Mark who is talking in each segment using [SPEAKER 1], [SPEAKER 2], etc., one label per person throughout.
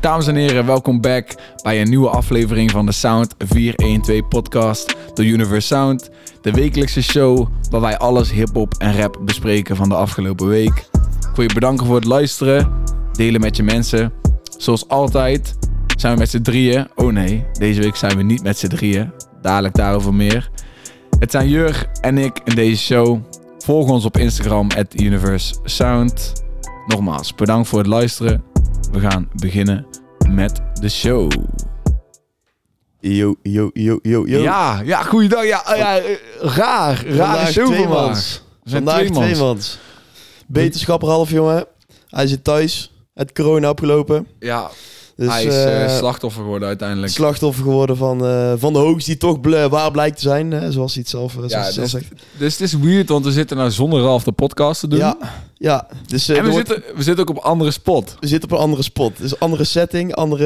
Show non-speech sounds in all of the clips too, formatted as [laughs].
[SPEAKER 1] Dames en heren, welkom back bij een nieuwe aflevering van de Sound 412 podcast door Universe Sound. De wekelijkse show waar wij alles hip-hop en rap bespreken van de afgelopen week. Ik wil je bedanken voor het luisteren, delen met je mensen. Zoals altijd zijn we met z'n drieën. Oh nee, deze week zijn we niet met z'n drieën. Dadelijk daarover meer. Het zijn Jur en ik in deze show. Volg ons op Instagram, at Universe Sound. Nogmaals, bedankt voor het luisteren. We gaan beginnen met de show.
[SPEAKER 2] Yo, yo, yo, yo, yo.
[SPEAKER 1] Ja, ja, goeiedag. Ja, eh, ja, eh, raar, rare
[SPEAKER 2] Vandaag
[SPEAKER 1] show
[SPEAKER 2] twee
[SPEAKER 1] vandaag.
[SPEAKER 2] mans.
[SPEAKER 1] We zijn
[SPEAKER 2] Vandaag
[SPEAKER 1] tweemans.
[SPEAKER 2] twee mans. Beterschap er half, jongen. Hij zit thuis. Het corona opgelopen.
[SPEAKER 1] Ja,
[SPEAKER 2] Dus,
[SPEAKER 1] hij is eh,
[SPEAKER 2] eh,
[SPEAKER 1] slachtoffer geworden uiteindelijk.
[SPEAKER 2] slachtoffer geworden van, eh, van de hoax die toch bl- waar blijkt te zijn. Hè, zoals hij het zelf, eh, zoals
[SPEAKER 1] Ja,
[SPEAKER 2] hij het zelf
[SPEAKER 1] dus,
[SPEAKER 2] zegt.
[SPEAKER 1] dus het is weird, want we zitten nou zonder Ralf de podcast te doen.
[SPEAKER 2] Ja, ja. Dus, eh,
[SPEAKER 1] en
[SPEAKER 2] er
[SPEAKER 1] we
[SPEAKER 2] wordt-
[SPEAKER 1] zitten, we zitten ook op andere spot.
[SPEAKER 2] we zitten op een andere spot. Dus andere setting. Andere,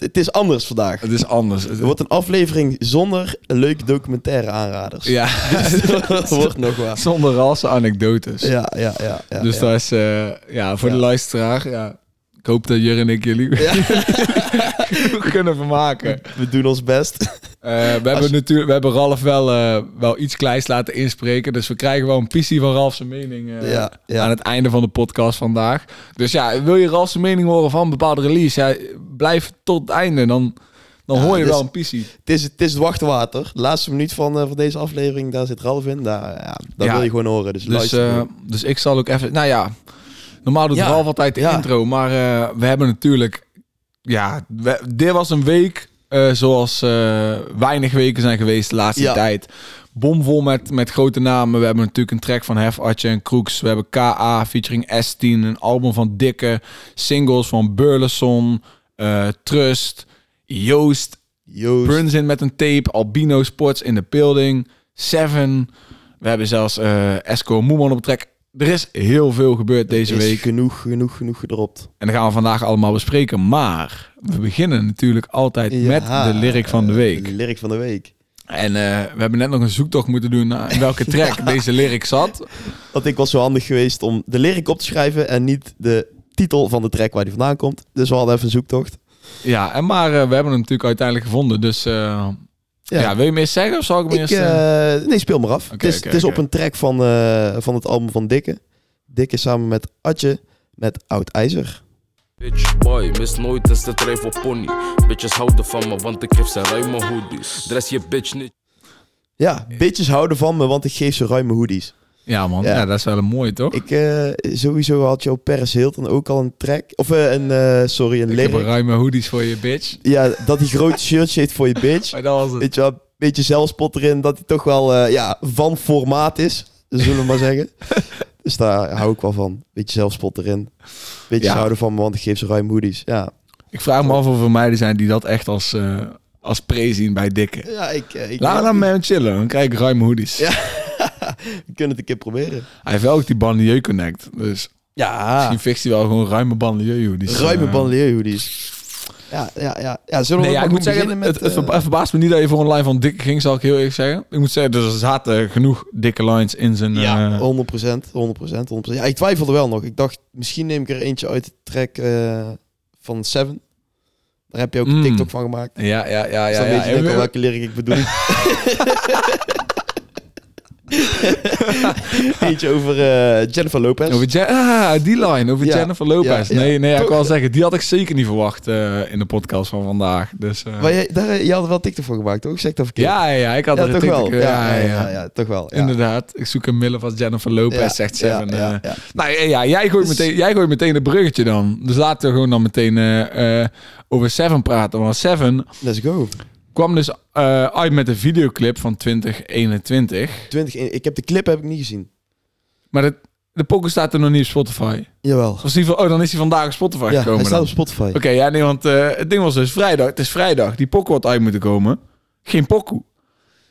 [SPEAKER 2] het is anders vandaag.
[SPEAKER 1] Het is anders.
[SPEAKER 2] Er wordt een aflevering zonder leuke documentaire aanraders.
[SPEAKER 1] Ja,
[SPEAKER 2] [laughs] dat wordt nog waar.
[SPEAKER 1] [laughs] zonder rassen anekdotes.
[SPEAKER 2] Ja, ja, ja. ja
[SPEAKER 1] dus
[SPEAKER 2] ja.
[SPEAKER 1] dat is, eh, ja, voor
[SPEAKER 2] Ja.
[SPEAKER 1] de luisteraar, ja. Ik hoop dat Jur en ik jullie [laughs] kunnen vermaken.
[SPEAKER 2] We doen ons best.
[SPEAKER 1] Eh, we, hebben natuurlijk, we hebben Ralf wel, eh, wel iets kleins laten inspreken. Dus we krijgen wel een pissie van Ralf zijn mening eh,
[SPEAKER 2] Ja, ja.
[SPEAKER 1] aan het einde van de podcast vandaag. Dus ja, wil je Ralf zijn mening horen van een bepaalde release? Ja, blijf tot het einde, dan, dan
[SPEAKER 2] Ja,
[SPEAKER 1] hoor je
[SPEAKER 2] dus-
[SPEAKER 1] wel een pissie.
[SPEAKER 2] Het is, het is het wachtwater. De laatste minuut van, eh, van deze aflevering, daar zit Ralf in. Daar, ja, dat
[SPEAKER 1] Ja.
[SPEAKER 2] wil je gewoon horen. Dus,
[SPEAKER 1] Dus,
[SPEAKER 2] luister.
[SPEAKER 1] eh, dus ik zal ook even... Nou ja, normaal doet
[SPEAKER 2] Ja,
[SPEAKER 1] Ralf altijd de
[SPEAKER 2] ja.
[SPEAKER 1] intro. Maar eh, we hebben natuurlijk... Ja, we- dit was een week eh, zoals eh, weinig weken zijn geweest de laatste
[SPEAKER 2] Ja.
[SPEAKER 1] tijd. Bomvol met, met grote namen. We hebben natuurlijk een track van Hef, Atje en Kroeks. We hebben K.A. featuring S10. Een album van Dikke. Singles van Burleson. eh, Trust. Joost.
[SPEAKER 2] Joost.
[SPEAKER 1] Bruns in met een tape. Albino Sports in de building. Seven. We hebben zelfs eh Esco Moeman op trek. Er is heel veel gebeurd deze
[SPEAKER 2] is
[SPEAKER 1] week.
[SPEAKER 2] genoeg, genoeg, genoeg gedropt.
[SPEAKER 1] En dat gaan we vandaag allemaal bespreken. Maar we beginnen natuurlijk altijd met
[SPEAKER 2] Ja,
[SPEAKER 1] de lyric van de
[SPEAKER 2] eh,
[SPEAKER 1] week.
[SPEAKER 2] De lyric van de week.
[SPEAKER 1] En eh, we hebben net nog een zoektocht moeten doen naar in [laughs] welke track deze lyric zat.
[SPEAKER 2] Want ik was zo handig geweest om de lyric op te schrijven en niet de titel van de track waar die vandaan komt. Dus we hadden even een zoektocht.
[SPEAKER 1] Ja, en maar eh, we hebben hem natuurlijk uiteindelijk gevonden. Dus eh, ja.
[SPEAKER 2] Ja.
[SPEAKER 1] wil je meer zeggen of zal ik hem
[SPEAKER 2] Ik,
[SPEAKER 1] eerst... eh,
[SPEAKER 2] eh, nee, speel maar af.
[SPEAKER 1] Oké,
[SPEAKER 2] het is,
[SPEAKER 1] oké,
[SPEAKER 2] het is
[SPEAKER 1] oké.
[SPEAKER 2] op een track van, eh, van het album van Dikke. Dikke samen met Atje met Oud IJzer.
[SPEAKER 3] Bitch boy, mis nooit eens de trui voor pony. Bitches houden van me, want ik geef ze ruime hoodies. Dress je bitch niet.
[SPEAKER 2] Ja, bitches houden van me, want ik geef ze ruime hoodies.
[SPEAKER 1] ja man, ja.
[SPEAKER 2] ja.
[SPEAKER 1] dat is wel een mooie toch? Ik,
[SPEAKER 2] Ik eh, sowieso had Joe Paris Hilton ook al een track. Of eh, een, eh, sorry, een
[SPEAKER 1] heb een
[SPEAKER 2] lyric.
[SPEAKER 1] ruime hoodies voor je bitch.
[SPEAKER 2] Ja, dat hij groot shirtje heeft voor je bitch.
[SPEAKER 1] Maar dat was het.
[SPEAKER 2] Weet je wel, een beetje zelfspot erin. Dat hij toch wel eh, ja, van formaat is, zullen we maar
[SPEAKER 1] [laughs]
[SPEAKER 2] zeggen. Dus daar hou ik wel van. Beetje zelfspot erin. Beetje
[SPEAKER 1] Ja.
[SPEAKER 2] houden van me, want ik geef ze ruim hoodies. Ja,
[SPEAKER 1] Ik vraag me af of er meiden zijn die dat echt als, eh als pre zien bij dikke.
[SPEAKER 2] ja ik, eh, ik
[SPEAKER 1] Laat me dan met hem chillen, dan krijg ik ruime hoodies.
[SPEAKER 2] Ja. We kunnen het een keer proberen.
[SPEAKER 1] Hij heeft wel ook die banlieue connect, dus
[SPEAKER 2] Ja,
[SPEAKER 1] misschien fixt hij wel gewoon ruime banlieue hoodies.
[SPEAKER 2] ruime
[SPEAKER 1] Eh,
[SPEAKER 2] bandelier hoodies. Ja, ja, ja. ja, zullen we
[SPEAKER 1] Nee, ja,
[SPEAKER 2] maar
[SPEAKER 1] ik
[SPEAKER 2] gewoon
[SPEAKER 1] moet zeggen,
[SPEAKER 2] beginnen
[SPEAKER 1] het, het
[SPEAKER 2] met... eh,
[SPEAKER 1] verba- het verbaast me niet dat je voor een line van dikke ging, zal ik heel eerlijk zeggen. Ik moet zeggen, dus er zaten genoeg dikke lines in zijn...
[SPEAKER 2] Ja, oh.
[SPEAKER 1] eh,
[SPEAKER 2] 100%, 100%, 100%. Ja, ik twijfelde wel nog. Ik dacht, misschien neem ik er eentje uit de track eh, van Seven. Daar heb je ook een
[SPEAKER 1] Mm.
[SPEAKER 2] TikTok van gemaakt.
[SPEAKER 1] ja, ja, ja.
[SPEAKER 2] Dus
[SPEAKER 1] ja,
[SPEAKER 2] dan
[SPEAKER 1] ja.
[SPEAKER 2] weet je denk ik al
[SPEAKER 1] En-
[SPEAKER 2] welke lyric
[SPEAKER 1] [laughs]
[SPEAKER 2] ik bedoel. eentje over eh, Jennifer Lopez.
[SPEAKER 1] Over Je- ah, die line, over
[SPEAKER 2] Ja,
[SPEAKER 1] Jennifer Lopez.
[SPEAKER 2] ja, ja.
[SPEAKER 1] Nee, nee, ja, ik
[SPEAKER 2] Toch?
[SPEAKER 1] kan wel zeggen, die had ik zeker niet verwacht eh, in de podcast van vandaag. Dus, eh,
[SPEAKER 2] Maar jij, daar, je had er wel TikTok voor gemaakt, toch? Zeg ik dat verkeerd?
[SPEAKER 1] ja, ja, ja, ik had
[SPEAKER 2] Ja,
[SPEAKER 1] er een
[SPEAKER 2] toch
[SPEAKER 1] TikTok-
[SPEAKER 2] wel. Ja, ja, ja, ja, toch wel. Ja.
[SPEAKER 1] Inderdaad, ik zoek een middel van Jennifer Lopez,
[SPEAKER 2] Ja,
[SPEAKER 1] zegt ze.
[SPEAKER 2] ja,
[SPEAKER 1] En,
[SPEAKER 2] ja,
[SPEAKER 1] eh,
[SPEAKER 2] ja.
[SPEAKER 1] Nou ja, ja, jij, gooit
[SPEAKER 2] Dus-
[SPEAKER 1] meteen, jij gooit meteen het bruggetje dan. Dus laten we gewoon dan meteen eh, eh, over Seven praten. Want Seven
[SPEAKER 2] Let's go.
[SPEAKER 1] kwam dus eh, uit met een videoclip van 2021.
[SPEAKER 2] 20, in- ik heb de clip heb ik niet gezien.
[SPEAKER 1] Maar de, de poker staat er nog niet op Spotify.
[SPEAKER 2] Jawel.
[SPEAKER 1] Of in ieder geval, oh, dan is hij vandaag op Spotify
[SPEAKER 2] Ja,
[SPEAKER 1] gekomen.
[SPEAKER 2] hij staat
[SPEAKER 1] dan.
[SPEAKER 2] op Spotify.
[SPEAKER 1] Oké, ja, nee, want eh, het ding was dus vrijdag. Het is vrijdag. Die pokoe had uit moeten komen. Geen pokoe.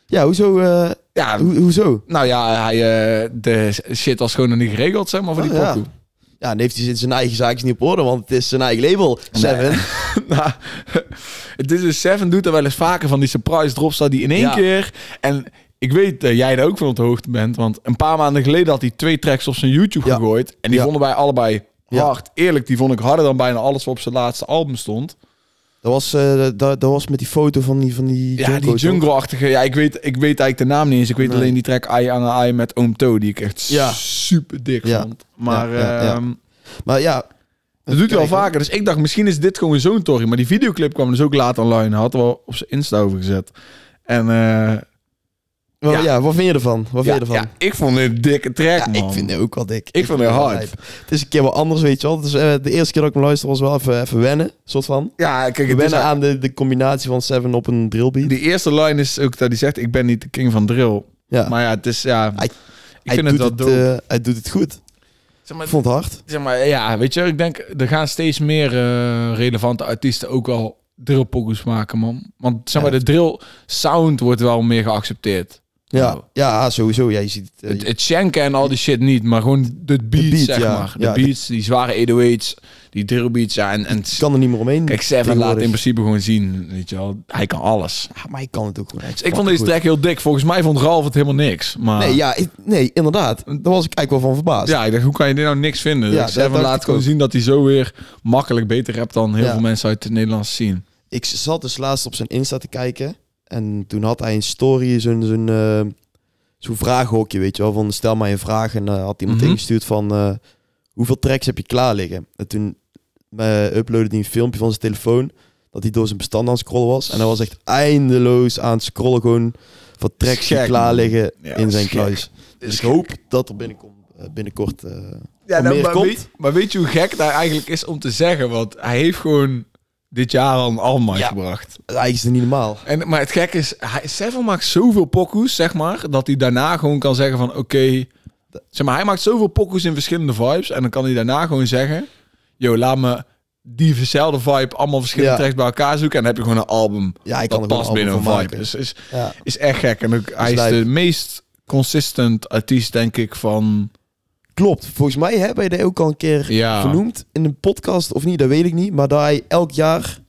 [SPEAKER 2] Ja, hoezo? eh,
[SPEAKER 1] Ja,
[SPEAKER 2] ho- hoezo?
[SPEAKER 1] nou ja, hij, eh, de shit was gewoon nog niet geregeld, zeg maar, voor die
[SPEAKER 2] Oh, ja.
[SPEAKER 1] pokoe.
[SPEAKER 2] Ja, dan heeft hij zin- zijn eigen zaakjes niet op orde, want het is zijn eigen label. Seven.
[SPEAKER 1] [laughs] nou, het is dus Seven doet er wel eens vaker van die surprise drops dat die in één
[SPEAKER 3] Ja.
[SPEAKER 1] keer. En ik weet dat jij er ook van op de hoogte bent, want een paar maanden geleden had hij twee tracks op zijn YouTube
[SPEAKER 2] Ja.
[SPEAKER 1] gegooid en die
[SPEAKER 2] Ja.
[SPEAKER 1] vonden wij allebei
[SPEAKER 2] Ja.
[SPEAKER 1] hard. Eerlijk, die vond ik harder dan bijna alles wat op zijn laatste album stond.
[SPEAKER 2] Dat was, eh, dat, dat was met die foto van die, van die
[SPEAKER 1] Ja,
[SPEAKER 2] Junko,
[SPEAKER 1] die
[SPEAKER 2] toch?
[SPEAKER 1] jungle-achtige. Ja, ik weet, ik weet eigenlijk de naam niet eens. Ik weet
[SPEAKER 2] Nee.
[SPEAKER 1] alleen die track Ai Ange Ai met Oom To, die ik echt
[SPEAKER 2] Ja.
[SPEAKER 1] super dik
[SPEAKER 2] Ja.
[SPEAKER 1] vond. Maar
[SPEAKER 2] Ja, ja, ja.
[SPEAKER 1] ehm,
[SPEAKER 2] Maar ja.
[SPEAKER 1] dat doet hij wel
[SPEAKER 2] Kijk,
[SPEAKER 1] vaker. Dus ik dacht, misschien is dit gewoon zo'n tory. Maar die videoclip kwam dus ook laat online. Had wel op zijn Insta over gezet. En eh,
[SPEAKER 2] wel-
[SPEAKER 1] Ja.
[SPEAKER 2] ja. wat vind je ervan? Wat
[SPEAKER 1] ja,
[SPEAKER 2] vind je ervan?
[SPEAKER 1] ja, ik vond het een dikke track,
[SPEAKER 2] Ja,
[SPEAKER 1] man.
[SPEAKER 2] ik vind het ook wel dik.
[SPEAKER 1] vond het
[SPEAKER 2] wel
[SPEAKER 1] hard.
[SPEAKER 2] lijp. Het is een keer wel anders, weet je wel. Dus, eh, de eerste keer dat ik hem luisterde was wel even, even wennen, soort van.
[SPEAKER 1] Ja, kijk, het is
[SPEAKER 2] Wennen aan de, de combinatie van Seven op een drillbeat.
[SPEAKER 1] Die eerste line is ook dat hij zegt: Ik ben niet de king van drill.
[SPEAKER 2] ja.
[SPEAKER 1] Maar ja, het is ja.
[SPEAKER 2] Hij-
[SPEAKER 1] ik vind het wel dope.
[SPEAKER 2] eh, hij doet het goed.
[SPEAKER 1] zeg, maar,
[SPEAKER 2] Ik vond het hard.
[SPEAKER 1] zeg maar, ja, weet je, ik denk er gaan steeds meer eh, relevante artiesten ook al drillpokoes maken, man. Want zeg maar,
[SPEAKER 2] Ja.
[SPEAKER 1] de drill sound wordt wel meer geaccepteerd. Nou.
[SPEAKER 2] Ja, ja sowieso. Ja, je ziet het. eh,
[SPEAKER 1] Het, het shanken en al die shit niet, maar gewoon de beats,
[SPEAKER 2] beat,
[SPEAKER 1] zeg
[SPEAKER 2] ja.
[SPEAKER 1] maar. De
[SPEAKER 2] Ja, de-
[SPEAKER 1] beats, die zware 808's, die drillbeats, ja. En, en
[SPEAKER 2] je kan er niet meer omheen.
[SPEAKER 1] kijk, Seven laat in
[SPEAKER 2] tegenwoordig.
[SPEAKER 1] principe gewoon zien, weet je wel, hij kan alles.
[SPEAKER 2] Ja, maar hij kan het ook gewoon. echt
[SPEAKER 1] Dus ik vond
[SPEAKER 2] fucking
[SPEAKER 1] deze track heel dik. Volgens mij vond Ralf het helemaal niks. Maar...
[SPEAKER 2] goed. Nee, ja, ik- nee, inderdaad. Daar was ik eigenlijk wel van verbaasd.
[SPEAKER 1] Ja, ik dacht, hoe kan je dit nou niks vinden?
[SPEAKER 2] Ja,
[SPEAKER 1] Ja,
[SPEAKER 2] dat dacht
[SPEAKER 1] laat
[SPEAKER 2] ik
[SPEAKER 1] gewoon
[SPEAKER 2] ook.
[SPEAKER 1] zien dat hij zo weer makkelijk beter rapt dan heel
[SPEAKER 2] Ja.
[SPEAKER 1] veel mensen uit het Nederlands zien.
[SPEAKER 2] Ik zat dus laatst op zijn Insta te kijken. En toen had hij een story, zo'n zo'n eh, zo'n vragenhokje, weet je wel. Van stel mij een vraag. En eh, had iemand
[SPEAKER 1] Mhm.
[SPEAKER 2] ingestuurd van eh, hoeveel tracks heb je klaar liggen? En toen eh, uploadde hij een filmpje van zijn telefoon. Dat hij door zijn bestand aan het scrollen was. En hij was echt eindeloos aan het scrollen gewoon van tracks die
[SPEAKER 1] Gek,
[SPEAKER 2] klaar
[SPEAKER 1] man.
[SPEAKER 2] liggen
[SPEAKER 1] Ja,
[SPEAKER 2] in zijn
[SPEAKER 1] gek.
[SPEAKER 2] kluis. Dus ik hoop dat er binnenkom, eh, binnenkort... eh,
[SPEAKER 1] Ja,
[SPEAKER 2] nou, Meer
[SPEAKER 1] maar,
[SPEAKER 2] maar komt.
[SPEAKER 1] weet,
[SPEAKER 2] weet-
[SPEAKER 1] je hoe gek daar eigenlijk is om te zeggen? Want hij heeft gewoon dit jaar al een album uitgebracht.
[SPEAKER 2] eigenlijk is het niet normaal.
[SPEAKER 1] En, maar het gekke is, hij, Seven maakt zoveel pokoes, zeg maar, dat hij daarna gewoon kan zeggen van, oké... zeg maar, hij maakt zoveel pokoes in verschillende vibes en dan kan hij daarna gewoon zeggen... Yo, laat me diezelfde vibe, allemaal verschillende
[SPEAKER 2] Ja.
[SPEAKER 1] tracks bij elkaar zoeken en dan heb je gewoon een album.
[SPEAKER 2] Ja, hij kan
[SPEAKER 1] Dat
[SPEAKER 2] er gewoon
[SPEAKER 1] past binnen een
[SPEAKER 2] allemaal van
[SPEAKER 1] vibe.
[SPEAKER 2] maken.
[SPEAKER 1] Dus is,
[SPEAKER 2] Ja.
[SPEAKER 1] is echt gek. En ook, hij is
[SPEAKER 2] lijp.
[SPEAKER 1] de meest consistent artiest, denk ik, van...
[SPEAKER 2] Klopt. Volgens mij hebben wij dat ook al een keer
[SPEAKER 1] Ja,
[SPEAKER 2] vernoemd in een podcast of niet, dat weet ik niet. Maar dat hij elk jaar
[SPEAKER 1] twee,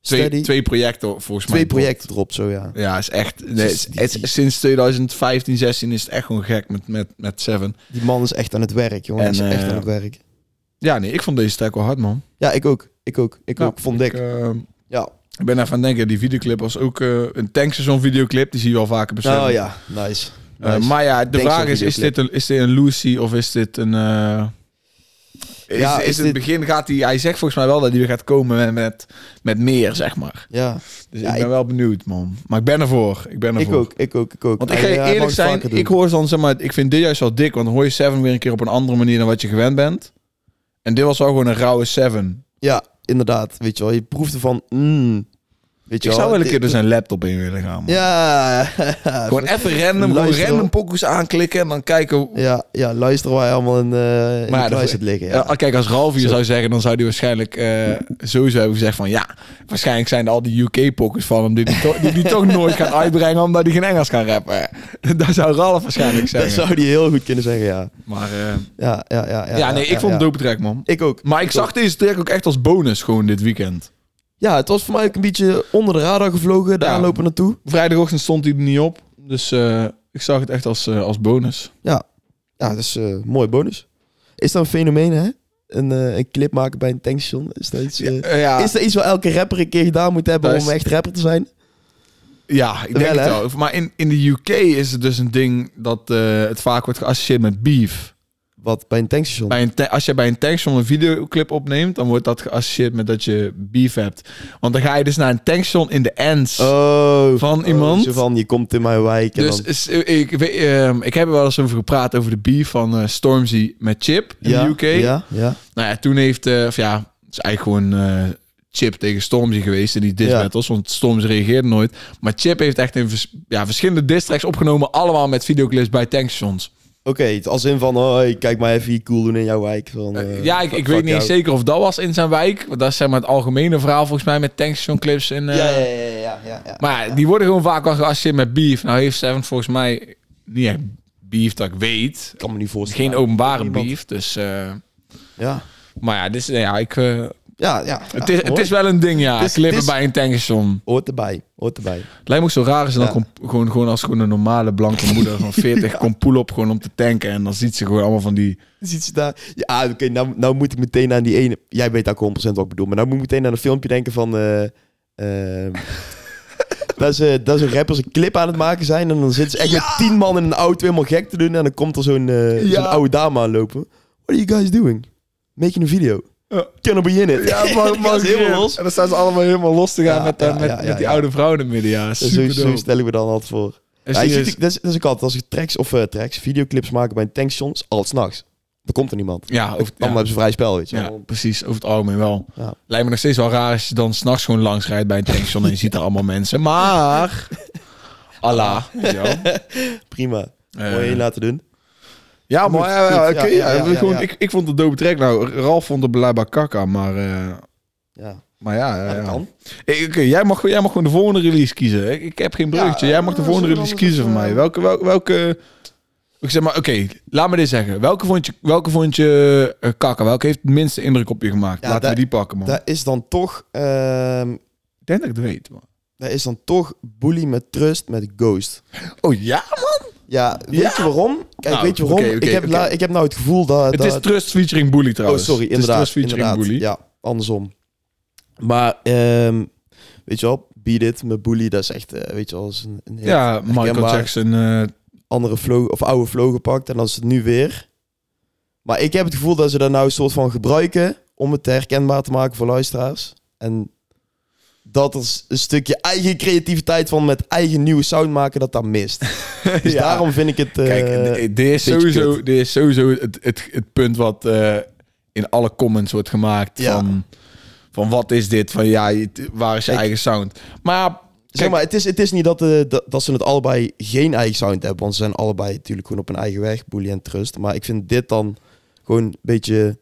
[SPEAKER 2] steady twee,
[SPEAKER 1] twee projecten volgens mij.
[SPEAKER 2] projecten dropt, zo ja.
[SPEAKER 1] Ja, is echt... nee, het is- het is- sinds 2015, 16 is het echt gewoon gek met, met, met Seven.
[SPEAKER 2] Die man is echt aan het werk, jongen. Hij
[SPEAKER 1] En,
[SPEAKER 2] is echt
[SPEAKER 1] eh,
[SPEAKER 2] aan het werk.
[SPEAKER 1] Ja, nee, ik vond deze track wel hard, man.
[SPEAKER 2] Ja, ik ook. Ik ook. Ik
[SPEAKER 1] Ja,
[SPEAKER 2] ook. Vond ik.
[SPEAKER 1] eh,
[SPEAKER 2] ja.
[SPEAKER 1] ik ben even aan het denken, die videoclip was ook eh, een tankseizoen videoclip. Die zie je wel vaker bij Seven.
[SPEAKER 2] Nou ja, nice.
[SPEAKER 1] Eh,
[SPEAKER 2] Nice.
[SPEAKER 1] maar ja, de
[SPEAKER 2] Tankseizoen
[SPEAKER 1] vraag is, is dit,
[SPEAKER 2] videoclip.
[SPEAKER 1] een, is dit een Lucy of is dit een... eh, is,
[SPEAKER 2] Ja,
[SPEAKER 1] is,
[SPEAKER 2] is
[SPEAKER 1] het
[SPEAKER 2] dit-
[SPEAKER 1] begin gaat hij... Hij zegt volgens mij wel dat hij weer gaat komen met, met, met meer, zeg maar.
[SPEAKER 2] ja,
[SPEAKER 1] Dus
[SPEAKER 2] Ja,
[SPEAKER 1] ik ben
[SPEAKER 2] ik-
[SPEAKER 1] wel benieuwd, man. Maar ik ben ervoor. Ik ben
[SPEAKER 2] ik
[SPEAKER 1] ervoor.
[SPEAKER 2] ook. Ik ook. Ik ook.
[SPEAKER 1] Want ik ga
[SPEAKER 2] Hij,
[SPEAKER 1] je
[SPEAKER 2] eh, hij mag
[SPEAKER 1] eerlijk
[SPEAKER 2] het
[SPEAKER 1] zijn,
[SPEAKER 2] vaker doen.
[SPEAKER 1] ik hoor dan zeg maar... Ik vind dit juist wel dik, want dan hoor je Seven weer een keer op een andere manier dan wat je gewend bent. En dit was wel gewoon een rauwe Seven.
[SPEAKER 2] Ja, inderdaad. Weet je wel, je proefde van... Mm, weet je
[SPEAKER 1] Ik
[SPEAKER 2] wel,
[SPEAKER 1] zou wel een
[SPEAKER 2] dit-
[SPEAKER 1] keer dus zijn laptop in willen gaan, man.
[SPEAKER 2] Ja.
[SPEAKER 1] Gewoon even random, gewoon
[SPEAKER 2] Luister-
[SPEAKER 1] random pokus aanklikken en dan kijken...
[SPEAKER 2] [laughs] ja, ja, luister waar hij allemaal in, eh
[SPEAKER 1] Maar ja,
[SPEAKER 2] in de
[SPEAKER 1] dat-
[SPEAKER 2] kluis zit liggen. Ja.
[SPEAKER 1] Ja. kijk, als Ralf hier
[SPEAKER 2] Zo.
[SPEAKER 1] zou zeggen, dan zou hij waarschijnlijk eh, sowieso hebben gezegd van... Ja, waarschijnlijk zijn er al die UK-pokkers van hem die die, to- die die
[SPEAKER 2] [laughs]
[SPEAKER 1] toch nooit gaan uitbrengen omdat hij geen Engels kan rappen. [laughs] dat zou Ralf waarschijnlijk zeggen.
[SPEAKER 2] Dat zou die heel goed kunnen zeggen, ja.
[SPEAKER 1] Maar eh,
[SPEAKER 2] Ja, ja, ja.
[SPEAKER 1] ja, nee, ik vond het dope track, man.
[SPEAKER 2] Ik ook.
[SPEAKER 1] Maar ik zag deze track ook echt als bonus gewoon dit weekend.
[SPEAKER 2] Ja, het was voor mij ook een beetje onder de radar gevlogen, de
[SPEAKER 1] Ja.
[SPEAKER 2] aanlopen naartoe.
[SPEAKER 1] Vrijdagochtend stond hij er niet op, dus eh, ik zag het echt als, eh, als bonus.
[SPEAKER 2] Ja, dat is eh, een mooie bonus. Is dat een fenomeen, hè? Een, eh, een clip maken bij een tankstation? Is dat iets, eh,
[SPEAKER 1] Eh, ja,
[SPEAKER 2] is dat iets wat elke rapper een keer gedaan moet hebben
[SPEAKER 1] Dat
[SPEAKER 2] om
[SPEAKER 1] is-
[SPEAKER 2] echt rapper te zijn?
[SPEAKER 1] ja, ik denk
[SPEAKER 2] Wel,
[SPEAKER 1] het
[SPEAKER 2] hè?
[SPEAKER 1] wel. Maar in, in de UK is het dus een ding dat eh, het vaak wordt geassocieerd met beef.
[SPEAKER 2] Wat, bij een tankstation?
[SPEAKER 1] Bij een ta- als je bij een tankstation een videoclip opneemt, dan wordt dat geassocieerd met dat je beef hebt. Want dan ga je dus naar een tankstation in de ends.
[SPEAKER 2] Oh.
[SPEAKER 1] Van
[SPEAKER 2] oh,
[SPEAKER 1] iemand?
[SPEAKER 2] Zo van, je komt in mijn wijk en
[SPEAKER 1] dus
[SPEAKER 2] dan...
[SPEAKER 1] is- ik, weet- ehm, ik heb er wel eens over gepraat over de beef van eh, Stormzy met Chip in
[SPEAKER 2] ja,
[SPEAKER 1] de UK.
[SPEAKER 2] Ja, ja.
[SPEAKER 1] Nou ja, toen heeft, eh, of ja, het is eigenlijk gewoon eh, Chip tegen Stormzy geweest in die diss
[SPEAKER 2] Ja.
[SPEAKER 1] battles, want Stormzy reageerde nooit. Maar Chip heeft echt in vers- ja, verschillende diss tracks opgenomen, allemaal met videoclips bij tankstations.
[SPEAKER 2] Oké, het als in van, hoi, kijk maar even hier cool doen in jouw wijk. Van, eh,
[SPEAKER 1] ja, ik, ik
[SPEAKER 2] fuck
[SPEAKER 1] weet niet eens
[SPEAKER 2] jou.
[SPEAKER 1] zeker of dat was in zijn wijk. Want dat is zeg maar het algemene verhaal volgens mij met tankstation clips. En, eh,
[SPEAKER 2] Ja, ja, ja, ja, ja, ja.
[SPEAKER 1] Maar ja, die worden gewoon vaak al geassocieerd met beef. Nou heeft Seven volgens mij niet echt beef dat ik weet.
[SPEAKER 2] Ik kan me
[SPEAKER 1] Het
[SPEAKER 2] niet
[SPEAKER 1] is
[SPEAKER 2] voorstellen.
[SPEAKER 1] dus, geen openbare
[SPEAKER 2] Niemand.
[SPEAKER 1] beef. Dus, eh,
[SPEAKER 2] Ja.
[SPEAKER 1] maar ja, dit is, ja ik, eh,
[SPEAKER 2] Ja, ja.
[SPEAKER 1] Het is, het is wel een ding, ja.
[SPEAKER 2] Het is-
[SPEAKER 1] Klippen
[SPEAKER 2] het is-
[SPEAKER 1] bij een tankstation.
[SPEAKER 2] Hoort erbij, hoort erbij.
[SPEAKER 1] Het lijkt me ook zo raar als ze
[SPEAKER 2] Ja.
[SPEAKER 1] dan kom- gewoon, gewoon als gewoon een normale blanke moeder
[SPEAKER 2] [laughs]
[SPEAKER 1] van 40 komt poel op gewoon om te tanken. En dan ziet ze gewoon allemaal van die...
[SPEAKER 2] [laughs] Ziet ze daar? Ja, oké, nou, nou moet ik meteen aan die ene... Jij weet ook 100% wat ik bedoel, maar nou moet ik meteen aan een filmpje denken van... eh
[SPEAKER 1] [laughs]
[SPEAKER 2] ehm, dat, ze, dat ze rappers een clip aan het maken zijn en dan zitten ze echt met tien man in een auto helemaal gek te doen. En dan komt er zo'n eh,
[SPEAKER 1] Ja.
[SPEAKER 2] zo'n oude dame aanlopen. What are you guys doing? Making a video.
[SPEAKER 1] Ja.
[SPEAKER 2] Can I be in it? [laughs] Die gaan ze helemaal los.
[SPEAKER 1] En dan staan ze allemaal helemaal los te gaan
[SPEAKER 2] Ja,
[SPEAKER 1] met, eh,
[SPEAKER 2] ja,
[SPEAKER 1] met,
[SPEAKER 2] ja,
[SPEAKER 1] met
[SPEAKER 2] ja,
[SPEAKER 1] die
[SPEAKER 2] ja.
[SPEAKER 1] oude vrouw in het midden. Ja,
[SPEAKER 2] Zo,
[SPEAKER 1] super
[SPEAKER 2] zo stellen we dan altijd voor. Ja, je ziet, ik- dat, is, dat is ook altijd. Als ik tracks of eh, tracks, videoclips maken bij een tankstation, is altijd s'nachts. Dan komt er niemand.
[SPEAKER 1] Ja,
[SPEAKER 2] Of,
[SPEAKER 1] over,
[SPEAKER 2] dan
[SPEAKER 1] ja,
[SPEAKER 2] hebben ze vrij spel, weet je
[SPEAKER 1] ja,
[SPEAKER 2] wel.
[SPEAKER 1] precies. Over het algemeen wel.
[SPEAKER 2] Ja.
[SPEAKER 1] Lijkt me nog steeds wel raar als je dan s'nachts gewoon langs rijdt bij een tankstation en je ziet er allemaal mensen.
[SPEAKER 2] [laughs]
[SPEAKER 1] Maar... Allah. weet je wel.
[SPEAKER 2] Prima.
[SPEAKER 1] Eh,
[SPEAKER 2] Mooi je laten doen.
[SPEAKER 1] Ja,
[SPEAKER 2] Moet,
[SPEAKER 1] maar ja,
[SPEAKER 2] goed,
[SPEAKER 1] ja,
[SPEAKER 2] ja,
[SPEAKER 1] oké,
[SPEAKER 2] ja,
[SPEAKER 1] ja,
[SPEAKER 2] ja, ja,
[SPEAKER 1] gewoon,
[SPEAKER 2] ja.
[SPEAKER 1] Ik, ik vond het dope track. Nou, Ralf vond het blijkbaar kakka, maar, eh,
[SPEAKER 2] Ja,
[SPEAKER 1] maar ja. ja,
[SPEAKER 2] ja, dat
[SPEAKER 1] ja.
[SPEAKER 2] kan.
[SPEAKER 1] Ik- Oké, jij, mag, gewoon- jij mag gewoon de volgende release kiezen. Ik, ik heb geen bruggetje. jij mag de
[SPEAKER 2] eh,
[SPEAKER 1] volgende
[SPEAKER 2] zullen we
[SPEAKER 1] release
[SPEAKER 2] anders
[SPEAKER 1] kiezen van
[SPEAKER 2] even- eh,
[SPEAKER 1] mij. Welke, welke, welke ik zeg maar, oké, laat me dit zeggen. Welke vond je, welke vond je eh, kakka? Welke heeft het minste indruk op je gemaakt?
[SPEAKER 2] Ja,
[SPEAKER 1] Laten we
[SPEAKER 2] daar-
[SPEAKER 1] die pakken, man.
[SPEAKER 2] Dat is dan toch... ehm
[SPEAKER 1] ik denk dat ik het weet, man.
[SPEAKER 2] dat is dan toch Bully met Trust met Ghost.
[SPEAKER 1] Oh ja?
[SPEAKER 2] Ja, weet
[SPEAKER 1] Ja.
[SPEAKER 2] je waarom? Kijk,
[SPEAKER 1] Nou,
[SPEAKER 2] weet je waarom?
[SPEAKER 1] oké, oké,
[SPEAKER 2] ik, heb
[SPEAKER 1] oké.
[SPEAKER 2] la- ik heb nou het gevoel dat...
[SPEAKER 1] Het
[SPEAKER 2] dat
[SPEAKER 1] is Trust featuring Bully trouwens.
[SPEAKER 2] Oh, sorry,
[SPEAKER 1] Het is
[SPEAKER 2] inderdaad.
[SPEAKER 1] Trust featuring
[SPEAKER 2] inderdaad.
[SPEAKER 1] Bully.
[SPEAKER 2] Ja, andersom. Maar, ehm, weet je wel, Beat It met Bully, dat is echt, eh, weet je wel, is een, een hit.
[SPEAKER 1] Ja, Michael
[SPEAKER 2] Herkenbaar.
[SPEAKER 1] Jackson. eh,
[SPEAKER 2] andere flow, of oude flow gepakt en dan is het nu weer. Maar ik heb het gevoel dat ze daar nou een soort van gebruiken om het herkenbaar te maken voor luisteraars. En dat er s- een stukje eigen creativiteit van met eigen nieuwe sound maken, dat dat
[SPEAKER 1] [laughs]
[SPEAKER 2] mist. Dus
[SPEAKER 1] ja.
[SPEAKER 2] daarom vind ik het... eh,
[SPEAKER 1] Kijk, d- dit is
[SPEAKER 2] beetje
[SPEAKER 1] sowieso,
[SPEAKER 2] kut.
[SPEAKER 1] dit is sowieso het, het, het punt wat eh, in alle comments wordt gemaakt.
[SPEAKER 2] Ja.
[SPEAKER 1] Van, van wat is dit? Van ja, je- t- waar is je
[SPEAKER 2] Kijk.
[SPEAKER 1] eigen sound? Maar
[SPEAKER 2] zeg maar, het is, het is niet dat, eh, dat, dat ze het allebei geen eigen sound hebben. Want ze zijn allebei natuurlijk gewoon op hun eigen weg, Bully en Trust. Maar ik vind dit dan gewoon een beetje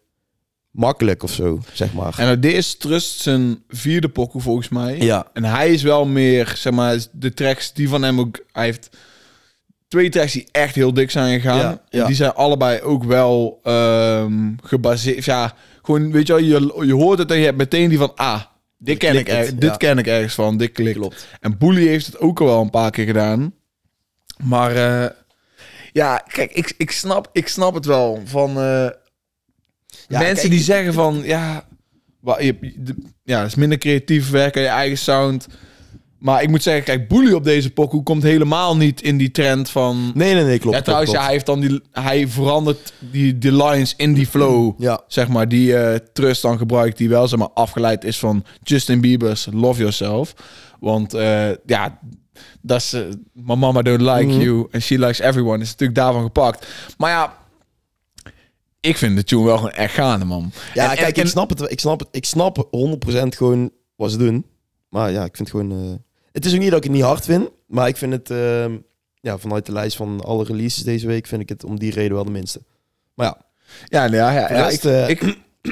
[SPEAKER 2] makkelijk of zo, zeg maar.
[SPEAKER 1] en nou, dit is Trust zijn vierde pokoe volgens mij.
[SPEAKER 2] Ja,
[SPEAKER 1] En hij is wel meer, zeg maar, de tracks die van hem ook... Hij heeft twee tracks die echt heel dik zijn gegaan.
[SPEAKER 2] Ja,
[SPEAKER 1] En
[SPEAKER 2] ja.
[SPEAKER 1] Die zijn allebei ook wel ehm, gebaseerd... Ja, gewoon, weet je wel, je, je hoort het en je hebt meteen die van... Ah, dit, ken ik,
[SPEAKER 2] klikt het,
[SPEAKER 1] er- dit
[SPEAKER 2] ja.
[SPEAKER 1] ken ik ergens van, dit klikt.
[SPEAKER 2] klopt.
[SPEAKER 1] En Boelie heeft het ook al wel een paar keer gedaan. Maar eh, ja, kijk, ik, ik, snap, ik snap het wel. Van eh, mensen
[SPEAKER 2] kijk,
[SPEAKER 1] die zeggen van, ja, wa- je, hebt- de- ja, het is minder creatief werken, je eigen sound. Maar ik moet zeggen, kijk, Boelie op deze pokoe komt helemaal niet in die trend van...
[SPEAKER 2] Nee, nee, nee, klopt.
[SPEAKER 1] ja,
[SPEAKER 2] klopt,
[SPEAKER 1] trouwens, ja,
[SPEAKER 2] klopt.
[SPEAKER 1] hij, heeft dan die, hij verandert die, die lines in die flow.
[SPEAKER 2] Ja,
[SPEAKER 1] Zeg maar, die eh, trust dan gebruikt, die wel zeg maar, afgeleid is van Justin Bieber's Love Yourself. Want eh, ja, dat is eh, My Mama Don't Like
[SPEAKER 2] Mhm.
[SPEAKER 1] You and She Likes Everyone is natuurlijk daarvan gepakt. Maar ja, ik vind de tune wel gewoon echt gaande, man.
[SPEAKER 2] Ja,
[SPEAKER 1] En-
[SPEAKER 2] kijk,
[SPEAKER 1] en-
[SPEAKER 2] ik snap het. wel. Ik snap het. Ik snap 100% gewoon wat ze doen. Maar ja, ik vind gewoon. eh, het is ook niet dat ik het niet hard vind. Maar ik vind het. ehm, ja, vanuit de lijst van alle releases deze week. vind ik het om die reden wel de minste. Maar ja,
[SPEAKER 1] Ja, nou ja, ja,
[SPEAKER 2] Voor de
[SPEAKER 1] ja,
[SPEAKER 2] rest,
[SPEAKER 1] ik,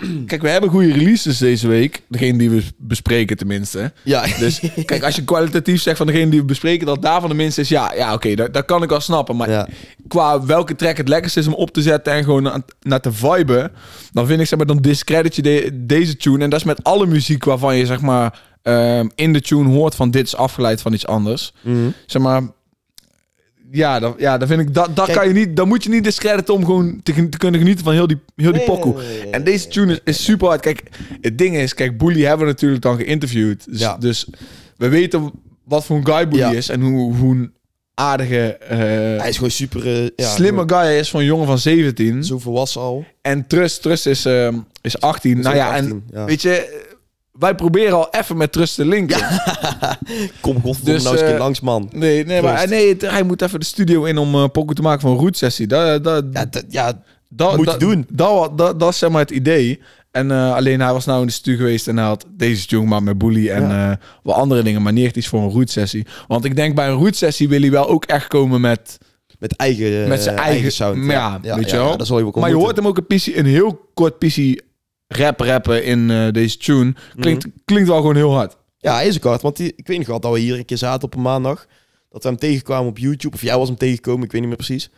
[SPEAKER 1] ik- kijk, we hebben goede releases deze week. Degene die we bespreken tenminste.
[SPEAKER 2] ja. [laughs]
[SPEAKER 1] Dus kijk, als je kwalitatief zegt van degene die we bespreken, dat daarvan de minste is, ja, ja oké, dat, dat kan ik wel snappen. Maar
[SPEAKER 2] ja.
[SPEAKER 1] qua welke track het lekkerst is om op te zetten en gewoon na- naar te viben, dan vind ik zeg maar dan discredit je de- deze tune en dat is met alle muziek waarvan je zeg maar ehm, in de tune hoort van dit is afgeleid van iets anders.
[SPEAKER 2] Mhm.
[SPEAKER 1] Zeg maar ja, dan, ja, dan vind ik dat, dat
[SPEAKER 2] Kijk.
[SPEAKER 1] kan je niet, dan moet je niet discrediten om gewoon te, gen- te kunnen genieten van heel die, heel die pokoe. En deze tune is, is super hard. Kijk, het ding is, kijk, Boelie hebben we natuurlijk dan geïnterviewd. Dus,
[SPEAKER 2] Ja.
[SPEAKER 1] dus we weten wat voor een guy Boelie
[SPEAKER 2] Ja.
[SPEAKER 1] is en hoe, hoe een aardige eh,
[SPEAKER 2] Hij is gewoon super. eh, ja,
[SPEAKER 1] slimme
[SPEAKER 2] gewoon
[SPEAKER 1] guy hij is van een jongen van 17.
[SPEAKER 2] Zo volwassen al.
[SPEAKER 1] En Trust, Trust is, ehm, is 18. nou ja, en weet je, wij proberen al even met Trust te linken.
[SPEAKER 2] Kom
[SPEAKER 1] dus,
[SPEAKER 2] godverdomme nou eens een keer
[SPEAKER 1] eh,
[SPEAKER 2] langs, man.
[SPEAKER 1] Nee, nee, maar
[SPEAKER 2] Trust.
[SPEAKER 1] nee, het- hij moet even de studio in om eh pokoe te maken van een roetsessie. Dat, eh, dat,
[SPEAKER 2] Ja, dat, ja,
[SPEAKER 1] dat,
[SPEAKER 2] moet
[SPEAKER 1] dat,
[SPEAKER 2] je doen.
[SPEAKER 1] Dat, wa- dat, dat is zeg maar het idee. En eh, alleen hij was nou in de studio geweest en hij had deze tune maar met Bully en eh wat andere dingen. Maar niet echt iets voor een roetsessie. Want ik denk bij een roetsessie wil hij wel ook echt komen met...
[SPEAKER 2] met eigen, eh,
[SPEAKER 1] Met zijn eigen-
[SPEAKER 2] sound.
[SPEAKER 1] maar ja, weet je wel.
[SPEAKER 2] dat zal je ook wel
[SPEAKER 1] Maar je
[SPEAKER 2] moeten.
[SPEAKER 1] hoort hem ook een, pissie, een heel kort pissie rap rappen in eh, deze tune. Klinkt, klinkt wel gewoon heel hard.
[SPEAKER 2] Ja, hij is ook hard. Want die, ik weet nog wel dat we hier een keer zaten op een maandag. Dat we hem tegenkwamen op YouTube. Of jij was hem tegengekomen, ik weet niet meer precies. En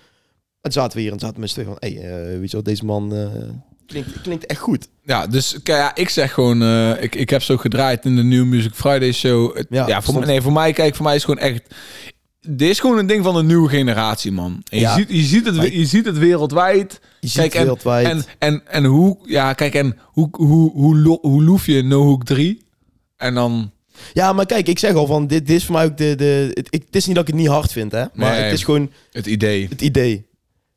[SPEAKER 2] toen zaten we hier en zaten we met z'n tweeën van... Hé, hey, eh, weet je wel, deze man... eh, Klinkt, klinkt echt goed.
[SPEAKER 1] Ja, dus k- ja, ik zeg gewoon, eh, ik, ik heb zo gedraaid in de New Music Friday show. Het- ja,
[SPEAKER 2] Ja,
[SPEAKER 1] voor,
[SPEAKER 2] stond-
[SPEAKER 1] mij- nee, voor mij, kijk, voor mij is gewoon echt. Dit is gewoon een ding van de nieuwe generatie, man. En je,
[SPEAKER 2] Ja.
[SPEAKER 1] ziet, je, ziet het, we- je ziet het wereldwijd.
[SPEAKER 2] Je ziet
[SPEAKER 1] Kijk, en-
[SPEAKER 2] wereldwijd.
[SPEAKER 1] En, en, en hoe, ja, kijk, en hoe, hoe, hoe, lo- hoe loef je No Hook 3? En dan,
[SPEAKER 2] Ja, maar kijk, ik zeg al van, dit, dit is voor mij ook de... de het, ik- het is niet dat ik het niet hard vind, hè. Maar
[SPEAKER 1] Nee.
[SPEAKER 2] het is gewoon
[SPEAKER 1] het idee.
[SPEAKER 2] het idee.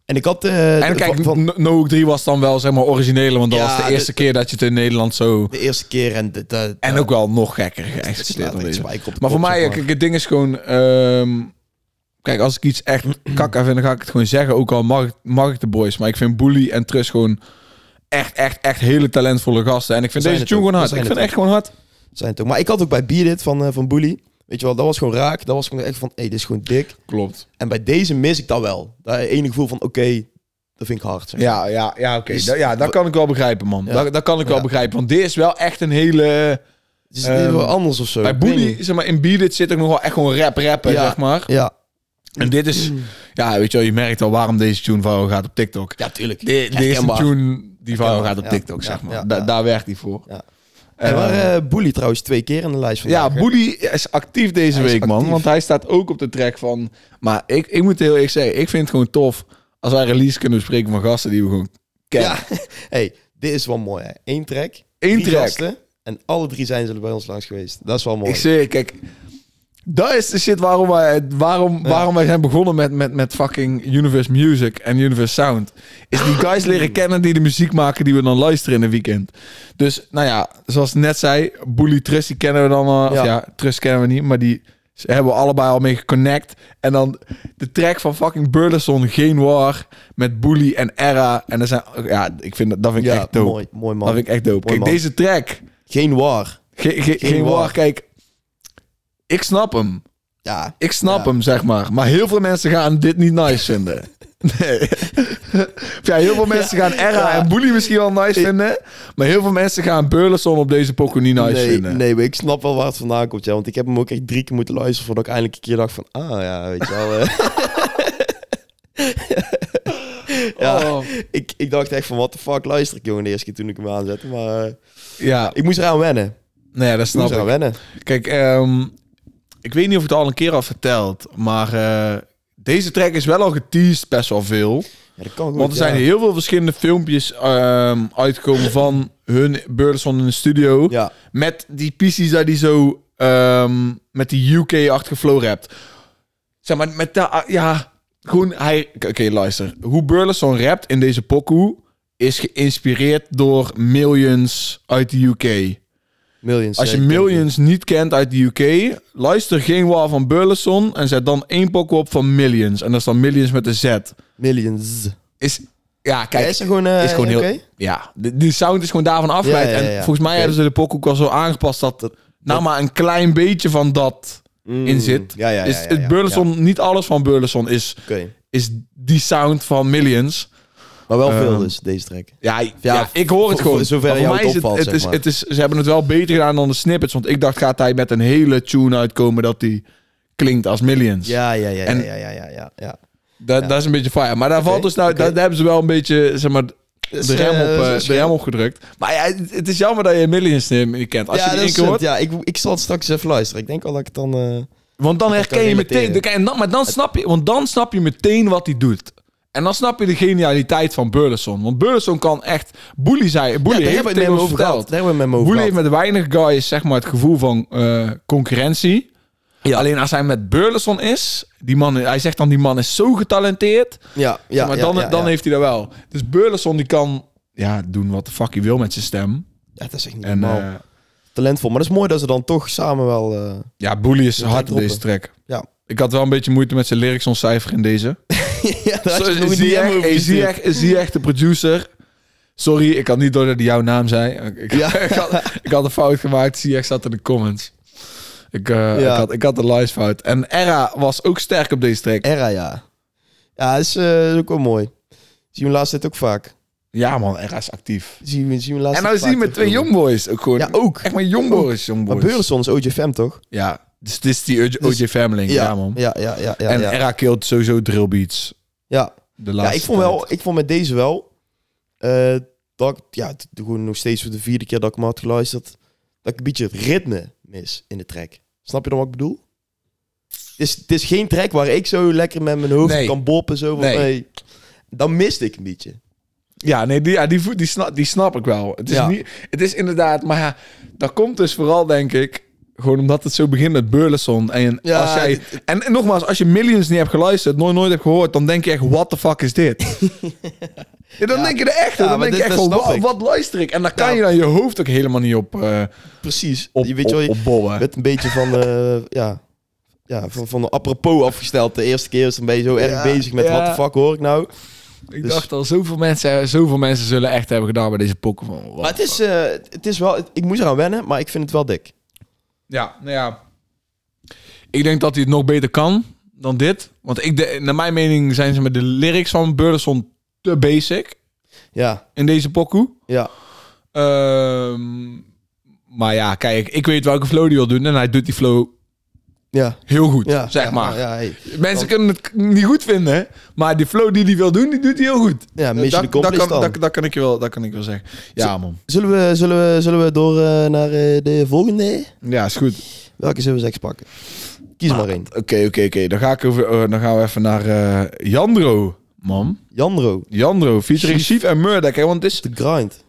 [SPEAKER 2] En ik had... eh,
[SPEAKER 1] En
[SPEAKER 2] de-
[SPEAKER 1] kijk,
[SPEAKER 2] van, van
[SPEAKER 1] No- No Hook 3 was dan wel, zeg maar, originele. Want dat
[SPEAKER 2] Ja,
[SPEAKER 1] was de
[SPEAKER 2] dit-
[SPEAKER 1] eerste keer dat je het in Nederland zo...
[SPEAKER 2] de eerste keer en... De, de-
[SPEAKER 1] En
[SPEAKER 2] de-
[SPEAKER 1] ook wel nog gekker
[SPEAKER 2] het
[SPEAKER 1] geëxecuteerd.
[SPEAKER 2] slaat
[SPEAKER 1] dan
[SPEAKER 2] echt
[SPEAKER 1] deze.
[SPEAKER 2] spijker op de
[SPEAKER 1] Maar voor
[SPEAKER 2] kop,
[SPEAKER 1] mij,
[SPEAKER 2] zeg
[SPEAKER 1] kijk, het ding is gewoon... ehm, kijk, als ik iets [clears throat] echt kakka vind, dan ga ik het gewoon zeggen. Ook al mag, ik- mag ik de boys. Maar ik vind Bully en Trust gewoon echt, echt, echt hele talentvolle gasten. En ik vind
[SPEAKER 2] Zijn
[SPEAKER 1] deze
[SPEAKER 2] het
[SPEAKER 1] tune
[SPEAKER 2] ook.
[SPEAKER 1] gewoon hard. Ik vind
[SPEAKER 2] Zijn het
[SPEAKER 1] het echt gewoon hard.
[SPEAKER 2] zijn het ook. Maar ik had ook bij Beat It van, eh, van Bully. Weet je wel, dat was gewoon raak. Dat was gewoon echt van, hé, dit is gewoon dik.
[SPEAKER 1] Klopt.
[SPEAKER 2] En bij deze mis ik dat wel. Dat ene gevoel van, oké, dat vind ik hard. zeg.
[SPEAKER 1] Ja, ja, ja oké.
[SPEAKER 2] Dus-
[SPEAKER 1] Da- ja, dat kan ik wel begrijpen, man.
[SPEAKER 2] Ja.
[SPEAKER 1] Dat, dat kan ik wel
[SPEAKER 2] Ja.
[SPEAKER 1] begrijpen. Want dit is wel echt een hele...
[SPEAKER 2] Het is heel
[SPEAKER 1] Ehm,
[SPEAKER 2] wel anders of zo.
[SPEAKER 1] Bij
[SPEAKER 2] Ik weet
[SPEAKER 1] Bully,
[SPEAKER 2] niet.
[SPEAKER 1] zeg maar, in Beat It zit ook nog wel echt gewoon rap rappen,
[SPEAKER 2] Ja.
[SPEAKER 1] zeg maar.
[SPEAKER 2] Ja.
[SPEAKER 1] En dit is... Ja, weet je wel, je merkt al waarom deze tune viral gaat op TikTok.
[SPEAKER 2] Ja, tuurlijk.
[SPEAKER 1] De, de eerste
[SPEAKER 2] Herkenbaar.
[SPEAKER 1] tune die viral gaat op
[SPEAKER 2] Ja,
[SPEAKER 1] Tiktok,
[SPEAKER 2] ja,
[SPEAKER 1] zeg maar.
[SPEAKER 2] ja,
[SPEAKER 1] Da-
[SPEAKER 2] ja.
[SPEAKER 1] Daar werkt hij voor.
[SPEAKER 2] Ja.
[SPEAKER 1] Eh,
[SPEAKER 2] En waar eh Bully trouwens twee keer in de lijst van.
[SPEAKER 1] ja, Boody is actief deze
[SPEAKER 2] Hij is
[SPEAKER 1] week, man.
[SPEAKER 2] actief.
[SPEAKER 1] Want hij staat ook op de track van... Maar ik, ik moet heel eerlijk zeggen, ik vind het gewoon tof... als wij release kunnen bespreken van gasten die we gewoon kennen.
[SPEAKER 2] Ja. [laughs] hey, dit is wel mooi hè. Eén track.
[SPEAKER 1] Eén
[SPEAKER 2] drie
[SPEAKER 1] track.
[SPEAKER 2] gasten. en alle drie zijn ze er bij ons langs geweest. Dat is wel mooi.
[SPEAKER 1] ik zeg, kijk... Dat is de shit waarom wij, waarom, waarom wij zijn begonnen met, met, met fucking Universe Music en Universe Sound. Is die
[SPEAKER 2] Ah,
[SPEAKER 1] guys leren kennen die de muziek maken die we dan luisteren in een weekend. Dus, nou ja, zoals ik net zei, Bully Trust, die kennen we dan... eh, of
[SPEAKER 2] Ja.
[SPEAKER 1] ja, Trust kennen we niet, maar die ze hebben we allebei al mee geconnect. En dan de track van fucking Burleson, Geen War, met Bully en Era. En dat zijn... Ja, ik vind, dat- dat vind ik
[SPEAKER 2] ja,
[SPEAKER 1] echt dope.
[SPEAKER 2] mooi, mooi man.
[SPEAKER 1] Dat vind ik echt dope. Kijk,
[SPEAKER 2] Mooi man.
[SPEAKER 1] deze track...
[SPEAKER 2] Geen war.
[SPEAKER 1] Ge- ge- geen
[SPEAKER 2] war.
[SPEAKER 1] war, kijk. Ik snap hem.
[SPEAKER 2] Ja.
[SPEAKER 1] Ik snap
[SPEAKER 2] Ja.
[SPEAKER 1] hem, zeg maar. Maar heel veel mensen gaan dit niet nice
[SPEAKER 2] [laughs]
[SPEAKER 1] vinden. Nee. Of [laughs] ja, heel veel mensen gaan Era en Bully misschien wel nice vinden. Maar heel veel mensen gaan Burleson op deze pokoe niet nice
[SPEAKER 2] nee,
[SPEAKER 1] vinden.
[SPEAKER 2] nee, maar ik snap wel waar het vandaan komt. Ja, want ik heb hem ook echt drie keer moeten luisteren voordat ik eindelijk een keer dacht van, ah ja, weet je wel. eh. ja,
[SPEAKER 1] Oh.
[SPEAKER 2] ik, ik dacht echt van, what the fuck luister ik jongen de eerste keer toen ik hem aanzette. Maar eh,
[SPEAKER 1] Ja,
[SPEAKER 2] ik moest eraan wennen.
[SPEAKER 1] nee, dat
[SPEAKER 2] Ik moest
[SPEAKER 1] snap
[SPEAKER 2] eraan
[SPEAKER 1] ik.
[SPEAKER 2] wennen.
[SPEAKER 1] Kijk, ehm, ik weet niet of ik het al een keer had verteld. Maar eh, deze track is wel al geteased best wel veel.
[SPEAKER 2] Ja, dat kan goed.
[SPEAKER 1] Want er zijn
[SPEAKER 2] ja.
[SPEAKER 1] heel veel verschillende filmpjes ehm, uitgekomen van hun Burleson in de studio.
[SPEAKER 2] Ja,
[SPEAKER 1] Met die pieces dat die zo... ehm, met die UK-achtige flow rapt. Zeg maar, met dat... ja, gewoon hij... Oké, luister. Hoe Burleson rapt in deze pokoe... is geïnspireerd door Millions uit de UK.
[SPEAKER 2] millions.
[SPEAKER 1] Als je
[SPEAKER 2] eh,
[SPEAKER 1] Millions niet kent uit de UK... luister geen waar van Burleson... en zet dan één pokoe op van Millions. En dat is dan Millions met de Z.
[SPEAKER 2] Millions.
[SPEAKER 1] Is... Ja,
[SPEAKER 2] Kijk,
[SPEAKER 1] kijk...
[SPEAKER 2] is er gewoon, eh,
[SPEAKER 1] is gewoon heel...
[SPEAKER 2] oké?
[SPEAKER 1] Ja, de, die sound is gewoon daarvan afgeleid.
[SPEAKER 2] Ja, ja, ja,
[SPEAKER 1] En
[SPEAKER 2] ja.
[SPEAKER 1] volgens mij
[SPEAKER 2] Oké.
[SPEAKER 1] hebben ze de pokoe ook al zo aangepast dat...
[SPEAKER 2] Dat-
[SPEAKER 1] nou, maar een klein beetje van dat
[SPEAKER 2] Mm.
[SPEAKER 1] in zit.
[SPEAKER 2] Ja, ja, ja.
[SPEAKER 1] is,
[SPEAKER 2] ja,
[SPEAKER 1] het
[SPEAKER 2] ja,
[SPEAKER 1] Burleson, niet alles van Burleson is,
[SPEAKER 2] ja. Oké.
[SPEAKER 1] is die sound van Millions.
[SPEAKER 2] Maar wel veel
[SPEAKER 1] Ehm,
[SPEAKER 2] dus, deze track.
[SPEAKER 1] Ja, ja, ik hoor het
[SPEAKER 2] voor-
[SPEAKER 1] gewoon.
[SPEAKER 2] voor zover
[SPEAKER 1] Maar voor
[SPEAKER 2] jou
[SPEAKER 1] mij
[SPEAKER 2] het
[SPEAKER 1] is
[SPEAKER 2] opvalt,
[SPEAKER 1] het,
[SPEAKER 2] zeg
[SPEAKER 1] is,
[SPEAKER 2] maar.
[SPEAKER 1] het is, ze hebben het wel beter gedaan dan de snippets. Want ik dacht, gaat hij met een hele tune uitkomen dat die klinkt als Millions.
[SPEAKER 2] Ja, ja, ja, ja,
[SPEAKER 1] En-
[SPEAKER 2] ja, ja, ja, ja, ja.
[SPEAKER 1] Dat,
[SPEAKER 2] Ja.
[SPEAKER 1] dat is een beetje fire. Maar daar valt dus nou,
[SPEAKER 2] oké.
[SPEAKER 1] daar, daar hebben ze wel een beetje, zeg maar,
[SPEAKER 2] Dus,
[SPEAKER 1] de, rem op,
[SPEAKER 2] eh,
[SPEAKER 1] eh,
[SPEAKER 2] dus-
[SPEAKER 1] de rem op gedrukt. Maar ja, het, het is jammer dat je Millions niet meer kent. Als
[SPEAKER 2] ja,
[SPEAKER 1] je die
[SPEAKER 2] dat
[SPEAKER 1] één
[SPEAKER 2] is
[SPEAKER 1] keer
[SPEAKER 2] het.
[SPEAKER 1] hoort,
[SPEAKER 2] Ja, ik, ik zal het straks even luisteren. Ik denk al dat ik het dan... eh,
[SPEAKER 1] Want dan
[SPEAKER 2] Dat
[SPEAKER 1] herken
[SPEAKER 2] kan
[SPEAKER 1] je
[SPEAKER 2] relateren.
[SPEAKER 1] meteen. En dan, maar dan snap je, want dan snap je meteen wat hij doet. En dan snap je de genialiteit van Burleson. Want Burleson kan echt. Boelie zei.
[SPEAKER 2] ja,
[SPEAKER 1] Boelie
[SPEAKER 2] daar
[SPEAKER 1] heeft
[SPEAKER 2] hebben
[SPEAKER 1] het
[SPEAKER 2] we het
[SPEAKER 1] tegen
[SPEAKER 2] met
[SPEAKER 1] ons
[SPEAKER 2] hem over gehad.
[SPEAKER 1] verteld.
[SPEAKER 2] Daar hebben we het met hem over
[SPEAKER 1] Boelie heeft
[SPEAKER 2] gehad.
[SPEAKER 1] met weinig guys zeg maar, het gevoel van eh, concurrentie. Alleen als hij met Burleson is. Die man, hij zegt dan: die man is zo getalenteerd.
[SPEAKER 2] Ja, ja,
[SPEAKER 1] Ja, maar
[SPEAKER 2] ja,
[SPEAKER 1] dan,
[SPEAKER 2] ja,
[SPEAKER 1] dan
[SPEAKER 2] ja.
[SPEAKER 1] heeft hij dat wel. Dus Burleson die kan ja, doen wat de fuck hij wil met zijn stem.
[SPEAKER 2] Ja, dat is echt niet
[SPEAKER 1] En
[SPEAKER 2] normaal.
[SPEAKER 1] eh,
[SPEAKER 2] Talentvol. Maar dat is mooi dat ze dan toch samen wel... eh,
[SPEAKER 1] ja, Boelie is
[SPEAKER 2] Moet
[SPEAKER 1] hard op
[SPEAKER 2] hij
[SPEAKER 1] deze track.
[SPEAKER 2] Ja.
[SPEAKER 1] Ik had wel een beetje moeite met zijn lyrics ontcijferen in deze.
[SPEAKER 2] [laughs] ja, daar had je nog
[SPEAKER 1] Zo,
[SPEAKER 2] een
[SPEAKER 1] zie, je
[SPEAKER 2] DM
[SPEAKER 1] echt,
[SPEAKER 2] over
[SPEAKER 1] hey, zie, je
[SPEAKER 2] gestuurd.
[SPEAKER 1] echt, zie je echt de producer? Sorry, ik had niet door dat hij jouw naam zei. Ik- Ik,
[SPEAKER 2] Ja.
[SPEAKER 1] [laughs] ik, had, ik had een fout gemaakt. Zie je echt zat in de comments. Ik, eh,
[SPEAKER 2] Ja.
[SPEAKER 1] ik, had, ik had een live fout. En Era was ook sterk op deze track.
[SPEAKER 2] Era, ja. Ja, dat is eh, ook wel mooi. Zien we laatst tijd ook vaak.
[SPEAKER 1] Ja man, Era is actief.
[SPEAKER 2] Zien we, zien we laatst
[SPEAKER 1] En nou
[SPEAKER 2] tijd
[SPEAKER 1] zie je
[SPEAKER 2] vaak
[SPEAKER 1] met twee
[SPEAKER 2] terugkomen.
[SPEAKER 1] jongboys ook gewoon.
[SPEAKER 2] Ja, ook.
[SPEAKER 1] Echt maar jongboys,
[SPEAKER 2] Maar
[SPEAKER 1] jongboys.
[SPEAKER 2] Beurlson is OJFM, toch?
[SPEAKER 1] Ja, dus dit is die OJ
[SPEAKER 2] Dus-
[SPEAKER 1] Family. Ja, man.
[SPEAKER 2] Ja, ja, ja. ja,
[SPEAKER 1] en
[SPEAKER 2] ja.
[SPEAKER 1] Era killt sowieso drillbeats.
[SPEAKER 2] ja.
[SPEAKER 1] De
[SPEAKER 2] ja
[SPEAKER 1] laatste
[SPEAKER 2] ik, vond
[SPEAKER 1] tijd.
[SPEAKER 2] wel, ik vond met deze wel eh, dat ik, ja, het- gewoon nog steeds voor de vierde keer dat ik hem had geluisterd, dat ik een beetje het ritme mis in de track. Snap je dan wat ik bedoel? Het is, het is geen track waar ik zo lekker met mijn hoofd
[SPEAKER 1] Nee.
[SPEAKER 2] kan boppen. Zo, van,
[SPEAKER 1] Nee.
[SPEAKER 2] hey, dan miste ik een beetje.
[SPEAKER 1] Ja, nee, die, ja, die, voet- die, snap, die snap ik wel. Het is,
[SPEAKER 2] Ja.
[SPEAKER 1] niet, het is inderdaad, maar ja, dat komt dus vooral, denk ik, gewoon omdat het zo begint met Burleson. En,
[SPEAKER 2] Ja,
[SPEAKER 1] als jij,
[SPEAKER 2] dit-
[SPEAKER 1] en, en nogmaals, als je Millions niet hebt geluisterd, nooit, nooit hebt gehoord, dan denk je echt, what the fuck is
[SPEAKER 2] [laughs]
[SPEAKER 1] dit? ja, dan
[SPEAKER 2] Ja.
[SPEAKER 1] denk je er echt,
[SPEAKER 2] Ja,
[SPEAKER 1] dan
[SPEAKER 2] maar
[SPEAKER 1] denk je
[SPEAKER 2] dit-
[SPEAKER 1] echt
[SPEAKER 2] dat
[SPEAKER 1] van,
[SPEAKER 2] snap
[SPEAKER 1] wa-
[SPEAKER 2] ik.
[SPEAKER 1] wat luister ik? En daar kan
[SPEAKER 2] Ja.
[SPEAKER 1] je dan je hoofd ook helemaal niet op, eh
[SPEAKER 2] Precies.
[SPEAKER 1] op,
[SPEAKER 2] je weet je
[SPEAKER 1] op,
[SPEAKER 2] wel, je
[SPEAKER 1] opbobben.
[SPEAKER 2] bent een beetje van, eh, ja, ja, van, van de apropos afgesteld. De eerste keer is dan ben je zo
[SPEAKER 1] Ja,
[SPEAKER 2] erg bezig met
[SPEAKER 1] ja.
[SPEAKER 2] wat de fuck hoor ik nou.
[SPEAKER 1] Ik
[SPEAKER 2] dus-
[SPEAKER 1] dacht al, zoveel mensen, zoveel mensen zullen echt hebben gedaan bij deze Pokémon. What
[SPEAKER 2] Maar het is, eh, het is wel, ik moest eraan wennen, maar ik vind het wel dik.
[SPEAKER 1] Ja, nou ja. Ik denk dat hij het nog beter kan dan dit. Want ik de, naar mijn mening zijn ze met de lyrics van Burleson te basic
[SPEAKER 2] Ja,
[SPEAKER 1] in deze pokoe.
[SPEAKER 2] ja.
[SPEAKER 1] Ehm, maar ja, kijk, ik weet welke flow die wil doen. En hij doet die flow
[SPEAKER 2] Ja,
[SPEAKER 1] heel goed,
[SPEAKER 2] ja,
[SPEAKER 1] zeg
[SPEAKER 2] ja,
[SPEAKER 1] maar.
[SPEAKER 2] Ja, hey.
[SPEAKER 1] Mensen kunnen het k- niet goed vinden, maar die flow die hij wil doen, die doet hij heel goed.
[SPEAKER 2] ja
[SPEAKER 1] Dat,
[SPEAKER 2] mission
[SPEAKER 1] dat,
[SPEAKER 2] accomplished
[SPEAKER 1] kan,
[SPEAKER 2] dan.
[SPEAKER 1] dat, dat kan ik je wel, dat kan ik wel zeggen. Ja, man.
[SPEAKER 2] Zullen we, zullen we, zullen we door eh, naar eh, de volgende?
[SPEAKER 1] Ja, is goed.
[SPEAKER 2] Welke zullen we seks pakken? Kies maar één.
[SPEAKER 1] Oké, oké, oké. Dan, ga ik over- eh, dan gaan we even naar eh, Jandro, man.
[SPEAKER 2] Jandro,
[SPEAKER 1] Jandro, featuring
[SPEAKER 2] Chief.
[SPEAKER 1] Chief en Murdoch. Hè? Want het is
[SPEAKER 2] The Grind.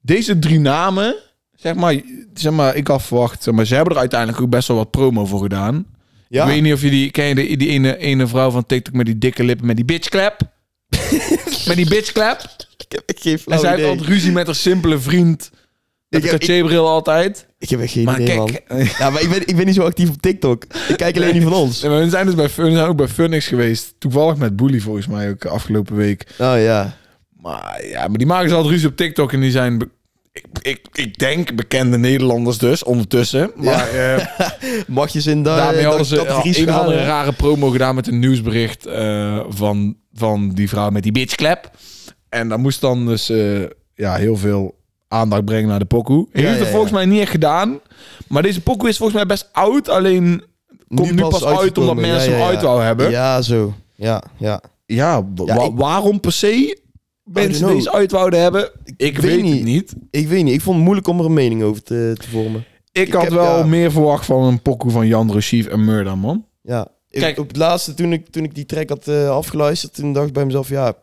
[SPEAKER 1] deze drie namen, zeg maar, zeg maar ik had verwacht, zeg maar, ze hebben er uiteindelijk ook best wel wat promo voor gedaan.
[SPEAKER 2] Ja,
[SPEAKER 1] Ik weet niet of je die, ken je die, die ene, ene vrouw van TikTok met die dikke lippen, met die
[SPEAKER 2] [laughs]
[SPEAKER 1] bitchclap? met die bitchclap?
[SPEAKER 2] ik, heb, ik geef
[SPEAKER 1] en zij heeft altijd ruzie met haar simpele vriend. Met
[SPEAKER 2] Oh, Ik
[SPEAKER 1] de
[SPEAKER 2] heb- ik-
[SPEAKER 1] caché-bril altijd.
[SPEAKER 2] Ik heb echt geen
[SPEAKER 1] Maar
[SPEAKER 2] idee, man.
[SPEAKER 1] kijk, [laughs] eh,
[SPEAKER 2] Ja, maar ik ben, ik ben niet zo actief op TikTok. Ik kijk alleen
[SPEAKER 1] Nee.
[SPEAKER 2] die van ons.
[SPEAKER 1] nee, maar we zijn dus bij, Fun- we zijn ook bij Funix geweest. Toevallig met Bully volgens mij ook afgelopen week.
[SPEAKER 2] Oh ja.
[SPEAKER 1] Maar ja, maar die maken ze altijd ruzie op TikTok en die zijn... be- Ik, ik, ik denk bekende Nederlanders dus, ondertussen. Maar [laughs]
[SPEAKER 2] [laughs]
[SPEAKER 1] eh,
[SPEAKER 2] Mag je ze in da
[SPEAKER 1] daarmee hadden ze al
[SPEAKER 2] categorie
[SPEAKER 1] een of andere
[SPEAKER 2] scharen?
[SPEAKER 1] rare promo gedaan met een nieuwsbericht eh, van, van die vrouw met die bitchklep. En dat moest dan dus eh, ja, heel veel aandacht brengen naar de pokoe. Heeft
[SPEAKER 2] Ja,
[SPEAKER 1] het
[SPEAKER 2] ja, ja.
[SPEAKER 1] volgens mij niet echt gedaan. Maar deze pokoe is volgens mij best oud, alleen... Komt nu pas, uit omdat
[SPEAKER 2] uitgekomen. Ja,
[SPEAKER 1] mensen
[SPEAKER 2] ja, ja.
[SPEAKER 1] hem uit wouden hebben. Ja,
[SPEAKER 2] Ja, zo. Ja, ja.
[SPEAKER 1] wa-
[SPEAKER 2] Ja, ik-
[SPEAKER 1] waarom per se mensen
[SPEAKER 2] know.
[SPEAKER 1] deze uit wouden hebben, ik
[SPEAKER 2] weet
[SPEAKER 1] weet het
[SPEAKER 2] niet.
[SPEAKER 1] niet.
[SPEAKER 2] Ik weet niet, ik vond het moeilijk om er een mening over te, te vormen.
[SPEAKER 1] Ik,
[SPEAKER 2] Ik
[SPEAKER 1] had
[SPEAKER 2] heb,
[SPEAKER 1] wel
[SPEAKER 2] ja.
[SPEAKER 1] meer verwacht van een pokoe van Jan Roschief en Murda, man.
[SPEAKER 2] Ja. Ik-
[SPEAKER 1] Kijk.
[SPEAKER 2] Op het laatste, toen ik, toen ik die track had eh, afgeluisterd, toen dacht ik bij mezelf, ja,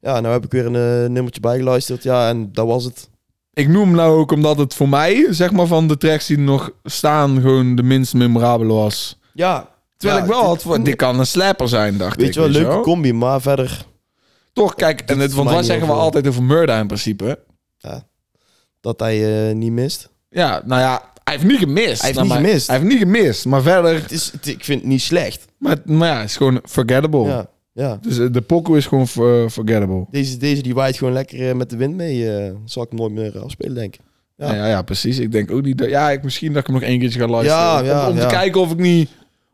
[SPEAKER 2] ja nou heb ik weer een eh, nummertje bijgeluisterd. Ja, en dat was het.
[SPEAKER 1] Ik noem hem nou ook omdat het voor mij, zeg maar, van de tracks die er nog staan, gewoon de minst memorabele was.
[SPEAKER 2] Ja.
[SPEAKER 1] Terwijl
[SPEAKER 2] Ja,
[SPEAKER 1] ik wel
[SPEAKER 2] dit-
[SPEAKER 1] had, voor- dit kan een slapper zijn, dacht
[SPEAKER 2] Weet
[SPEAKER 1] ik.
[SPEAKER 2] je wel, leuke
[SPEAKER 1] wel.
[SPEAKER 2] combi, maar verder,
[SPEAKER 1] Toch, kijk,
[SPEAKER 2] Dit
[SPEAKER 1] en het,
[SPEAKER 2] is
[SPEAKER 1] want
[SPEAKER 2] mij
[SPEAKER 1] wat
[SPEAKER 2] niet
[SPEAKER 1] zeggen we
[SPEAKER 2] heel veel.
[SPEAKER 1] altijd over Murda in principe?
[SPEAKER 2] dat hij eh, niet mist.
[SPEAKER 1] Ja, nou ja, hij heeft niet gemist.
[SPEAKER 2] Hij heeft
[SPEAKER 1] Nou,
[SPEAKER 2] niet
[SPEAKER 1] maar-
[SPEAKER 2] gemist.
[SPEAKER 1] Hij heeft niet gemist, maar verder...
[SPEAKER 2] Het is, het- ik vind het niet slecht.
[SPEAKER 1] Maar, maar ja, het is gewoon forgettable.
[SPEAKER 2] Ja, ja.
[SPEAKER 1] Dus eh, de pokoe is gewoon eh, forgettable.
[SPEAKER 2] Deze, deze die waait gewoon lekker eh, met de wind mee. eh, zal ik hem nooit meer afspelen, denk ik.
[SPEAKER 1] Ja.
[SPEAKER 2] Ja.
[SPEAKER 1] ja, ja, precies. Ik denk ook niet dat... Ja, ik, misschien dat ik hem nog één keertje ga luisteren.
[SPEAKER 2] Ja, ja,
[SPEAKER 1] om om
[SPEAKER 2] ja.
[SPEAKER 1] te kijken of ik niet...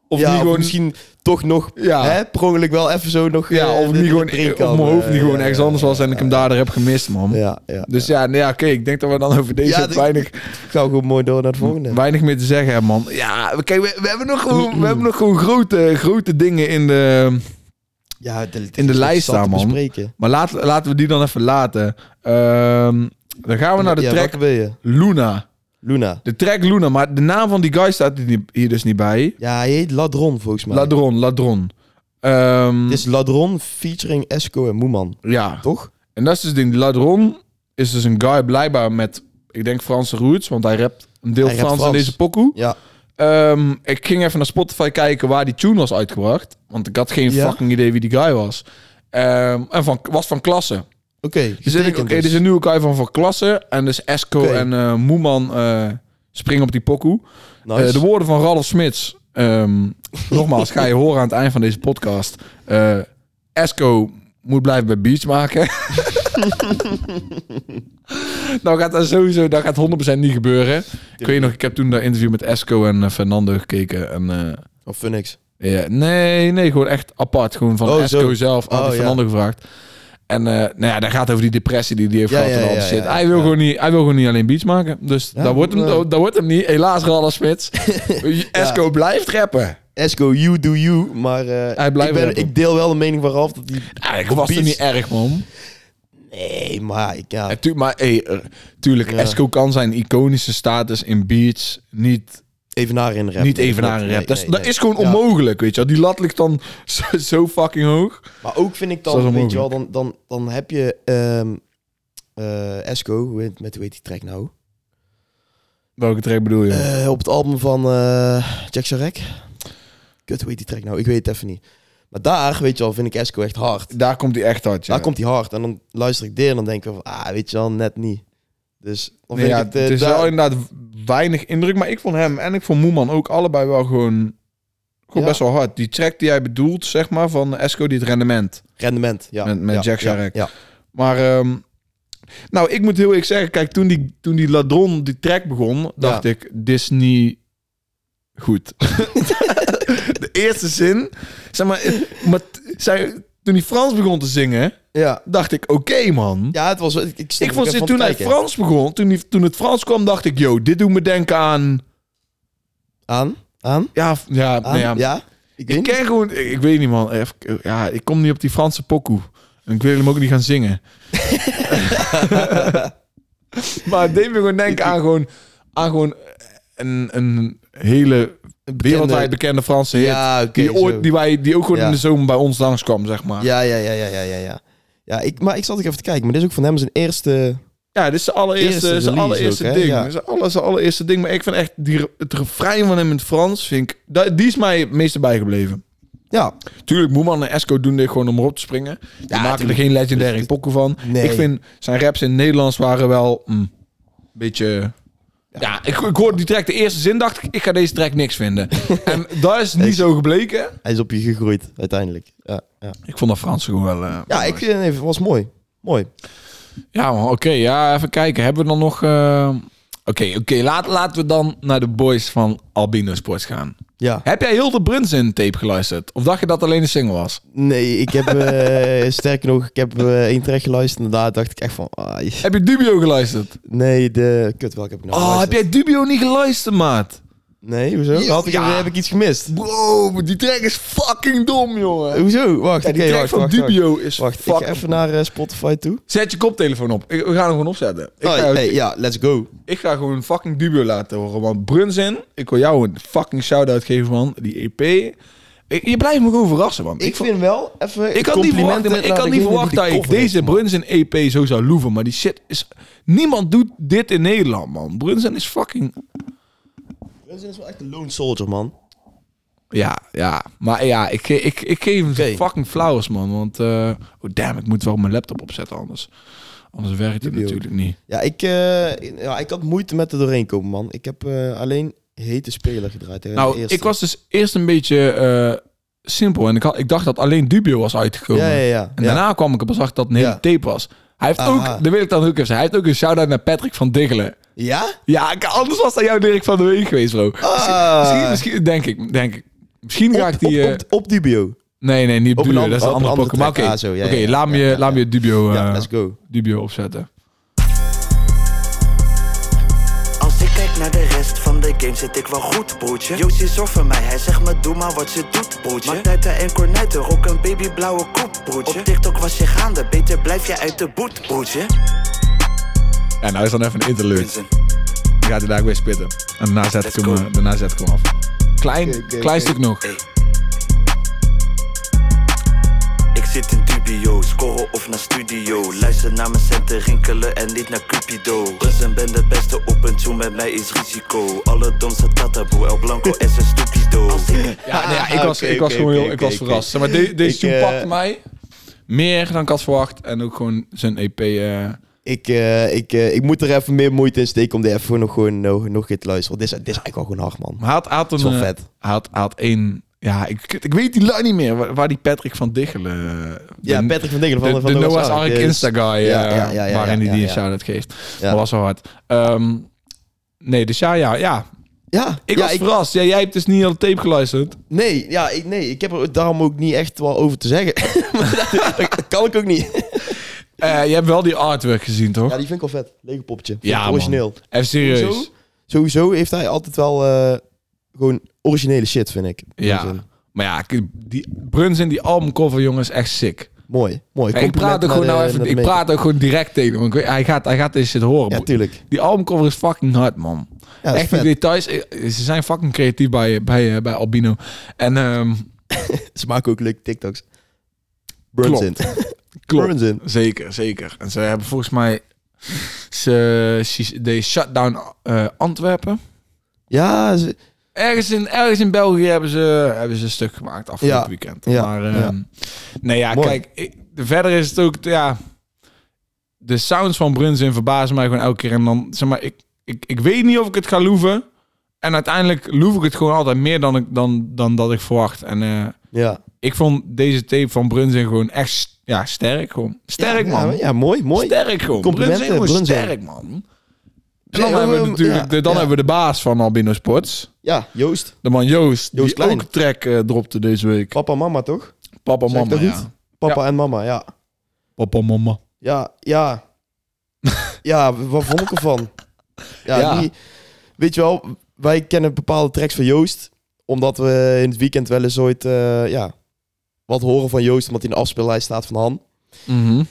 [SPEAKER 1] Of
[SPEAKER 2] ja,
[SPEAKER 1] niet gewoon...
[SPEAKER 2] misschien toch nog,
[SPEAKER 1] Ja.
[SPEAKER 2] hè, per ongeluk wel even zo nog...
[SPEAKER 1] Ja, of
[SPEAKER 2] eh, de-
[SPEAKER 1] ik
[SPEAKER 2] de-
[SPEAKER 1] niet
[SPEAKER 2] de
[SPEAKER 1] gewoon,
[SPEAKER 2] drink
[SPEAKER 1] of
[SPEAKER 2] kan,
[SPEAKER 1] mijn hoofd
[SPEAKER 2] eh,
[SPEAKER 1] niet gewoon
[SPEAKER 2] ja,
[SPEAKER 1] ergens
[SPEAKER 2] ja,
[SPEAKER 1] anders was en ik hem daardoor heb gemist, man.
[SPEAKER 2] Ja, ja.
[SPEAKER 1] Dus ja, nee, ja oké, ik denk dat we dan over deze
[SPEAKER 2] Ja, dit-
[SPEAKER 1] weinig,
[SPEAKER 2] Gaan we gewoon mooi door naar het volgende.
[SPEAKER 1] weinig meer te zeggen hebben, man. Ja, we- kijk, we, we hebben nog gewoon, we hebben nog gewoon grote, grote dingen in de...
[SPEAKER 2] Ja, de,
[SPEAKER 1] In de lijst staan, man.
[SPEAKER 2] Bespreken.
[SPEAKER 1] Maar laat, laten we die dan even laten. Ehm, dan gaan we naar de
[SPEAKER 2] Ja,
[SPEAKER 1] track
[SPEAKER 2] welke wil je?
[SPEAKER 1] Luna.
[SPEAKER 2] Luna.
[SPEAKER 1] De track Luna, maar de naam van die guy staat hier niet- hier dus niet bij.
[SPEAKER 2] Ja, hij heet Ladron volgens mij.
[SPEAKER 1] Ladron, Ladron. Ehm,
[SPEAKER 2] Het is Ladron featuring Esco en Moeman,
[SPEAKER 1] ja,
[SPEAKER 2] toch?
[SPEAKER 1] En dat is dus het ding. Ladron is dus een guy blijkbaar met, ik denk, Franse roots. Want hij rapt een deel
[SPEAKER 2] Hij rapt
[SPEAKER 1] Frans, in
[SPEAKER 2] Frans.
[SPEAKER 1] deze pokoe.
[SPEAKER 2] Ja.
[SPEAKER 1] Ehm, ik ging even naar Spotify kijken waar die tune was uitgebracht. Want ik had geen
[SPEAKER 2] Ja?
[SPEAKER 1] fucking idee wie die guy was. Ehm, en van, was van klasse.
[SPEAKER 2] Oké,
[SPEAKER 1] Dus ik,
[SPEAKER 2] getekend
[SPEAKER 1] oké, dit is een nieuwe guy van van klasse. En dus Esco
[SPEAKER 2] Oké.
[SPEAKER 1] en eh, Moeman eh, springen op die pokoe.
[SPEAKER 2] Nice.
[SPEAKER 1] Eh, de woorden van Ralf Smits. ehm, [laughs] nogmaals, ga je horen aan het eind van deze podcast. Eh, Esco moet blijven bij beats maken. [laughs] nou gaat dat sowieso, dat gaat 100% niet gebeuren. Ik weet nog, ik heb toen dat interview met Esco en eh, Fernando gekeken. En, eh,
[SPEAKER 2] Of Phoenix.
[SPEAKER 1] ja, nee, nee, gewoon echt apart. Gewoon van
[SPEAKER 2] Oh,
[SPEAKER 1] Esco
[SPEAKER 2] zo.
[SPEAKER 1] zelf, had
[SPEAKER 2] Oh,
[SPEAKER 1] ik
[SPEAKER 2] ja.
[SPEAKER 1] Fernando gevraagd. En eh, nou ja, daar gaat over die depressie die die heeft
[SPEAKER 2] Ja,
[SPEAKER 1] gehad
[SPEAKER 2] ja,
[SPEAKER 1] en
[SPEAKER 2] ja,
[SPEAKER 1] alles
[SPEAKER 2] ja,
[SPEAKER 1] shit.
[SPEAKER 2] ja,
[SPEAKER 1] hij, wil
[SPEAKER 2] ja.
[SPEAKER 1] gewoon niet, hij wil gewoon niet alleen beats maken. Dus
[SPEAKER 2] Ja,
[SPEAKER 1] dat, wordt hem,
[SPEAKER 2] eh.
[SPEAKER 1] dat, dat wordt hem niet. Helaas, Ralf [laughs] Smits. Esco blijft rappen.
[SPEAKER 2] Esco, you do you, maar eh,
[SPEAKER 1] Hij blijft
[SPEAKER 2] ik, ben-
[SPEAKER 1] rappen.
[SPEAKER 2] ik deel wel de mening van Ralf dat hij...
[SPEAKER 1] Ja, ik was er
[SPEAKER 2] Beats.
[SPEAKER 1] niet erg, man.
[SPEAKER 2] Nee, maar ik, ja.
[SPEAKER 1] Ja, tu- maar hey, eh, tuurlijk,
[SPEAKER 2] Ja.
[SPEAKER 1] Esco kan zijn iconische status in beats niet,
[SPEAKER 2] Evenaar in rap.
[SPEAKER 1] niet even naar een rap.
[SPEAKER 2] Nee,
[SPEAKER 1] dat, is,
[SPEAKER 2] nee,
[SPEAKER 1] dat
[SPEAKER 2] nee.
[SPEAKER 1] is gewoon
[SPEAKER 2] Ja.
[SPEAKER 1] onmogelijk, weet je wel. Die lat ligt dan [laughs] zo, zo fucking hoog.
[SPEAKER 2] Maar ook vind ik
[SPEAKER 1] Zo is
[SPEAKER 2] dan,
[SPEAKER 1] dat
[SPEAKER 2] weet je wel, dan, dan, dan heb je ehm eh, Esco, hoe heet, met hoe heet die track nou?
[SPEAKER 1] Welke track bedoel je?
[SPEAKER 2] Eh, op het album van eh Jack Sharek. Kut, hoe heet die track nou? Ik weet het even niet. Maar daar, weet je wel, vind ik Esco echt hard.
[SPEAKER 1] Daar komt hij echt hard, ja.
[SPEAKER 2] Daar komt hij hard. En dan luister ik dit en dan denk ik van, ah, weet je wel, net niet. Dus dan
[SPEAKER 1] Nee,
[SPEAKER 2] vind
[SPEAKER 1] ja,
[SPEAKER 2] ik
[SPEAKER 1] het,
[SPEAKER 2] het... eh,
[SPEAKER 1] is
[SPEAKER 2] daar-
[SPEAKER 1] wel inderdaad weinig indruk, maar ik vond hem en ik vond Moeman ook allebei wel gewoon, gewoon
[SPEAKER 2] Ja.
[SPEAKER 1] best wel hard. Die track die jij bedoelt, zeg maar, van Esco, die het rendement.
[SPEAKER 2] Rendement, ja.
[SPEAKER 1] Met- met
[SPEAKER 2] ja,
[SPEAKER 1] Jack
[SPEAKER 2] ja,
[SPEAKER 1] Sharek.
[SPEAKER 2] Ja,
[SPEAKER 1] Maar ehm, nou, ik moet heel eerlijk zeggen, kijk, toen die, toen die Ladron die track begon, dacht
[SPEAKER 2] Ja.
[SPEAKER 1] ik, Disney goed. [laughs] de eerste zin, zeg maar, maar t- zij, toen hij Frans begon te zingen,
[SPEAKER 2] ja.
[SPEAKER 1] dacht ik, oké man.
[SPEAKER 2] Ja, het was... Ik, ik,
[SPEAKER 1] ik
[SPEAKER 2] stond ook
[SPEAKER 1] vond
[SPEAKER 2] even
[SPEAKER 1] ze-
[SPEAKER 2] aan
[SPEAKER 1] toen
[SPEAKER 2] te
[SPEAKER 1] hij
[SPEAKER 2] kijken.
[SPEAKER 1] Frans begon, toen, die, toen het Frans kwam, dacht ik, yo, dit doet me denken aan,
[SPEAKER 2] Aan? Aan?
[SPEAKER 1] ja, f- ja,
[SPEAKER 2] Aan?
[SPEAKER 1] nou ja.
[SPEAKER 2] Ah, ja? Ik weet
[SPEAKER 1] Ik
[SPEAKER 2] niet.
[SPEAKER 1] ken gewoon, ik, ik weet niet man, Even- ja, ik kom niet op die Franse pokoe. En ik wil hem ook niet gaan zingen.
[SPEAKER 2] [laughs]
[SPEAKER 1] maar het deed me gewoon denken aan gewoon, aan gewoon een, een hele wereldwijd bekende Franse hit.
[SPEAKER 2] Ja, oké.
[SPEAKER 1] die, ooit,
[SPEAKER 2] zo.
[SPEAKER 1] die, wij, die ook gewoon
[SPEAKER 2] Ja.
[SPEAKER 1] in de zomer bij ons langskwam, zeg maar. Ja,
[SPEAKER 2] Ja, ja, ja, ja, ja, ja. ja. Ja, ik, maar ik zat ook even te kijken. Maar dit is ook van hem zijn eerste...
[SPEAKER 1] dit is de allereerste,
[SPEAKER 2] Eerste
[SPEAKER 1] zijn
[SPEAKER 2] release
[SPEAKER 1] allereerste
[SPEAKER 2] ook, hè?
[SPEAKER 1] ding.
[SPEAKER 2] Ja.
[SPEAKER 1] Dit is de aller- zijn allereerste ding. Maar ik vind echt die, re- het refrein van hem in het Frans, vind ik, da- die is mij het meeste bijgebleven.
[SPEAKER 2] Ja.
[SPEAKER 1] Tuurlijk, Moeman en Esco doen dit gewoon om erop te springen. Die
[SPEAKER 2] Ja,
[SPEAKER 1] maken er
[SPEAKER 2] tuurlijk.
[SPEAKER 1] geen legendary pokken van.
[SPEAKER 2] Nee.
[SPEAKER 1] Ik vind zijn raps in het Nederlands waren wel mm, een beetje... Ja, ik, ik hoorde die track de eerste zin, dacht ik, ik ga deze track niks [laughs] vinden. en dat is niet zo gebleken.
[SPEAKER 2] Hij is op je gegroeid, uiteindelijk. Ja, ja.
[SPEAKER 1] Ik vond dat Frans gewoon wel... eh,
[SPEAKER 2] ja ik vind het was mooi. Mooi.
[SPEAKER 1] ja man, oké, ja, even kijken. Hebben we dan nog... eh, Oké, oké, laat, laten we dan naar de boys van Albino Sports gaan.
[SPEAKER 2] Ja.
[SPEAKER 1] Heb jij Hilde Bruns in tape geluisterd? Of dacht je dat alleen de single was?
[SPEAKER 2] Nee, ik heb... eh, [laughs] sterker nog, ik heb eh één track geluisterd. En daar dacht ik echt van... Ah, je-
[SPEAKER 1] Heb je Dubio geluisterd?
[SPEAKER 2] nee, de... Kut, welke heb ik nou
[SPEAKER 1] Oh, heb
[SPEAKER 2] geluisterd?
[SPEAKER 1] jij Dubio niet geluisterd, maat?
[SPEAKER 2] Nee, hoezo?
[SPEAKER 1] Ja.
[SPEAKER 2] Had ik, Heb ik iets gemist?
[SPEAKER 1] Bro, die track is fucking dom, jongen.
[SPEAKER 2] Hoezo? Wacht,
[SPEAKER 1] Ja, die
[SPEAKER 2] oké,
[SPEAKER 1] track
[SPEAKER 2] wacht,
[SPEAKER 1] van
[SPEAKER 2] wacht, wacht.
[SPEAKER 1] Dubio is
[SPEAKER 2] Wacht, ik
[SPEAKER 1] fucking...
[SPEAKER 2] ga even naar eh, Spotify toe.
[SPEAKER 1] Zet je koptelefoon op. Ik- we gaan hem gewoon opzetten. Ik,
[SPEAKER 2] Oh,
[SPEAKER 1] ga,
[SPEAKER 2] hey, ja, let's go.
[SPEAKER 1] ik ga gewoon fucking Dubio laten horen. Want Brunzin, ik wil jou een fucking shout-out geven, man. Die EP. Ik- je blijft me gewoon verrassen, man.
[SPEAKER 2] Ik,
[SPEAKER 1] vond-
[SPEAKER 2] vind wel even.
[SPEAKER 1] ik had niet verwacht, maar
[SPEAKER 2] complimenten
[SPEAKER 1] ik
[SPEAKER 2] naar
[SPEAKER 1] had niet
[SPEAKER 2] degene
[SPEAKER 1] verwacht
[SPEAKER 2] die
[SPEAKER 1] dat
[SPEAKER 2] de
[SPEAKER 1] ik
[SPEAKER 2] cover heeft
[SPEAKER 1] deze
[SPEAKER 2] gemaakt.
[SPEAKER 1] Brunzin EP zo zou loeven. Maar die shit is... Niemand doet dit in Nederland, man. Brunzin is fucking...
[SPEAKER 2] Brunson is dus wel echt een lone soldier, man.
[SPEAKER 1] Ja, ja. Maar ja, ik, ge- ik, ik geef hem
[SPEAKER 2] Oké.
[SPEAKER 1] fucking flowers, man. Want, eh, oh damn, ik moet wel mijn laptop opzetten anders. Anders werkt het
[SPEAKER 2] Dubio.
[SPEAKER 1] natuurlijk niet.
[SPEAKER 2] Ja ik, eh, ja, ik had moeite met er doorheen komen, man. Ik heb eh, alleen hete speler gedraaid. hè, de
[SPEAKER 1] nou,
[SPEAKER 2] eerste.
[SPEAKER 1] ik was dus eerst een beetje eh, simpel. En ik, had, ik dacht dat alleen Dubio was uitgekomen.
[SPEAKER 2] Ja, ja, ja.
[SPEAKER 1] En
[SPEAKER 2] ja.
[SPEAKER 1] daarna kwam ik op en zag dat het een hele
[SPEAKER 2] Ja.
[SPEAKER 1] tape was. Hij heeft
[SPEAKER 2] Aha.
[SPEAKER 1] ook, dat wil ik dan ook even zeggen, hij heeft ook een shout-out naar Patrick van Diggelen.
[SPEAKER 2] Ja?
[SPEAKER 1] Ja, ik- anders was dat jouw Dirk van de Week geweest, bro.
[SPEAKER 2] Ah.
[SPEAKER 1] Misschien, misschien, denk ik, denk ik. Misschien ga ik
[SPEAKER 2] op,
[SPEAKER 1] die... eh,
[SPEAKER 2] op, op, op Dubio.
[SPEAKER 1] nee, nee, niet
[SPEAKER 2] op
[SPEAKER 1] op
[SPEAKER 2] een
[SPEAKER 1] Dubio,
[SPEAKER 2] ander-
[SPEAKER 1] dat is een
[SPEAKER 2] op een
[SPEAKER 1] andere
[SPEAKER 2] andere
[SPEAKER 1] Pokémon. Oké,
[SPEAKER 2] track. Ah, zo, ja,
[SPEAKER 1] Oké,
[SPEAKER 2] ja,
[SPEAKER 1] laat me
[SPEAKER 2] ja,
[SPEAKER 1] je-
[SPEAKER 2] ja,
[SPEAKER 1] laat me
[SPEAKER 2] ja.
[SPEAKER 1] je Dubio... eh,
[SPEAKER 2] ja, let's go.
[SPEAKER 1] Dubio opzetten.
[SPEAKER 4] Als ik kijk naar de rest van de game zit ik wel goed, broertje Joosje zorgt voor mij, hij zegt me doe maar wat je doet, broertje Magneta en Cornuiten, ook een babyblauwe koep, broertje Op TikTok was je gaande, beter blijf je uit de boet, broertje
[SPEAKER 1] Ja, nou is dan even een interlude. Dan gaat hij daar ook weer spitten. En daarna zet ik
[SPEAKER 4] Let's
[SPEAKER 1] hem,
[SPEAKER 4] go.
[SPEAKER 1] eh, daarna zet ik hem af. Klein, klein stuk nog.
[SPEAKER 4] Hey. Ik zit in dubio, scoren of naar studio Luister naar mijn centen rinkelen en niet naar Cupido Brunsen ben de beste op en toe, met mij is risico Alle domste tataboe, El Blanco is een stupido Als ik
[SPEAKER 1] Ja, nou ja, ik
[SPEAKER 2] Ah,
[SPEAKER 1] was,
[SPEAKER 2] oké,
[SPEAKER 1] ik was
[SPEAKER 2] oké,
[SPEAKER 1] gewoon heel,
[SPEAKER 2] oké,
[SPEAKER 1] ik was
[SPEAKER 2] oké,
[SPEAKER 1] verrast. Zeg maar de- deze
[SPEAKER 2] Ik,
[SPEAKER 1] tune
[SPEAKER 2] eh,
[SPEAKER 1] pakte mij meer dan ik had verwacht. En ook gewoon zijn EP. eh,
[SPEAKER 2] Ik, eh, ik, eh, ik moet er even meer moeite in steken om die even nog, gewoon, nog, nog een keer te luisteren. Want dit is, dit is eigenlijk wel gewoon hard, man.
[SPEAKER 1] maar hij had, hij had een...
[SPEAKER 2] is wel
[SPEAKER 1] eh,
[SPEAKER 2] vet.
[SPEAKER 1] Hij had, hij had één... Ja, ik, ik weet die lijn niet meer. Waar, waar die Patrick van Diggelen... eh,
[SPEAKER 2] Ja,
[SPEAKER 1] de-
[SPEAKER 2] Patrick van Dingelen
[SPEAKER 1] De,
[SPEAKER 2] van
[SPEAKER 1] de,
[SPEAKER 2] van
[SPEAKER 1] Noah's
[SPEAKER 2] Ark
[SPEAKER 1] Ark
[SPEAKER 2] is-
[SPEAKER 1] Insta-guy, eh,
[SPEAKER 2] Ja, ja, ja, ja,
[SPEAKER 1] waarin hij
[SPEAKER 2] ja,
[SPEAKER 1] die
[SPEAKER 2] ja.
[SPEAKER 1] een shout-out geeft.
[SPEAKER 2] Ja.
[SPEAKER 1] Dat was wel hard. Ehm, nee, dus ja, ja, ja.
[SPEAKER 2] Ja,
[SPEAKER 1] Ik
[SPEAKER 2] ja,
[SPEAKER 1] was verrast. Ja, jij hebt dus niet al de tape geluisterd.
[SPEAKER 2] Nee, ja, ik, nee, ik heb er daarom ook niet echt wel over te zeggen. [laughs] Maar dat, dat kan ik ook niet.
[SPEAKER 1] Eh, je hebt wel die artwork gezien, toch?
[SPEAKER 2] Ja, die vind ik wel vet. Lego poppetje. Vind
[SPEAKER 1] Ja,
[SPEAKER 2] ik origineel.
[SPEAKER 1] Even serieus.
[SPEAKER 2] Sowieso, sowieso heeft hij altijd wel eh, gewoon originele shit, vind ik.
[SPEAKER 1] Ja. Maar ja, k- die Bruns in die albumcover, jongens, echt sick.
[SPEAKER 2] Mooi, mooi.
[SPEAKER 1] Hey, ik praat
[SPEAKER 2] Compliment
[SPEAKER 1] ook gewoon
[SPEAKER 2] naar
[SPEAKER 1] nou
[SPEAKER 2] de-
[SPEAKER 1] even,
[SPEAKER 2] naar de
[SPEAKER 1] ik
[SPEAKER 2] maker.
[SPEAKER 1] praat ook gewoon direct tegen hem. Ik weet- Hij gaat, hij gaat dit shit horen.
[SPEAKER 2] Ja,
[SPEAKER 1] bro.
[SPEAKER 2] tuurlijk.
[SPEAKER 1] die albumcover is fucking hard, man.
[SPEAKER 2] Ja, dat is
[SPEAKER 1] Echt die
[SPEAKER 2] vet.
[SPEAKER 1] details. eh, Ze zijn fucking creatief bij, bij, eh, bij Albino. En ehm,
[SPEAKER 2] Ze maken ook leuke TikToks. Burns in.
[SPEAKER 1] Klopt. klopt.
[SPEAKER 2] Burns in.
[SPEAKER 1] Zeker, zeker. En ze hebben volgens mij... Ze, ze de shutdown eh, Antwerpen.
[SPEAKER 2] Ja, ze-
[SPEAKER 1] Ergens in, ergens in België hebben ze, hebben ze een stuk gemaakt afgelopen
[SPEAKER 2] Ja,
[SPEAKER 1] weekend.
[SPEAKER 2] ja,
[SPEAKER 1] Maar ehm, nee, ja,
[SPEAKER 2] Mooi.
[SPEAKER 1] kijk, ik- verder is het ook, ja, de sounds van Brunzin verbazen mij gewoon elke keer. En dan, zeg maar, ik, ik, ik weet niet of ik het ga loeven. En uiteindelijk loef ik het gewoon altijd meer dan, ik, dan, dan dat ik verwacht. En eh,
[SPEAKER 2] ja.
[SPEAKER 1] ik vond deze tape van Brunzin gewoon echt s- ja, sterk. Gewoon. Sterk,
[SPEAKER 2] Ja,
[SPEAKER 1] man.
[SPEAKER 2] Ja, mooi, mooi.
[SPEAKER 1] Sterk, gewoon.
[SPEAKER 2] Complimenten,
[SPEAKER 1] Brunzin gewoon
[SPEAKER 2] Brunzin.
[SPEAKER 1] sterk, man. En
[SPEAKER 2] Zeg,
[SPEAKER 1] dan hebben we
[SPEAKER 2] ehm,
[SPEAKER 1] natuurlijk
[SPEAKER 2] ja,
[SPEAKER 1] de, dan
[SPEAKER 2] ja.
[SPEAKER 1] hebben we de baas van Albino Sports.
[SPEAKER 2] Ja, Joost.
[SPEAKER 1] De man Joost,
[SPEAKER 2] Joost
[SPEAKER 1] die
[SPEAKER 2] Klein.
[SPEAKER 1] ook een track eh, dropte deze week.
[SPEAKER 2] Papa en mama, toch?
[SPEAKER 1] Papa
[SPEAKER 2] Zeg ik
[SPEAKER 1] mama,
[SPEAKER 2] dat
[SPEAKER 1] ja.
[SPEAKER 2] goed? Papa en mama, ja.
[SPEAKER 1] Papa mama.
[SPEAKER 2] Ja, ja. ja, wat vond ik ervan? Ja,
[SPEAKER 1] Ja.
[SPEAKER 2] Die, weet je wel, wij kennen bepaalde tracks van Joost. Omdat we in het weekend wel eens ooit eh, ja, wat horen van Joost. Omdat hij in de afspeellijst staat van Han.
[SPEAKER 1] Mhm.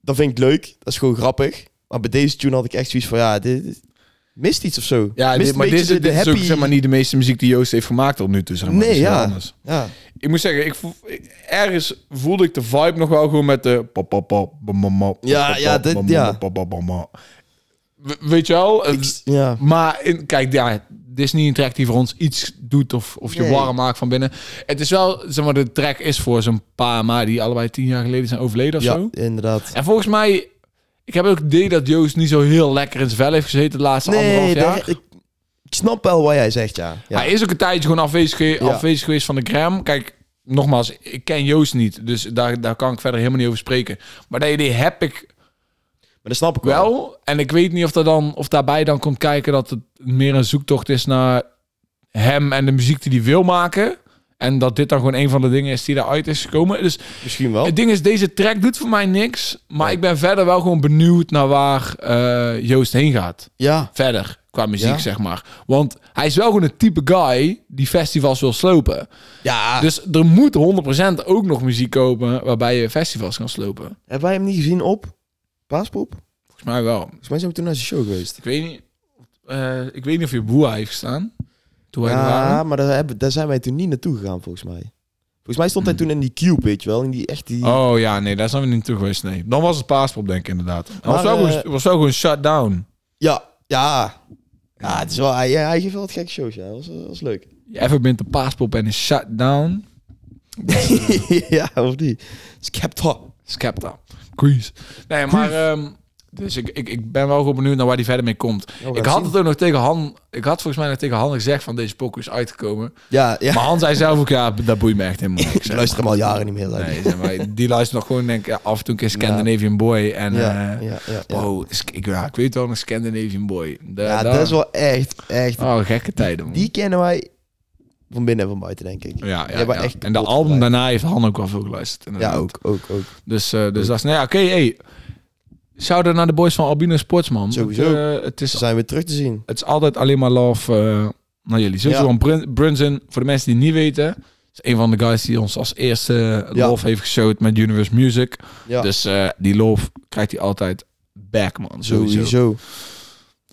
[SPEAKER 2] Dat vind ik leuk. Dat is gewoon grappig. Maar bij deze tune had ik echt zoiets van, ja, dit, dit mist iets of zo.
[SPEAKER 1] Ja,
[SPEAKER 2] mist
[SPEAKER 1] dit,
[SPEAKER 2] een
[SPEAKER 1] maar dit,
[SPEAKER 2] beetje
[SPEAKER 1] is- dit is ook zeg maar, niet de meeste muziek die Joost heeft gemaakt tot nu toe. Zeg maar.
[SPEAKER 2] Nee,
[SPEAKER 1] Dat is heel
[SPEAKER 2] ja.
[SPEAKER 1] anders.
[SPEAKER 2] Ja,
[SPEAKER 1] Ik moet zeggen, ik voel, ik- ergens voelde ik de vibe nog wel gewoon met de... pa, pa, pa, ba, ma, ma, pa,
[SPEAKER 2] Ja,
[SPEAKER 1] pa,
[SPEAKER 2] ja,
[SPEAKER 1] pa,
[SPEAKER 2] dit-
[SPEAKER 1] ma,
[SPEAKER 2] ja.
[SPEAKER 1] pa, pa, pa, ma. We- Weet je wel?
[SPEAKER 2] ik, s- ja.
[SPEAKER 1] Maar in- kijk, ja, dit is niet een track die voor ons iets doet of, of je
[SPEAKER 2] Nee.
[SPEAKER 1] warm maakt van binnen. Het is wel, zeg maar, de track is voor zo'n paar maar die allebei tien jaar geleden zijn overleden of
[SPEAKER 2] ja
[SPEAKER 1] zo.
[SPEAKER 2] inderdaad.
[SPEAKER 1] En volgens mij, ik heb ook het idee dat Joost niet zo heel lekker in zijn vel heeft gezeten de laatste
[SPEAKER 2] Nee,
[SPEAKER 1] anderhalf
[SPEAKER 2] daar-
[SPEAKER 1] jaar.
[SPEAKER 2] ik, ik snap wel wat jij zegt, ja. ja.
[SPEAKER 1] Hij is ook een tijdje gewoon afwezig, ge- afwezig geweest van de gram. Kijk, nogmaals, ik ken Joost niet, dus daar, daar kan ik verder helemaal niet over spreken. Maar dat idee heb ik
[SPEAKER 2] Maar dat snap ik wel.
[SPEAKER 1] wel. En ik weet niet of, dat dan, of daarbij dan komt kijken dat het meer een zoektocht is naar hem en de muziek die hij wil maken. En dat dit dan gewoon een van de dingen is die daaruit is gekomen. Dus
[SPEAKER 2] Misschien wel.
[SPEAKER 1] Het ding is, deze track doet voor mij niks. Maar ik ben verder wel gewoon benieuwd naar waar eh, Joost heen gaat.
[SPEAKER 2] Ja,
[SPEAKER 1] Verder, qua muziek,
[SPEAKER 2] Ja.
[SPEAKER 1] zeg maar. Want hij is wel gewoon het type guy die festivals wil slopen.
[SPEAKER 2] Ah. ja.
[SPEAKER 1] Dus er moet 100% ook nog muziek komen waarbij je festivals kan slopen.
[SPEAKER 2] Hebben wij hem niet gezien op Paaspop? Volgens
[SPEAKER 1] Volgens mij wel.
[SPEAKER 2] mij zijn we toen naar zijn show geweest.
[SPEAKER 1] Ik weet niet, eh, ik weet niet of je Boa heeft gestaan. Toen wij er
[SPEAKER 2] Ja,
[SPEAKER 1] waren.
[SPEAKER 2] maar daar, hebben, daar zijn wij toen niet naartoe gegaan, volgens mij. Volgens mij stond hij toen in die cube, weet je wel. In die echt die...
[SPEAKER 1] Hmm. Oh ja, nee, daar zijn we niet toe geweest. Nee. Dan was het paaspop, denk ik inderdaad. Het was,
[SPEAKER 2] Maar,
[SPEAKER 1] wel
[SPEAKER 2] eh,
[SPEAKER 1] gewoon- het was wel gewoon shutdown.
[SPEAKER 2] Ja, ja. Ja, het is wel... Hij, hij geeft wel wat gekke shows, ja. Dat was, dat was leuk. [laughs]
[SPEAKER 1] Even bent de paaspop en een shutdown.
[SPEAKER 2] ja, of die. Skepta.
[SPEAKER 1] Skepta. Quiz. Nee, maar... ehm, dus ik, ik, ik ben wel gewoon benieuwd naar waar die verder mee komt.
[SPEAKER 2] gaan
[SPEAKER 1] ik had
[SPEAKER 2] zien.
[SPEAKER 1] het ook nog tegen Han... Ik had volgens mij nog tegen Han gezegd van deze pokoe is uitgekomen.
[SPEAKER 2] Ja, ja.
[SPEAKER 1] Maar Han zei zelf ook, ja, dat boeit me echt helemaal niks.
[SPEAKER 2] [laughs] ik luister hem al jaren niet meer. zei hij.
[SPEAKER 1] Nee, zeg maar, die luistert nog gewoon denk ik, ja, af en toe een keer Scandinavian Boy. En
[SPEAKER 2] Ja,
[SPEAKER 1] eh,
[SPEAKER 2] ja, ja. ja.
[SPEAKER 1] wow, is- ik, ja, ik weet wel een Scandinavian Boy. Da-
[SPEAKER 2] Ja,
[SPEAKER 1] da-
[SPEAKER 2] dat is wel echt, echt...
[SPEAKER 1] Oh, gekke tijden, man.
[SPEAKER 2] Die kennen wij van binnen en van buiten, denk ik.
[SPEAKER 1] ja,
[SPEAKER 2] Die
[SPEAKER 1] ja,
[SPEAKER 2] hebben
[SPEAKER 1] ja.
[SPEAKER 2] echt
[SPEAKER 1] en de
[SPEAKER 2] kapot
[SPEAKER 1] album
[SPEAKER 2] gedraaid.
[SPEAKER 1] daarna heeft Han ook wel veel geluisterd.
[SPEAKER 2] Ja,
[SPEAKER 1] inderdaad.
[SPEAKER 2] ook, ook, ook.
[SPEAKER 1] Dus, eh, dus dat is... Nou ja, oké, hey. Shout-out naar de boys van Albino Sportsman.
[SPEAKER 2] Sowieso.
[SPEAKER 1] Het, eh, het
[SPEAKER 2] Ze
[SPEAKER 1] is
[SPEAKER 2] zijn weer terug te zien.
[SPEAKER 1] het is altijd alleen maar love eh, naar jullie. Sowieso
[SPEAKER 2] Ja.
[SPEAKER 1] van Brun- Brunson, voor de mensen die het niet weten, is een van de guys die ons als eerste eh,
[SPEAKER 2] Ja.
[SPEAKER 1] love heeft geshowd met Universe Music.
[SPEAKER 2] Ja,
[SPEAKER 1] Dus eh, die love krijgt hij altijd back, man. Sowieso.
[SPEAKER 2] sowieso.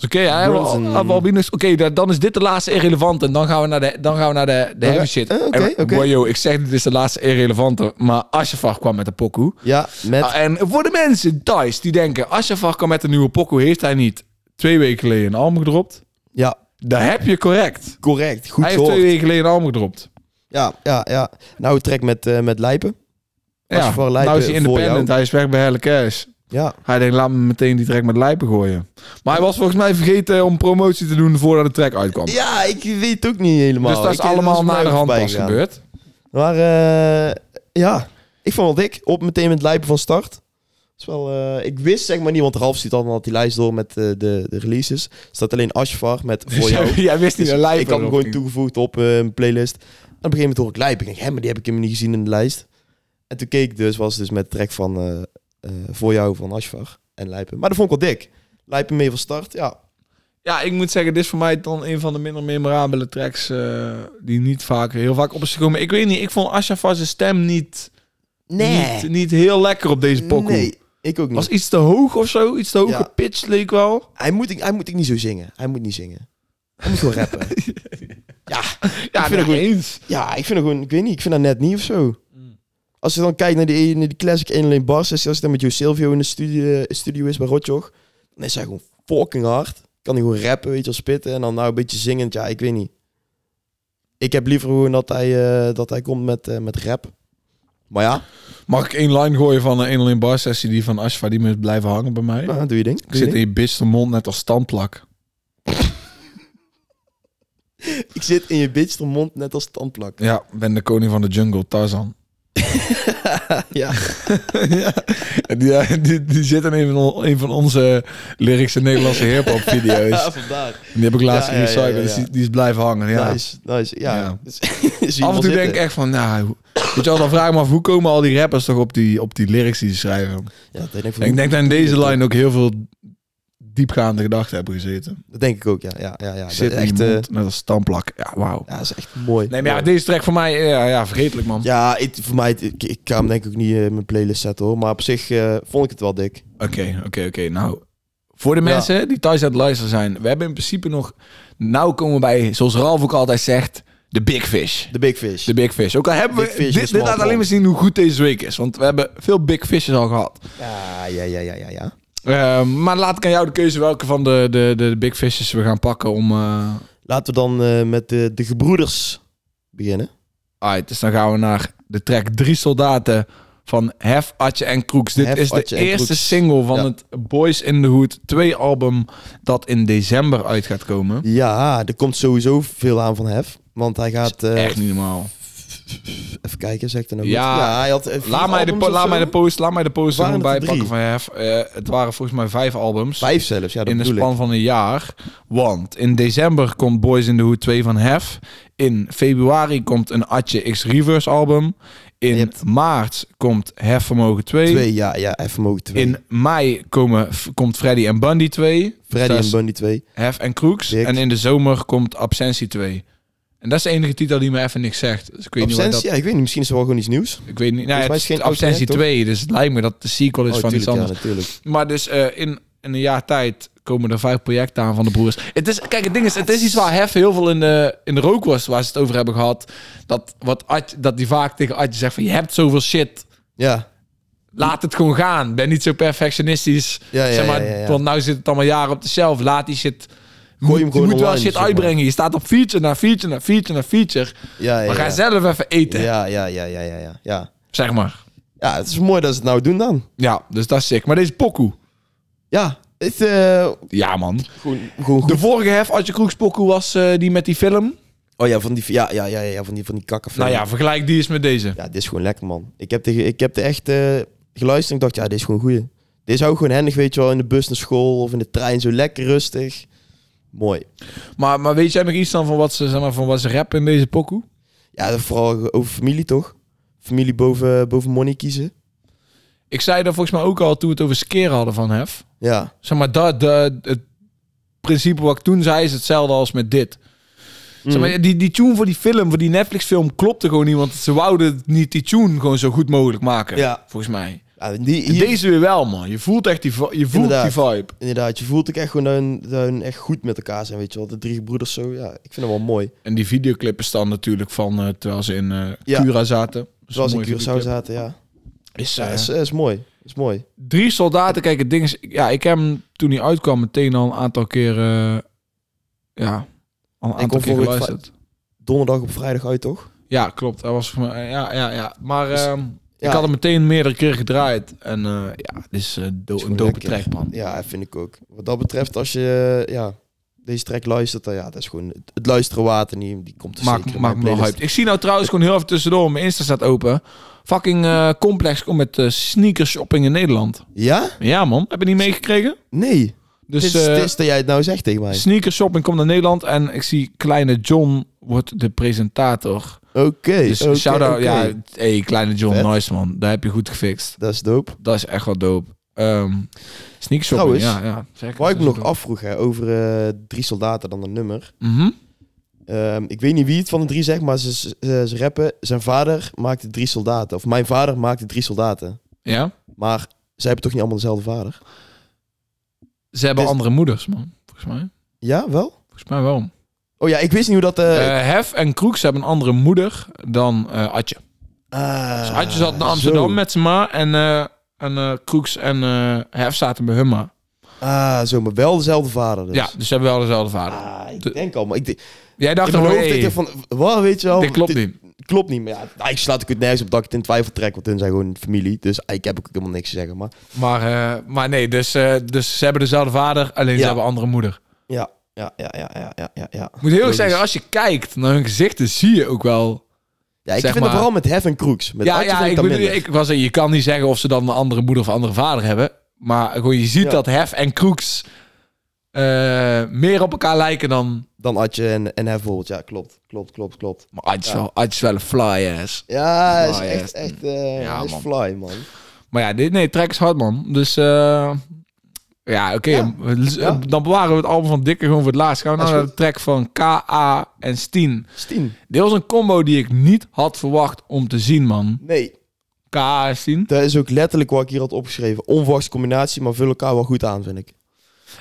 [SPEAKER 1] Dus oké, hij hebben we al-
[SPEAKER 2] Brunson.
[SPEAKER 1] hebben we al binnen- Oké, da- dan eh, is dit de laatste irrelevante en dan gaan we naar de, dan gaan we naar de, de
[SPEAKER 2] Oké.
[SPEAKER 1] heavy shit.
[SPEAKER 2] Eh, oké,
[SPEAKER 1] En-
[SPEAKER 2] oké.
[SPEAKER 1] Boy, yo, ik zeg dit is de laatste irrelevante, maar Asjefar kwam met de pokoe.
[SPEAKER 2] Ja, met...
[SPEAKER 1] Ah, en voor de mensen thuis die denken, Asjefar kwam met een nieuwe pokoe, heeft hij niet twee weken geleden een album gedropt?
[SPEAKER 2] Ja,
[SPEAKER 1] Daar heb je correct.
[SPEAKER 2] correct. Goed
[SPEAKER 1] hij heeft
[SPEAKER 2] gehoord.
[SPEAKER 1] twee weken geleden een album gedropt.
[SPEAKER 2] Ja, ja, ja. Nou, trek met, eh, met Lijpen. Als je voor Lijpen
[SPEAKER 1] nou is hij
[SPEAKER 2] voor
[SPEAKER 1] independent.
[SPEAKER 2] jou.
[SPEAKER 1] Hij is weg bij Helle Cash.
[SPEAKER 2] Ja,
[SPEAKER 1] Hij denkt, laat me meteen die track met Lijpen gooien. Maar hij was volgens mij vergeten om promotie te doen voordat de track uitkwam.
[SPEAKER 2] ja ik weet ook niet helemaal.
[SPEAKER 1] dus dat is
[SPEAKER 2] Ik-
[SPEAKER 1] allemaal
[SPEAKER 2] voor mij
[SPEAKER 1] naar de
[SPEAKER 2] ook
[SPEAKER 1] hand
[SPEAKER 2] voorbij
[SPEAKER 1] pas
[SPEAKER 2] gegaan.
[SPEAKER 1] gebeurd.
[SPEAKER 2] Maar eh, ja, ik vond wel dik. Op meteen met Lijpen van start. Dat is wel, eh, ik wist zeg maar niet, want Ralf ziet altijd die lijst door met eh, de, de releases. Er staat alleen Ashvar met [laughs] voor
[SPEAKER 1] Dus
[SPEAKER 2] jou.
[SPEAKER 1] jij, [laughs] jij wist niet
[SPEAKER 2] Dus
[SPEAKER 1] dat Lijpen
[SPEAKER 2] ik had hem
[SPEAKER 1] erop
[SPEAKER 2] gewoon
[SPEAKER 1] ging.
[SPEAKER 2] toegevoegd op eh, een playlist. En op een gegeven moment hoor ik Lijpen. Ik denk, hè, maar die heb ik helemaal niet gezien in de lijst. En toen keek ik dus, was dus met de track van eh, eh, Voor jou van Ashvar en Lijpen. Maar dat vond ik wel dik. Lijpen mee van start, ja.
[SPEAKER 1] Ja, ik moet zeggen, dit is voor mij dan een van de minder memorabele tracks eh, die niet vaak, heel vaak op is gekomen. Ik weet niet, ik vond Ashafar's stem niet
[SPEAKER 2] Nee.
[SPEAKER 1] niet, niet heel lekker op deze pokoe.
[SPEAKER 2] Nee, ik ook niet.
[SPEAKER 1] Was iets te hoog of zo, iets te hoog
[SPEAKER 2] Ja.
[SPEAKER 1] gepitcht leek wel.
[SPEAKER 2] Hij, moet, ik- hij moet ik niet zo zingen. Hij moet niet zingen. Hij moet gewoon rappen.
[SPEAKER 1] Ja, ik vind het eens.
[SPEAKER 2] Ja, ik vind het gewoon, ik weet niet, ik vind dat net niet of zo. Als je dan kijkt naar die, naar die classic 1 alleen bars, als je dan met Jo Silvio in de studio, studio is bij Rotjoch, dan is hij gewoon fucking hard. Kan hij gewoon rappen, weet je, wel, spitten en dan nou een beetje zingend, ja, ik weet niet. Ik heb liever gewoon dat hij, eh, dat hij komt met, eh, met rap. Maar
[SPEAKER 1] [laughs]
[SPEAKER 2] ja,
[SPEAKER 1] Mag ik één line gooien van eh, een 1 alleen bar sessie die van Ashfa die moet blijven hangen bij mij?
[SPEAKER 2] nou, doe je ding.
[SPEAKER 1] Ik
[SPEAKER 2] doe je
[SPEAKER 1] zit in
[SPEAKER 2] ding.
[SPEAKER 1] je bitch de mond net als standplak.
[SPEAKER 2] ik zit in je bitch de mond net als tandplak.
[SPEAKER 1] Ja, ben de koning van de jungle, Tarzan.
[SPEAKER 2] [laughs] Ja.
[SPEAKER 1] ja, die, eh, die, die zit in een van, een van onze lyrics in Nederlandse
[SPEAKER 2] [laughs]
[SPEAKER 1] hip-hop video's.
[SPEAKER 2] vandaar.
[SPEAKER 1] Die heb ik laatst
[SPEAKER 2] Ja, ja, ja,
[SPEAKER 1] gerecycled,
[SPEAKER 2] ja, ja.
[SPEAKER 1] dus die, die is blijven hangen. Ja.
[SPEAKER 2] Nice, nice. Ja. [laughs] Dus-
[SPEAKER 1] Ja. Af en
[SPEAKER 2] Af
[SPEAKER 1] toe denk ik echt van, nou, hoe- weet je wel, dan vraag ik me af, hoe komen al die rappers toch op die, op die lyrics die ze schrijven?
[SPEAKER 2] Ja, dat denk ik, van-
[SPEAKER 1] En ik denk dat in deze line ook heel veel diepgaande gedachten hebben gezeten.
[SPEAKER 2] dat denk ik ook, ja. ja, ja, ja.
[SPEAKER 1] Ik
[SPEAKER 2] Dat
[SPEAKER 1] zit
[SPEAKER 2] is
[SPEAKER 1] echt
[SPEAKER 2] echt, eh,
[SPEAKER 1] net als standplak. Ja, wauw.
[SPEAKER 2] ja, dat is echt mooi.
[SPEAKER 1] Nee, maar ja, deze track voor mij, ja, ja vergetelijk man.
[SPEAKER 2] Ja, ik, voor mij, ik, ik ga hem denk ik ook niet eh, in mijn playlist zetten hoor. Maar op zich eh, vond ik het wel dik.
[SPEAKER 1] Oké, oké, oké. Nou, voor de
[SPEAKER 2] Ja.
[SPEAKER 1] mensen die thuis aan het luisteren zijn, we hebben in principe nog, nou komen we bij, zoals Ralf ook altijd zegt, de big fish.
[SPEAKER 2] De Big Fish.
[SPEAKER 1] De big fish. Ook al hebben
[SPEAKER 2] Big
[SPEAKER 1] we,
[SPEAKER 2] fish is
[SPEAKER 1] dit, dit
[SPEAKER 2] small
[SPEAKER 1] laat alleen
[SPEAKER 2] prawn.
[SPEAKER 1] maar zien hoe goed deze week is, want we hebben veel big fishes al gehad.
[SPEAKER 2] Ja, ja, ja, ja, ja. ja.
[SPEAKER 1] Eh, maar laat ik aan jou de keuze welke van de, de, de, de big fishes we gaan pakken om... eh
[SPEAKER 2] Laten we dan eh, met de, de gebroeders beginnen.
[SPEAKER 1] Alright, dus dan gaan we naar de track Drie Soldaten van Hef, Atje en Kroeks. Dit
[SPEAKER 2] Hef,
[SPEAKER 1] is de
[SPEAKER 2] Atje en
[SPEAKER 1] eerste
[SPEAKER 2] Kroeks.
[SPEAKER 1] single van
[SPEAKER 2] Ja.
[SPEAKER 1] het Boys in the Hood 2 album dat in december uit gaat komen.
[SPEAKER 2] Ja, er komt sowieso veel aan van Hef. Want hij gaat... eh,
[SPEAKER 1] Echt niet normaal.
[SPEAKER 2] Even kijken, zeg ik dan ook
[SPEAKER 1] Ja.
[SPEAKER 2] goed? hij had eh, vier
[SPEAKER 1] Laat mij, de,
[SPEAKER 2] albums
[SPEAKER 1] po-
[SPEAKER 2] of
[SPEAKER 1] laat
[SPEAKER 2] zo.
[SPEAKER 1] mij de post, laat mij de post er
[SPEAKER 2] Waren
[SPEAKER 1] gewoon
[SPEAKER 2] het er
[SPEAKER 1] bij pakken
[SPEAKER 2] drie?
[SPEAKER 1] van Hef. Eh, het waren volgens mij vijf albums.
[SPEAKER 2] Vijf zelfs, ja, dat
[SPEAKER 1] in de
[SPEAKER 2] bedoel
[SPEAKER 1] span
[SPEAKER 2] ik.
[SPEAKER 1] van een jaar. Want in december komt Boys in the Hood 2 van Hef. In februari komt een Atje X Reverse album. In
[SPEAKER 2] Je hebt-
[SPEAKER 1] maart komt Hef Vermogen 2.
[SPEAKER 2] Twee, ja, ja, Hef vermogen twee.
[SPEAKER 1] In mei komen, f- komt Freddy en Bundy 2.
[SPEAKER 2] Freddy
[SPEAKER 1] dat is
[SPEAKER 2] en Bundy twee.
[SPEAKER 1] Hef en Crooks.
[SPEAKER 2] Dik.
[SPEAKER 1] En in de zomer komt Absentie 2. En dat is de enige titel die me even niks zegt. Dus ik weet
[SPEAKER 2] Absentie?
[SPEAKER 1] niet wat dat...
[SPEAKER 2] Ja, ik weet niet, misschien is er wel gewoon iets nieuws.
[SPEAKER 1] Ik weet niet. Nou,
[SPEAKER 2] Volgens
[SPEAKER 1] het
[SPEAKER 2] mij
[SPEAKER 1] is
[SPEAKER 2] is geen oud
[SPEAKER 1] Absentie
[SPEAKER 2] project, toch?
[SPEAKER 1] 2, dus het lijkt me dat de sequel is
[SPEAKER 2] Oh,
[SPEAKER 1] van iets
[SPEAKER 2] tuurlijk, ja,
[SPEAKER 1] anders.
[SPEAKER 2] natuurlijk.
[SPEAKER 1] Maar dus eh, in, in een jaar tijd komen er vijf projecten aan van de broers. Het is, kijk, het ding is, het is iets waar Hef heel veel in de, in de rook was, waar ze het over hebben gehad. Dat, wat Ad- dat die vaak tegen Adje zegt van, je hebt zoveel shit,
[SPEAKER 2] Ja,
[SPEAKER 1] laat het gewoon gaan. Ben niet zo perfectionistisch.
[SPEAKER 2] Ja, ja,
[SPEAKER 1] zeg maar,
[SPEAKER 2] ja, ja, ja.
[SPEAKER 1] Want nou zit het allemaal jaren op de shelf. Laat die shit... je
[SPEAKER 2] hem gewoon
[SPEAKER 1] moet wel
[SPEAKER 2] online,
[SPEAKER 1] shit
[SPEAKER 2] zeg maar.
[SPEAKER 1] uitbrengen. Je staat op feature na feature na feature na feature.
[SPEAKER 2] ja, ja.
[SPEAKER 1] maar ga
[SPEAKER 2] ja.
[SPEAKER 1] zelf even eten,
[SPEAKER 2] Ja, ja, ja, ja, ja, ja, ja.
[SPEAKER 1] zeg maar.
[SPEAKER 2] Ja, het is mooi dat ze het nou doen dan.
[SPEAKER 1] Ja, dus dat is sick. Maar deze pokoe.
[SPEAKER 2] Ja, het, eh,
[SPEAKER 1] Ja, man.
[SPEAKER 2] gewoon, gewoon goed.
[SPEAKER 1] De vorige hef, Adje Kroeks pokoe, was eh, die met die film.
[SPEAKER 2] Oh ja, van die, ja, ja, ja, ja, van die, van die kakkenfilm.
[SPEAKER 1] Nou ja, vergelijk die eens met deze.
[SPEAKER 2] Ja, dit is gewoon lekker, man. Ik heb de, ik heb de echt eh, geluisterd en ik dacht, ja, dit is gewoon goeie. Dit is ook gewoon handig, weet je wel, in de bus naar school of in de trein, zo lekker rustig. Mooi.
[SPEAKER 1] Maar, maar weet jij nog iets dan van wat ze, zeg maar, van wat ze rappen in deze pokoe?
[SPEAKER 2] Ja, vooral over familie, toch? Familie boven, boven money kiezen.
[SPEAKER 1] Ik zei dat volgens mij ook al toen we het over skeren hadden van hef.
[SPEAKER 2] Ja,
[SPEAKER 1] Zeg maar, dat, dat, het principe wat ik toen zei is hetzelfde als met dit. Zeg
[SPEAKER 2] Mm.
[SPEAKER 1] maar, die, die tune voor die film, voor die Netflix-film, klopte gewoon niet. Want ze wouden niet die tune gewoon zo goed mogelijk maken.
[SPEAKER 2] Ja.
[SPEAKER 1] Volgens mij.
[SPEAKER 2] ja die,
[SPEAKER 1] En
[SPEAKER 2] hier-
[SPEAKER 1] Deze weer wel, man. Je voelt echt die, vi- je voelt die
[SPEAKER 2] Inderdaad.
[SPEAKER 1] vibe.
[SPEAKER 2] inderdaad, je voelt ook echt gewoon dat hun, dat hun echt goed met elkaar zijn, weet je wel. De drie broeders zo, ja, ik vind het wel mooi.
[SPEAKER 1] En die videoclip is dan natuurlijk van eh, terwijl ze in eh
[SPEAKER 2] Ja.
[SPEAKER 1] Cura zaten. Dat is
[SPEAKER 2] Zoals
[SPEAKER 1] een
[SPEAKER 2] in
[SPEAKER 1] mooie
[SPEAKER 2] Curaçao
[SPEAKER 1] videoclip.
[SPEAKER 2] zaten, ja.
[SPEAKER 1] Is,
[SPEAKER 2] Ja,
[SPEAKER 1] eh,
[SPEAKER 2] is, is mooi. Is mooi.
[SPEAKER 1] drie soldaten. Kijk, het ding is, ja, ik heb hem toen hij uitkwam meteen al een aantal keer, eh, ja, al een aantal
[SPEAKER 2] kon
[SPEAKER 1] keer
[SPEAKER 2] voor het
[SPEAKER 1] geluisterd.
[SPEAKER 2] Donderdag op vrijdag uit, toch?
[SPEAKER 1] Ja, klopt. Hij was voor mij, ja, ja, ja. Maar
[SPEAKER 2] Dus-
[SPEAKER 1] ehm,
[SPEAKER 2] ja.
[SPEAKER 1] ik had hem meteen meerdere keer gedraaid en eh, ja, dit is eh, do- een
[SPEAKER 2] is gewoon
[SPEAKER 1] dope
[SPEAKER 2] lekker.
[SPEAKER 1] track, man.
[SPEAKER 2] Ja, dat vind ik ook. Wat dat betreft, als je eh, ja, deze track luistert, dan ja, dat is gewoon het, het luisteren waard en die, die komt er zeker
[SPEAKER 1] Maak, maak
[SPEAKER 2] in mijn
[SPEAKER 1] me wel
[SPEAKER 2] playlist.
[SPEAKER 1] hyped. Ik zie nou trouwens gewoon heel even tussendoor, mijn Insta staat open. Fucking eh, complex komt met eh sneaker shopping in Nederland.
[SPEAKER 2] Ja?
[SPEAKER 1] Ja man, heb je niet meegekregen?
[SPEAKER 2] Nee.
[SPEAKER 1] Dus
[SPEAKER 2] het, is, het
[SPEAKER 1] eh,
[SPEAKER 2] is dat jij het nou zegt tegen mij.
[SPEAKER 1] sneaker shopping komt naar Nederland en ik zie kleine John wordt de presentator.
[SPEAKER 2] Oké.
[SPEAKER 1] Dus
[SPEAKER 2] oké,
[SPEAKER 1] shout-out,
[SPEAKER 2] oké.
[SPEAKER 1] ja, hey, kleine John,
[SPEAKER 2] Vet.
[SPEAKER 1] nice man. Daar heb je goed gefixt.
[SPEAKER 2] Dat is dope.
[SPEAKER 1] Dat is echt wel dope. Ehm sneak shopping,
[SPEAKER 2] Trouwens,
[SPEAKER 1] ja, ja. Zeker,
[SPEAKER 2] Waar ik me
[SPEAKER 1] zeker.
[SPEAKER 2] nog afvroeg hè, over eh, Drie Soldaten, dan een nummer.
[SPEAKER 1] Mhm.
[SPEAKER 2] Eh, ehm, ik weet niet wie het van de drie zegt, maar ze, ze, ze rappen. Zijn vader maakte drie soldaten. Of mijn vader maakte drie soldaten.
[SPEAKER 1] Ja?
[SPEAKER 2] Maar zij hebben toch niet allemaal dezelfde vader?
[SPEAKER 1] Ze hebben
[SPEAKER 2] Dus-
[SPEAKER 1] andere moeders, man. Volgens mij.
[SPEAKER 2] Ja, wel?
[SPEAKER 1] Volgens mij wel.
[SPEAKER 2] Oh ja, ik wist niet hoe dat... eh,
[SPEAKER 1] Eh, Hef en Kroeks hebben een andere moeder dan eh, Atje.
[SPEAKER 2] ah,
[SPEAKER 1] Dus Atje zat in Amsterdam
[SPEAKER 2] zo.
[SPEAKER 1] met zijn ma en, eh en eh, Kroeks en eh Hef zaten bij hun ma.
[SPEAKER 2] Ah, zo, maar wel dezelfde vader dus.
[SPEAKER 1] Ja, dus ze hebben wel dezelfde vader.
[SPEAKER 2] Ah, ik
[SPEAKER 1] De-
[SPEAKER 2] denk al, maar ik, ik
[SPEAKER 1] Jij dacht
[SPEAKER 2] in mijn
[SPEAKER 1] dan,
[SPEAKER 2] hoofd
[SPEAKER 1] hey,
[SPEAKER 2] denk ik van, wat, weet je wel?
[SPEAKER 1] dit klopt niet.
[SPEAKER 2] klopt niet, maar ja, eigenlijk slaat ik het nergens op dat ik het in twijfel trek, want hun zijn gewoon familie, dus ik heb ook helemaal niks te zeggen, maar
[SPEAKER 1] Maar, eh, maar nee, dus, eh, dus ze hebben dezelfde vader, alleen ze
[SPEAKER 2] Ja.
[SPEAKER 1] hebben een andere moeder.
[SPEAKER 2] ja, ja, ja, ja, ja, ja, ja, ja.
[SPEAKER 1] Ik moet heel erg
[SPEAKER 2] Logisch.
[SPEAKER 1] zeggen, als je kijkt naar hun gezichten, zie je ook wel...
[SPEAKER 2] Ja, ik
[SPEAKER 1] Zeg
[SPEAKER 2] vind het
[SPEAKER 1] maar-
[SPEAKER 2] vooral met Hef en Kroeks, met
[SPEAKER 1] ja,
[SPEAKER 2] Atje
[SPEAKER 1] ja
[SPEAKER 2] vind
[SPEAKER 1] ik,
[SPEAKER 2] ik dat
[SPEAKER 1] bedoel,
[SPEAKER 2] minder.
[SPEAKER 1] ik was, je kan niet zeggen of ze dan een andere moeder of andere vader hebben. Maar gewoon, je ziet
[SPEAKER 2] Ja.
[SPEAKER 1] dat Hef en Kroeks eh, meer op elkaar lijken dan...
[SPEAKER 2] Dan Atje en, en Hef bijvoorbeeld, ja, klopt, klopt, klopt, klopt.
[SPEAKER 1] Maar Adje is wel- Adje is wel een fly ass.
[SPEAKER 2] Ja, hij is
[SPEAKER 1] Fly,
[SPEAKER 2] echt,
[SPEAKER 1] hè.
[SPEAKER 2] echt, eh,
[SPEAKER 1] Ah, Ja,
[SPEAKER 2] hij is
[SPEAKER 1] man.
[SPEAKER 2] fly, man.
[SPEAKER 1] Maar ja, dit, nee, track is hard, man. Dus eh, ja, oké.
[SPEAKER 2] Ja.
[SPEAKER 1] eh,
[SPEAKER 2] Ja.
[SPEAKER 1] Dan bewaren we het album van Dikke gewoon voor het laatst. Gaan we
[SPEAKER 2] Dat
[SPEAKER 1] nou
[SPEAKER 2] is
[SPEAKER 1] naar de track van K.A. en Steen.
[SPEAKER 2] Stien,
[SPEAKER 1] Dit was een combo die ik niet had verwacht om te zien, man.
[SPEAKER 2] nee,
[SPEAKER 1] K.A. en Steen.
[SPEAKER 2] dat is ook letterlijk wat ik hier had opgeschreven. Onverwachte combinatie, maar vullen elkaar wel goed aan, vind ik.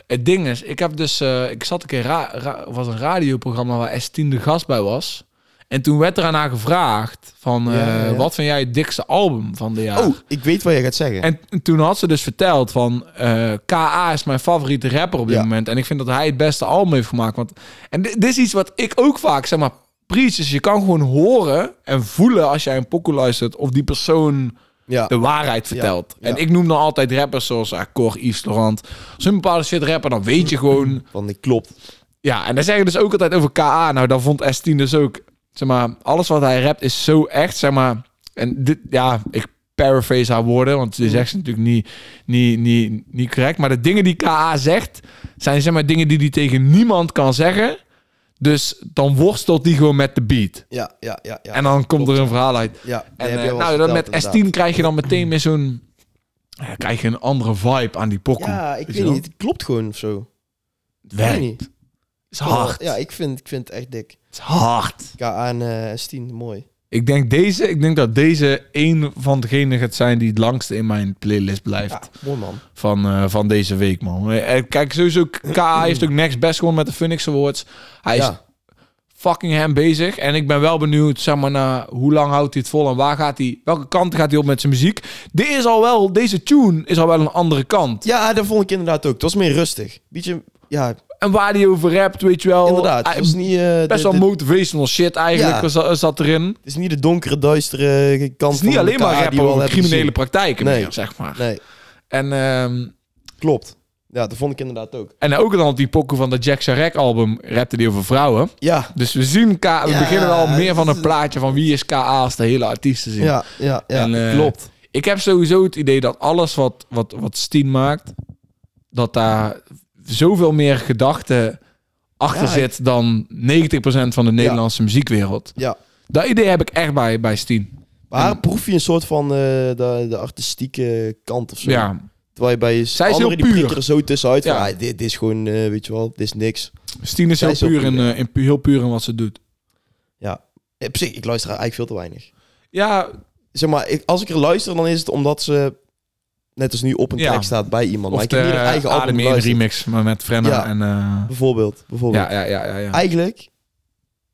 [SPEAKER 1] Het ding is, ik heb dus... eh, ik zat een keer... Ra ra- was een radioprogramma waar S10 de gast bij was. En toen werd er aan haar gevraagd van...
[SPEAKER 2] Ja, ja,
[SPEAKER 1] eh,
[SPEAKER 2] ja.
[SPEAKER 1] Wat vind jij het dikste album van de jaar?
[SPEAKER 2] Oh, ik weet wat jij gaat zeggen.
[SPEAKER 1] Ah. En t- toen had ze dus verteld van... eh, K.A. is mijn favoriete rapper op dit
[SPEAKER 2] Ja.
[SPEAKER 1] moment. En ik vind dat hij het beste album heeft gemaakt. Want, en di- dit is iets wat ik ook vaak zeg maar... Preach, dus je kan gewoon horen en voelen als jij een pokoe luistert... of die persoon
[SPEAKER 2] ja.
[SPEAKER 1] de waarheid vertelt.
[SPEAKER 2] ja.
[SPEAKER 1] En ik noem dan altijd rappers zoals Accor, Yves Laurent. Zo'n bepaalde shit rapper, dan weet je gewoon...
[SPEAKER 2] Van, dit klopt.
[SPEAKER 1] Ja, en dan zeggen dus ook altijd over K.A. Nou, dan vond S10 dus ook... Zeg maar, alles wat hij rapt is zo echt, zeg maar... En dit, ja, ik paraphrase haar woorden, want
[SPEAKER 2] Mm.
[SPEAKER 1] ze zegt ze natuurlijk niet, niet, niet, niet correct. Maar de dingen die K.A. zegt, zijn zeg maar dingen die hij tegen niemand kan zeggen. Dus dan worstelt hij gewoon met de beat.
[SPEAKER 2] Ja, ja, ja, ja.
[SPEAKER 1] en dan komt er een verhaal uit.
[SPEAKER 2] Ja, die
[SPEAKER 1] En
[SPEAKER 2] heb
[SPEAKER 1] eh,
[SPEAKER 2] jij wel
[SPEAKER 1] nou,
[SPEAKER 2] eens
[SPEAKER 1] dan
[SPEAKER 2] verteld,
[SPEAKER 1] met S10
[SPEAKER 2] inderdaad.
[SPEAKER 1] krijg je dan meteen weer zo'n... ja, krijg je een andere vibe aan die pokoe.
[SPEAKER 2] Ja, ik
[SPEAKER 1] Weet
[SPEAKER 2] weet
[SPEAKER 1] je wel?
[SPEAKER 2] niet. Het klopt gewoon of zo.
[SPEAKER 1] Het werkt.
[SPEAKER 2] niet.
[SPEAKER 1] Het is hard.
[SPEAKER 2] Ja, ik vind, ik vind het echt dik.
[SPEAKER 1] Het is hard.
[SPEAKER 2] KA en eh, S10, mooi.
[SPEAKER 1] Ik denk, deze, ik denk dat deze een van degenen gaat zijn die het langste in mijn playlist blijft
[SPEAKER 2] Ja, mooi man.
[SPEAKER 1] van, eh, van deze week, man. Eh, Kijk, sowieso,
[SPEAKER 2] [clears throat]
[SPEAKER 1] K.A. heeft ook next best gewoon met de Phoenix Awards. Hij is
[SPEAKER 2] Ja,
[SPEAKER 1] fucking hem bezig. En ik ben wel benieuwd, zeg maar, naar hoe lang houdt hij het vol en waar gaat hij, welke kant gaat hij op met zijn muziek. Dit is al wel, deze tune is al wel een andere kant.
[SPEAKER 2] ja dat vond ik inderdaad ook. Het was meer rustig. Beetje, ja,
[SPEAKER 1] En waar hij over rapt, weet je wel.
[SPEAKER 2] inderdaad. Het
[SPEAKER 1] Oh, Hij-
[SPEAKER 2] was niet, eh,
[SPEAKER 1] best
[SPEAKER 2] de,
[SPEAKER 1] wel
[SPEAKER 2] de-
[SPEAKER 1] motivational shit eigenlijk
[SPEAKER 2] Ja.
[SPEAKER 1] zat, zat erin.
[SPEAKER 2] het is niet de donkere, duistere kant
[SPEAKER 1] Het is niet
[SPEAKER 2] van
[SPEAKER 1] alleen
[SPEAKER 2] KA
[SPEAKER 1] maar
[SPEAKER 2] die
[SPEAKER 1] rappen
[SPEAKER 2] we al
[SPEAKER 1] over
[SPEAKER 2] hebben
[SPEAKER 1] criminele praktijken
[SPEAKER 2] Nee.
[SPEAKER 1] meer, zeg maar.
[SPEAKER 2] gezien. Nee,
[SPEAKER 1] En, ehm,
[SPEAKER 2] klopt. Ja, dat vond ik inderdaad ook.
[SPEAKER 1] en ook dan op die pokoe van dat Jack Sharek album rapte die over vrouwen.
[SPEAKER 2] Ja,
[SPEAKER 1] Dus we zien K, we
[SPEAKER 2] Ja,
[SPEAKER 1] beginnen al meer
[SPEAKER 2] het
[SPEAKER 1] van
[SPEAKER 2] is-
[SPEAKER 1] een plaatje van wie is KA als de hele artiest te zien.
[SPEAKER 2] ja, ja, ja.
[SPEAKER 1] En, eh,
[SPEAKER 2] klopt.
[SPEAKER 1] Ik heb sowieso het idee dat alles wat, wat, wat Steen maakt, dat daar zoveel meer gedachten achter
[SPEAKER 2] Ja,
[SPEAKER 1] zit dan 90% van de Nederlandse muziekwereld.
[SPEAKER 2] Ja.
[SPEAKER 1] Dat idee heb ik echt bij, bij Steen.
[SPEAKER 2] Maar
[SPEAKER 1] en-
[SPEAKER 2] proef je een soort van eh, de, de artistieke kant of zo.
[SPEAKER 1] Ja,
[SPEAKER 2] Terwijl je bij
[SPEAKER 1] Zij is
[SPEAKER 2] anderen
[SPEAKER 1] heel
[SPEAKER 2] die prikken
[SPEAKER 1] puur.
[SPEAKER 2] er zo tussenuit.
[SPEAKER 1] Ja.
[SPEAKER 2] Ja. Van, ah, dit, dit is gewoon, eh, weet je wel, dit is niks.
[SPEAKER 1] Steen is
[SPEAKER 2] Zij
[SPEAKER 1] heel
[SPEAKER 2] is heel
[SPEAKER 1] puur,
[SPEAKER 2] puur,
[SPEAKER 1] in,
[SPEAKER 2] ja.
[SPEAKER 1] eh, in, pu- heel puur in wat ze doet.
[SPEAKER 2] Op zich, Eh, ik luister eigenlijk veel te weinig.
[SPEAKER 1] Ja,
[SPEAKER 2] Zeg maar, ik, als ik er luister, dan is het omdat ze net als nu op een
[SPEAKER 1] Ja.
[SPEAKER 2] track staat bij iemand.
[SPEAKER 1] of
[SPEAKER 2] maar ik
[SPEAKER 1] de
[SPEAKER 2] heb niet haar eigen album
[SPEAKER 1] Adem in
[SPEAKER 2] geluisterd.
[SPEAKER 1] remix maar met Frenna
[SPEAKER 2] Ja.
[SPEAKER 1] en... eh,
[SPEAKER 2] Bijvoorbeeld,
[SPEAKER 1] ja,
[SPEAKER 2] bijvoorbeeld.
[SPEAKER 1] ja, ja, ja, ja.
[SPEAKER 2] Eigenlijk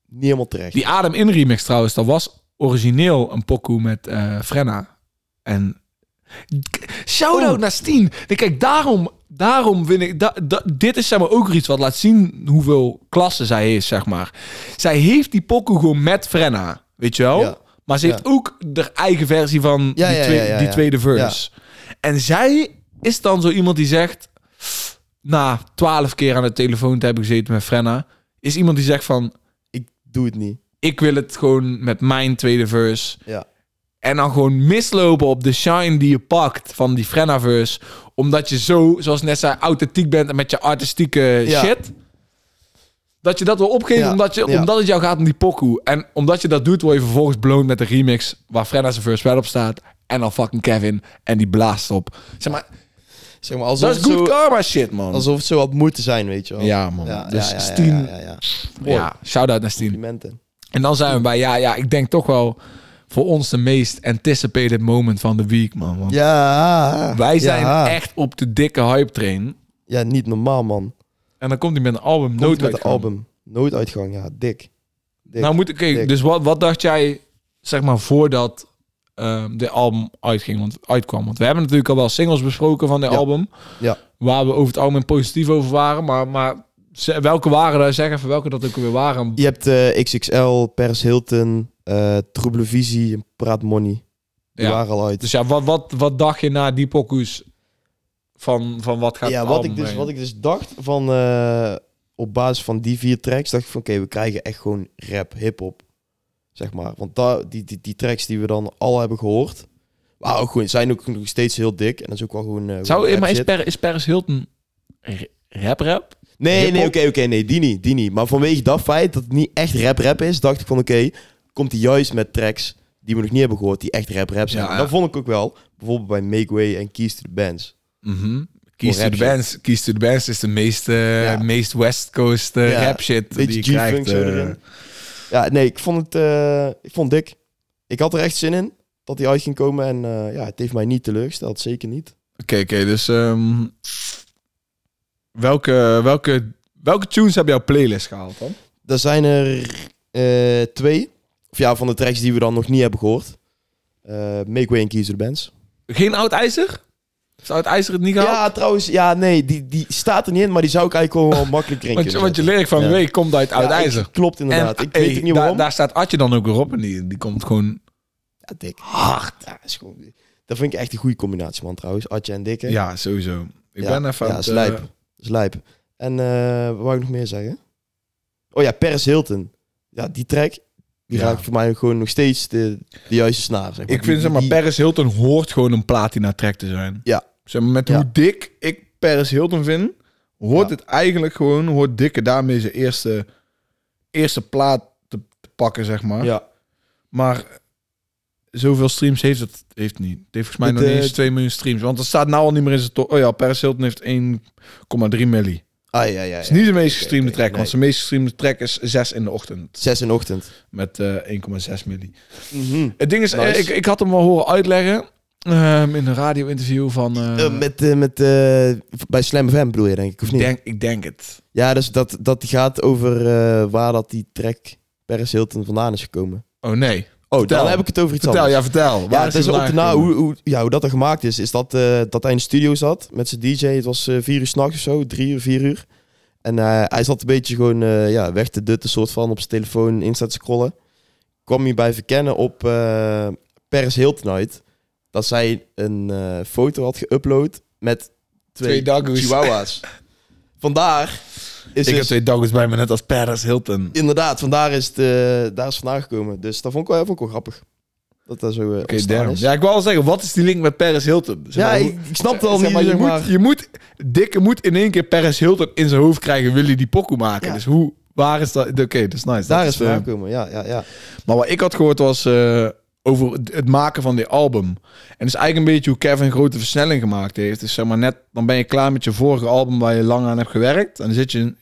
[SPEAKER 2] niet helemaal terecht.
[SPEAKER 1] Die Adem in remix trouwens, dat was origineel een pokoe met eh, Frenna. En shout-out
[SPEAKER 2] Oh.
[SPEAKER 1] naar Steen. Nee, Kijk, daarom, daarom vind ik... da- da- dit is zeg maar ook iets wat laat zien hoeveel klasse zij is, zeg maar. Zij heeft die pokoe gewoon met Frenna, weet je wel?
[SPEAKER 2] Ja.
[SPEAKER 1] Maar ze heeft ook haar eigen versie van
[SPEAKER 2] Ja,
[SPEAKER 1] die,
[SPEAKER 2] ja,
[SPEAKER 1] twee-
[SPEAKER 2] ja, ja,
[SPEAKER 1] die
[SPEAKER 2] ja.
[SPEAKER 1] tweede verse. En zij is dan zo iemand die zegt... Na twaalf keer aan de telefoon te hebben gezeten met Frenna... Is iemand die zegt van
[SPEAKER 2] Ik doe het niet.
[SPEAKER 1] ik wil het gewoon met mijn tweede verse.
[SPEAKER 2] Ja.
[SPEAKER 1] En dan gewoon mislopen op de shine die je pakt van die Frenna-verse. Omdat je zo, zoals ik net zei, authentiek bent en met je artistieke
[SPEAKER 2] Ja.
[SPEAKER 1] shit. Dat je dat wil opgeven
[SPEAKER 2] Ja,
[SPEAKER 1] omdat, je,
[SPEAKER 2] ja.
[SPEAKER 1] omdat het jou gaat om die pokoe. En omdat je dat doet, word je vervolgens blown met een remix... waar Frenna zijn verse wel op staat. En dan fucking Kevin. En die blaast op. Zeg maar,
[SPEAKER 2] Zeg maar, alsof,
[SPEAKER 1] Dat is
[SPEAKER 2] het zo,
[SPEAKER 1] good karma shit, man.
[SPEAKER 2] alsof het zo had moeten zijn, weet je wel.
[SPEAKER 1] Ja, man.
[SPEAKER 2] Ja,
[SPEAKER 1] dus
[SPEAKER 2] ja, ja,
[SPEAKER 1] Stien...
[SPEAKER 2] Ja, ja, ja. Mooi.
[SPEAKER 1] ja, shout-out naar Stien.
[SPEAKER 2] Complimenten.
[SPEAKER 1] En dan zijn we bij, ja, ja, ik denk toch wel voor ons de meest anticipated moment van de week, man. Want
[SPEAKER 2] Ja.
[SPEAKER 1] wij zijn
[SPEAKER 2] ja.
[SPEAKER 1] echt op de dikke hype train.
[SPEAKER 2] Ja, niet normaal, man.
[SPEAKER 1] En dan komt hij met een album,
[SPEAKER 2] Nooit met
[SPEAKER 1] nooduitgang.
[SPEAKER 2] het album. Nooduitgang, ja. Dik. Dik.
[SPEAKER 1] Nou moet, oké,
[SPEAKER 2] Dik.
[SPEAKER 1] dus wat, wat dacht jij, zeg maar, voordat ehm de album uitging, want, uitkwam? Want we hebben natuurlijk al wel singles besproken van de
[SPEAKER 2] Ja.
[SPEAKER 1] album.
[SPEAKER 2] Ja.
[SPEAKER 1] Waar we over het algemeen positief over waren. Maar, maar ze- welke waren daar, zeg even welke dat ook weer waren.
[SPEAKER 2] Je hebt eh, XXL, Paris Hilton, eh Troebele Visie en Praat Money. Die
[SPEAKER 1] Ja.
[SPEAKER 2] waren al uit.
[SPEAKER 1] Dus ja, wat, wat, wat dacht je na die pokus van, van wat gaat
[SPEAKER 2] ja,
[SPEAKER 1] het
[SPEAKER 2] wat
[SPEAKER 1] album
[SPEAKER 2] ik, dus,
[SPEAKER 1] brengen?
[SPEAKER 2] wat ik dus dacht van... eh, op basis van die vier tracks dacht ik van... Oké, we krijgen echt gewoon rap, hip-hop. Zeg maar. Want da, die, die, die tracks die we dan al hebben gehoord... Maar ook gewoon, zijn ook nog steeds heel dik. En dat is ook wel gewoon... eh, gewoon
[SPEAKER 1] Zou,
[SPEAKER 2] rap
[SPEAKER 1] maar is,
[SPEAKER 2] shit.
[SPEAKER 1] per, is Paris Hilton r- rap rap?
[SPEAKER 2] Nee,
[SPEAKER 1] Hip-hop?
[SPEAKER 2] nee, oké, oké, nee, die niet, die niet. Maar vanwege dat feit dat het niet echt rap-rap is, dacht ik van oké, komt hij juist met tracks die we nog niet hebben gehoord, die echt rap-rap zijn.
[SPEAKER 1] Ja, ja.
[SPEAKER 2] Dat vond ik ook wel. Bijvoorbeeld bij Make Way en Keys to the Bands.
[SPEAKER 1] Mhm. Keys to
[SPEAKER 2] Voor
[SPEAKER 1] the
[SPEAKER 2] rap
[SPEAKER 1] Bands. Keys to the Bands is de meest, eh,
[SPEAKER 2] Ja.
[SPEAKER 1] meest West Coast eh,
[SPEAKER 2] Ja,
[SPEAKER 1] rap shit die je
[SPEAKER 2] Beetje G-Funk
[SPEAKER 1] krijgt.
[SPEAKER 2] zo
[SPEAKER 1] eh.
[SPEAKER 2] erin. Ja, nee, ik vond het, eh, ik vond het dik. Ik had er echt zin in dat hij uit ging komen en eh, ja, het heeft mij niet teleurgesteld, zeker niet.
[SPEAKER 1] Oké, oké, dus ehm, welke, welke, welke tunes heb jouw playlist gehaald dan?
[SPEAKER 2] Er zijn er eh, twee, of ja, van de tracks die we dan nog niet hebben gehoord. Eh, Make Way en Keys to the Bands.
[SPEAKER 1] Geen Oud IJzer? Is Oud IJzer het niet gehaald?
[SPEAKER 2] Ja, trouwens, ja, nee, die, die staat er niet in, maar die zou ik
[SPEAKER 1] [laughs]
[SPEAKER 2] eigenlijk wel, wel makkelijk erin
[SPEAKER 1] want, je-
[SPEAKER 2] kunnen
[SPEAKER 1] want je
[SPEAKER 2] zetten.
[SPEAKER 1] lyrik van de
[SPEAKER 2] Ja.
[SPEAKER 1] week komt uit Oud
[SPEAKER 2] Ja, ik-
[SPEAKER 1] IJzer.
[SPEAKER 2] Klopt inderdaad. ik weet
[SPEAKER 1] hey,
[SPEAKER 2] ook niet
[SPEAKER 1] daar-
[SPEAKER 2] waarom.
[SPEAKER 1] daar staat Adje dan ook weer op en die, die komt gewoon...
[SPEAKER 2] ja, dik. Hard. Ja, is gewoon, dat vind ik echt een goede combinatie, man, trouwens. Atje en Dikke.
[SPEAKER 1] Ja, sowieso. Ik
[SPEAKER 2] Ja,
[SPEAKER 1] ben even... aan
[SPEAKER 2] Ja,
[SPEAKER 1] het,
[SPEAKER 2] is lijp.
[SPEAKER 1] eh,
[SPEAKER 2] Is lijp. En eh wat wou ik nog meer zeggen? Oh ja, Paris Hilton. Ja, die track, die
[SPEAKER 1] Ja.
[SPEAKER 2] raakt voor mij gewoon nog steeds de, de juiste snaar. Zeg maar.
[SPEAKER 1] Ik vind,
[SPEAKER 2] Die-
[SPEAKER 1] zeg maar,
[SPEAKER 2] die-
[SPEAKER 1] Paris Hilton hoort gewoon een platina-track te zijn.
[SPEAKER 2] Ja.
[SPEAKER 1] Zeg maar, met
[SPEAKER 2] Ja.
[SPEAKER 1] hoe dik ik Paris Hilton vind, hoort
[SPEAKER 2] Ja.
[SPEAKER 1] het eigenlijk gewoon, hoort Dikke daarmee zijn eerste, eerste plaat te, te pakken, zeg maar.
[SPEAKER 2] Ja.
[SPEAKER 1] Maar zoveel streams heeft het heeft het niet. Het heeft volgens mij
[SPEAKER 2] Het,
[SPEAKER 1] nog niet
[SPEAKER 2] eh,
[SPEAKER 1] eens 2 miljoen streams. Want het staat nou al niet meer in zijn top. Oh ja, Paris Hilton heeft 1,3 miljoen.
[SPEAKER 2] Ah, ja, ja,
[SPEAKER 1] Het is
[SPEAKER 2] ja.
[SPEAKER 1] niet de meest
[SPEAKER 2] Oké,
[SPEAKER 1] gestreamde
[SPEAKER 2] oké,
[SPEAKER 1] track,
[SPEAKER 2] nee.
[SPEAKER 1] want zijn meest gestreamde track is 6 in de ochtend.
[SPEAKER 2] Zes in de ochtend.
[SPEAKER 1] Met eh 1,6 miljoen.
[SPEAKER 2] Mhm.
[SPEAKER 1] Het ding is,
[SPEAKER 2] Nice.
[SPEAKER 1] eh, ik, ik had hem al horen uitleggen ehm, in een radio-interview van... eh,
[SPEAKER 2] Eh, met, eh, met, eh, bij Slam FM bedoel je, denk ik, of
[SPEAKER 1] ik,
[SPEAKER 2] niet?
[SPEAKER 1] denk, ik denk het.
[SPEAKER 2] Ja, dus dat, dat die gaat over eh, waar dat die track Paris Hilton vandaan is gekomen.
[SPEAKER 1] Oh nee.
[SPEAKER 2] Oh,
[SPEAKER 1] Vertel.
[SPEAKER 2] dan heb ik het over iets
[SPEAKER 1] Vertel,
[SPEAKER 2] anders.
[SPEAKER 1] ja, vertel.
[SPEAKER 2] ja,
[SPEAKER 1] Waar
[SPEAKER 2] het
[SPEAKER 1] hij
[SPEAKER 2] is ook
[SPEAKER 1] vandaan
[SPEAKER 2] na
[SPEAKER 1] gekomen?
[SPEAKER 2] hoe, hoe, ja, hoe dat er gemaakt is, is dat, eh, dat hij in de studio zat met zijn DJ. Het was eh, vier uur s'nachts of zo, drie uur, vier uur. En eh, hij zat een beetje gewoon eh, ja, weg te dutten, soort van op zijn telefoon, Insta te scrollen. Kwam hij bij verkennen op eh Paris Hilton uit dat zij een eh, foto had geüpload met
[SPEAKER 1] Twee
[SPEAKER 2] twee,
[SPEAKER 1] doggoes. [laughs]
[SPEAKER 2] chihuahuas. Vandaar is
[SPEAKER 1] Ik heb
[SPEAKER 2] dus-
[SPEAKER 1] twee doggers bij me, net als Paris Hilton. Oké,
[SPEAKER 2] Inderdaad, vandaar is het, eh, daar is het vandaan gekomen. Dus dat vond ik wel, vond ik wel grappig. Dat dat zo eh ontstaan
[SPEAKER 1] damn.
[SPEAKER 2] is.
[SPEAKER 1] Ja, ik wou al zeggen, wat is die link met Paris Hilton? Zeg
[SPEAKER 2] Ja,
[SPEAKER 1] maar,
[SPEAKER 2] ik,
[SPEAKER 1] hoe-
[SPEAKER 2] ik snap het al
[SPEAKER 1] zeg
[SPEAKER 2] niet,
[SPEAKER 1] maar, je,
[SPEAKER 2] zeg
[SPEAKER 1] moet,
[SPEAKER 2] maar.
[SPEAKER 1] je moet... Dikke moet in één keer Paris Hilton in zijn hoofd krijgen, wil hij die pokoe maken.
[SPEAKER 2] Ja.
[SPEAKER 1] Dus hoe... Waar is dat? Oké, dat is nice. Dat
[SPEAKER 2] Daar is het vandaan
[SPEAKER 1] eh,
[SPEAKER 2] gekomen, ja, ja, ja.
[SPEAKER 1] Maar wat ik had gehoord was eh, over het- het maken van dit album. En het is eigenlijk een beetje hoe Kevin grote versnelling gemaakt heeft. Dus zeg maar net, dan ben je klaar met je vorige album waar je lang aan hebt gewerkt. En dan zit je in,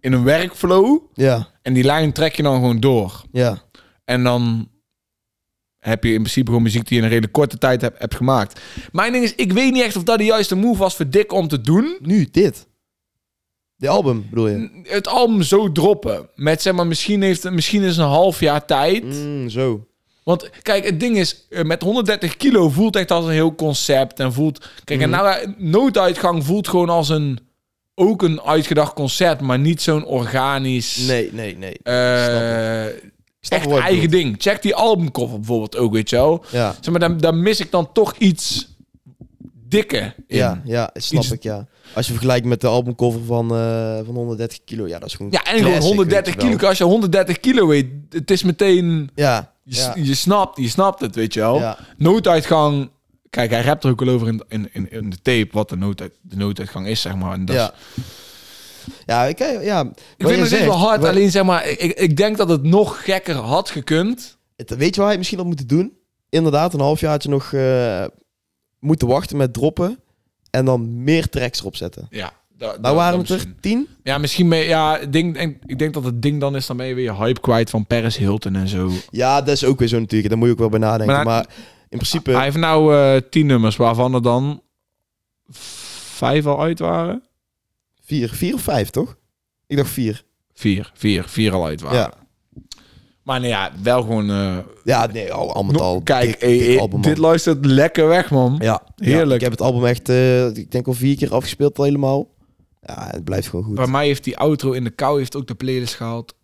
[SPEAKER 1] in een workflow.
[SPEAKER 2] Ja,
[SPEAKER 1] En die lijn trek je dan gewoon door.
[SPEAKER 2] ja.
[SPEAKER 1] En dan heb je in principe gewoon muziek die je in een redelijk korte tijd hebt, hebt gemaakt. Mijn ding is, ik weet niet echt of dat de juiste move was voor Dick om te doen.
[SPEAKER 2] Nu, dit. Die album, bedoel je?
[SPEAKER 1] Het album zo droppen. Met zeg maar, misschien, heeft, misschien is een half jaar tijd.
[SPEAKER 2] Mm, zo.
[SPEAKER 1] Want kijk, het ding is, eh, met 130 kilo voelt echt als een heel concept. En voelt. Kijk,
[SPEAKER 2] Mhm.
[SPEAKER 1] en nou, eh, nooduitgang voelt gewoon als een. Ook een uitgedacht concept, maar niet zo'n organisch.
[SPEAKER 2] Nee, nee, nee.
[SPEAKER 1] eh,
[SPEAKER 2] snap
[SPEAKER 1] echt
[SPEAKER 2] wat je
[SPEAKER 1] eigen ding. Check die albumkoffer bijvoorbeeld ook, weet je wel.
[SPEAKER 2] Ja.
[SPEAKER 1] Zeg maar, daar, daar mis ik dan toch iets dikker in.
[SPEAKER 2] Ja, ja, snap
[SPEAKER 1] Iets-
[SPEAKER 2] ik, ja. Als je vergelijkt met de albumcover van, eh, van 130 kilo, ja, dat is gewoon
[SPEAKER 1] Ja, en
[SPEAKER 2] classic,
[SPEAKER 1] gewoon 130
[SPEAKER 2] weet je
[SPEAKER 1] kilo.
[SPEAKER 2] wel.
[SPEAKER 1] Als je 130 kilo weet, het is meteen...
[SPEAKER 2] Ja,
[SPEAKER 1] Je, s-
[SPEAKER 2] ja,
[SPEAKER 1] je, snapt, je snapt het, weet je wel.
[SPEAKER 2] Ja.
[SPEAKER 1] Nooduitgang. Kijk, hij rapt er ook al over in, in, in, in de tape wat de, nooduit, de nooduitgang is, zeg maar. En dat is-
[SPEAKER 2] ja. Ja, ik, ja.
[SPEAKER 1] ik vind het echt wel hard, alleen zeg maar, ik, ik denk dat het nog gekker had gekund.
[SPEAKER 2] Het- weet je wat hij misschien had moeten doen? Inderdaad, een halfjaartje nog eh, moeten wachten met droppen. en dan meer tracks erop zetten.
[SPEAKER 1] Ja, da- da-
[SPEAKER 2] Nou waren
[SPEAKER 1] dan
[SPEAKER 2] het er
[SPEAKER 1] misschien.
[SPEAKER 2] tien?
[SPEAKER 1] Ja, misschien... mee- ja, ik denk, ik- ik denk dat het ding dan is, dan ben je weer je hype kwijt van Paris Hilton en zo.
[SPEAKER 2] Ja, dat is ook weer zo natuurlijk. Daar moet je ook wel bij nadenken.
[SPEAKER 1] Maar-
[SPEAKER 2] Maar, in principe...
[SPEAKER 1] Hij heeft nou eh, tien nummers, waarvan er dan vijf al uit waren.
[SPEAKER 2] Vier, vier of vijf, toch? Ik dacht vier.
[SPEAKER 1] Vier, vier, vier al uit waren.
[SPEAKER 2] Ja,
[SPEAKER 1] Maar nou ja, wel gewoon... eh,
[SPEAKER 2] ja nee, al, al met
[SPEAKER 1] nog-
[SPEAKER 2] al.
[SPEAKER 1] kijk,
[SPEAKER 2] dik,
[SPEAKER 1] eh,
[SPEAKER 2] dik
[SPEAKER 1] eh,
[SPEAKER 2] album, man.
[SPEAKER 1] dit luistert lekker weg, man.
[SPEAKER 2] ja,
[SPEAKER 1] heerlijk.
[SPEAKER 2] Ja, ik heb het album echt, eh, ik denk al vier keer afgespeeld al helemaal. Ja, het blijft gewoon goed.
[SPEAKER 1] Bij mij heeft die outro in de kou heeft ook de playlist gehaald.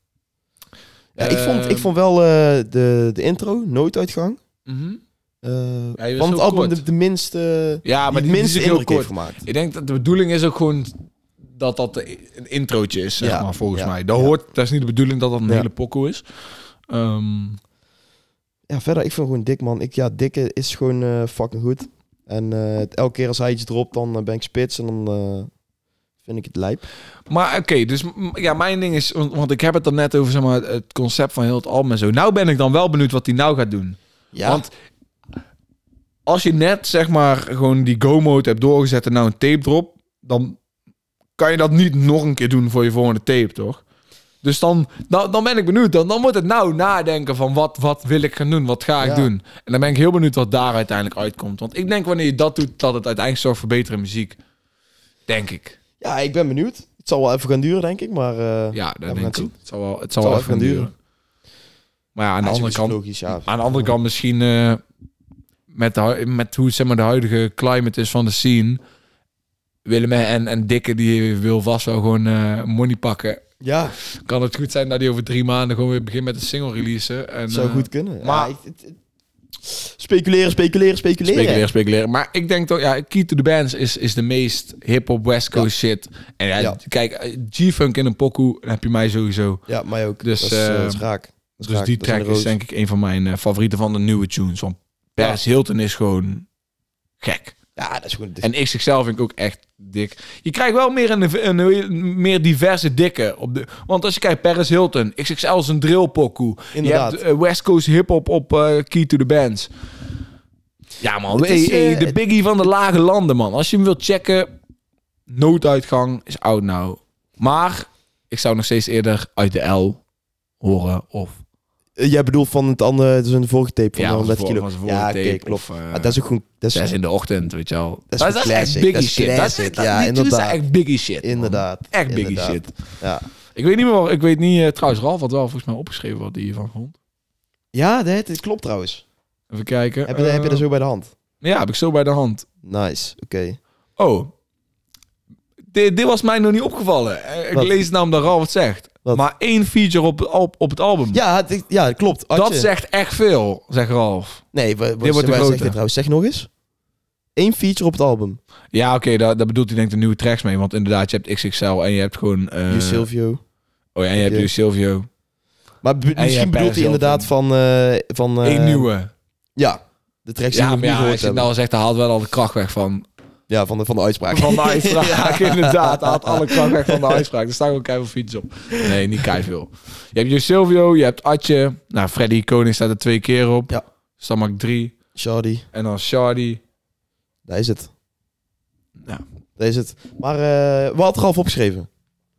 [SPEAKER 2] ja, ik, vond, ik
[SPEAKER 1] Ehm,
[SPEAKER 2] vond wel eh, de, de intro, Nooduitgang,
[SPEAKER 1] mhm.
[SPEAKER 2] eh,
[SPEAKER 1] Ja, die was
[SPEAKER 2] van het
[SPEAKER 1] heel
[SPEAKER 2] album
[SPEAKER 1] kort.
[SPEAKER 2] de, de minste,
[SPEAKER 1] Ja, Ah, maar
[SPEAKER 2] die
[SPEAKER 1] die, die is
[SPEAKER 2] het minste
[SPEAKER 1] ook heel
[SPEAKER 2] indruk heeft
[SPEAKER 1] kort.
[SPEAKER 2] gemaakt.
[SPEAKER 1] Ik denk dat de bedoeling is ook gewoon dat dat een introotje is, zeg
[SPEAKER 2] Ja,
[SPEAKER 1] maar, volgens
[SPEAKER 2] ja,
[SPEAKER 1] mij. Dat,
[SPEAKER 2] ja.
[SPEAKER 1] hoort, dat is niet de bedoeling dat dat een
[SPEAKER 2] Ja.
[SPEAKER 1] hele pokoe is. Ehm,
[SPEAKER 2] Ja, verder, ik vind gewoon dik, man. Ik, ja, dikke is gewoon eh, fucking goed. En eh, het- elke keer als hij iets dropt, dan eh, ben ik spits en dan eh, vind ik het lijp.
[SPEAKER 1] maar oké, dus m- ja, mijn ding is... Want, want ik heb het er net over zeg maar, het concept van heel het album en zo. Nou ben ik dan wel benieuwd wat hij nou gaat doen.
[SPEAKER 2] Ja,
[SPEAKER 1] Want als je net, zeg maar, gewoon die go-mode hebt doorgezet en nou een tape drop... dan kan je dat niet nog een keer doen voor je volgende tape, toch? Dus dan, dan, dan ben ik benieuwd. Dan, dan moet het nou nadenken van wat, wat wil ik gaan doen? Wat ga ik
[SPEAKER 2] Ja.
[SPEAKER 1] doen? En dan ben ik heel benieuwd wat daar uiteindelijk uitkomt. Want ik denk wanneer je dat doet, dat het uiteindelijk zorgt voor betere muziek. Denk ik.
[SPEAKER 2] ja, ik ben benieuwd. Het zal wel even gaan duren, denk ik, maar... eh,
[SPEAKER 1] Ja, dat
[SPEAKER 2] gaan
[SPEAKER 1] denk ik.
[SPEAKER 2] het zien.
[SPEAKER 1] Het zal wel, het zal
[SPEAKER 2] zal
[SPEAKER 1] wel
[SPEAKER 2] even
[SPEAKER 1] even
[SPEAKER 2] gaan
[SPEAKER 1] duren. Maar ja, aan de
[SPEAKER 2] ja,
[SPEAKER 1] andere
[SPEAKER 2] is sowieso
[SPEAKER 1] kant...
[SPEAKER 2] Logisch, ja.
[SPEAKER 1] Aan de andere kant misschien eh, met, de, hu- met hoe zeg maar, de huidige climate is van de scene. Willem en, en Dikke die wil vast wel gewoon eh, money pakken.
[SPEAKER 2] Ja,
[SPEAKER 1] Kan het goed zijn dat hij over drie maanden gewoon weer begint met een single releasen. En,
[SPEAKER 2] het zou
[SPEAKER 1] eh,
[SPEAKER 2] goed kunnen.
[SPEAKER 1] maar-
[SPEAKER 2] Maar... Ja, ik- het- het- speculeren, speculeren, speculeren.
[SPEAKER 1] Speculeren, speculeren. Maar ik denk toch, ja, Key to the Bands is, is de meest hip-hop West Coast shit. En ja,
[SPEAKER 2] Ja.
[SPEAKER 1] kijk, eh, G-Funk in een pokoe, dan heb je mij sowieso.
[SPEAKER 2] Ja, mij ook.
[SPEAKER 1] Dus,
[SPEAKER 2] Dus, dat, is, eh,
[SPEAKER 1] eh,
[SPEAKER 2] dat is raak. Dat is
[SPEAKER 1] Dus
[SPEAKER 2] raak.
[SPEAKER 1] die
[SPEAKER 2] Dat een
[SPEAKER 1] track is
[SPEAKER 2] roos.
[SPEAKER 1] denk ik een van mijn eh, favorieten van de nieuwe tunes. Want Paris Hilton is gewoon gek.
[SPEAKER 2] Ja, dat is gewoon...
[SPEAKER 1] En XXL vind ik ook echt dik. Je krijgt wel meer een, een, een meer diverse dikke. Op de, want als je kijkt, Paris Hilton, XXL is een drillpokoe.
[SPEAKER 2] Inderdaad.
[SPEAKER 1] Je hebt eh, West Coast hip-hop op eh, Key to the Bands. Ja, man.
[SPEAKER 2] Het is,
[SPEAKER 1] hey, hey,
[SPEAKER 2] eh,
[SPEAKER 1] de biggie van de lage landen, man. Als je hem wilt checken, nooduitgang is oud nou. Maar ik zou nog steeds eerder uit de L horen of...
[SPEAKER 2] Eh, Jij bedoelt van het andere, dus een vorige tape van
[SPEAKER 1] Ja,
[SPEAKER 2] de
[SPEAKER 1] van
[SPEAKER 2] 100
[SPEAKER 1] voor-
[SPEAKER 2] kilo.
[SPEAKER 1] van zijn
[SPEAKER 2] ja,
[SPEAKER 1] vorige
[SPEAKER 2] oké,
[SPEAKER 1] tape
[SPEAKER 2] klopt.
[SPEAKER 1] of, eh,
[SPEAKER 2] Maar dat is ook goed. Dat is,
[SPEAKER 1] Zes in de ochtend, weet je wel.
[SPEAKER 2] Dat is
[SPEAKER 1] dat
[SPEAKER 2] classic,
[SPEAKER 1] echt biggie
[SPEAKER 2] dat is
[SPEAKER 1] shit. Dat is,
[SPEAKER 2] classic,
[SPEAKER 1] dat-
[SPEAKER 2] ja,
[SPEAKER 1] die tunes zijn
[SPEAKER 2] inderdaad.
[SPEAKER 1] echt biggie shit. man.
[SPEAKER 2] Inderdaad.
[SPEAKER 1] Echt biggie
[SPEAKER 2] inderdaad.
[SPEAKER 1] shit.
[SPEAKER 2] Ja,
[SPEAKER 1] Ik weet niet meer, wat- ik weet niet, eh, trouwens, Ralf had wel volgens mij opgeschreven wat hij hiervan vond.
[SPEAKER 2] ja dat, dat klopt trouwens.
[SPEAKER 1] Even kijken.
[SPEAKER 2] Heb je, heb je
[SPEAKER 1] Eh,
[SPEAKER 2] dat zo bij de hand?
[SPEAKER 1] Ja, heb ik zo bij de hand.
[SPEAKER 2] Nice, oké.
[SPEAKER 1] Oh, dit, dit was mij nog niet opgevallen. Eh, Ik
[SPEAKER 2] Wat?
[SPEAKER 1] lees namelijk dat Ralf het zegt.
[SPEAKER 2] Wat?
[SPEAKER 1] Maar één feature op, op, op het album.
[SPEAKER 2] Ja, het, ja, dat klopt. Had
[SPEAKER 1] dat
[SPEAKER 2] je-
[SPEAKER 1] zegt echt veel, zegt Ralf.
[SPEAKER 2] Nee, wat,
[SPEAKER 1] wordt de
[SPEAKER 2] wat, wat
[SPEAKER 1] grote.
[SPEAKER 2] zegt dit trouwens? Zeg nog eens. Eén feature op het album.
[SPEAKER 1] Ja, oké, daar, daar bedoelt hij denk ik de nieuwe tracks mee. Want inderdaad, je hebt XXL en je hebt gewoon... eh,
[SPEAKER 2] You Silvio.
[SPEAKER 1] Oh ja, en je hebt
[SPEAKER 2] Ja.
[SPEAKER 1] You Silvio.
[SPEAKER 2] Maar be-
[SPEAKER 1] hebt
[SPEAKER 2] misschien bedoelt
[SPEAKER 1] Paris
[SPEAKER 2] hij inderdaad van... eh van eh,
[SPEAKER 1] Eén nieuwe.
[SPEAKER 2] Ja, de tracks die
[SPEAKER 1] Ja,
[SPEAKER 2] we
[SPEAKER 1] maar
[SPEAKER 2] nu
[SPEAKER 1] ja,
[SPEAKER 2] gehoord
[SPEAKER 1] als je het
[SPEAKER 2] hebben.
[SPEAKER 1] nou zegt, dan haalt wel al de kracht weg van...
[SPEAKER 2] Ja, van de, van de uitspraak.
[SPEAKER 1] Van de
[SPEAKER 2] [laughs]
[SPEAKER 1] uitspraak, [laughs] inderdaad. Hij had alle kracht weg van de uitspraak. Er staan ook keihard fiets op. Nee, niet keihard. Je hebt Jo Silvio, je hebt Atje. Nou, Freddy Koning staat er twee keer op.
[SPEAKER 2] Ja.
[SPEAKER 1] Dus dan maak ik drie.
[SPEAKER 2] Shardy,
[SPEAKER 1] En dan Shardy.
[SPEAKER 2] daar is het.
[SPEAKER 1] Ja.
[SPEAKER 2] Daar is het. Maar eh wat had Ralf opgeschreven?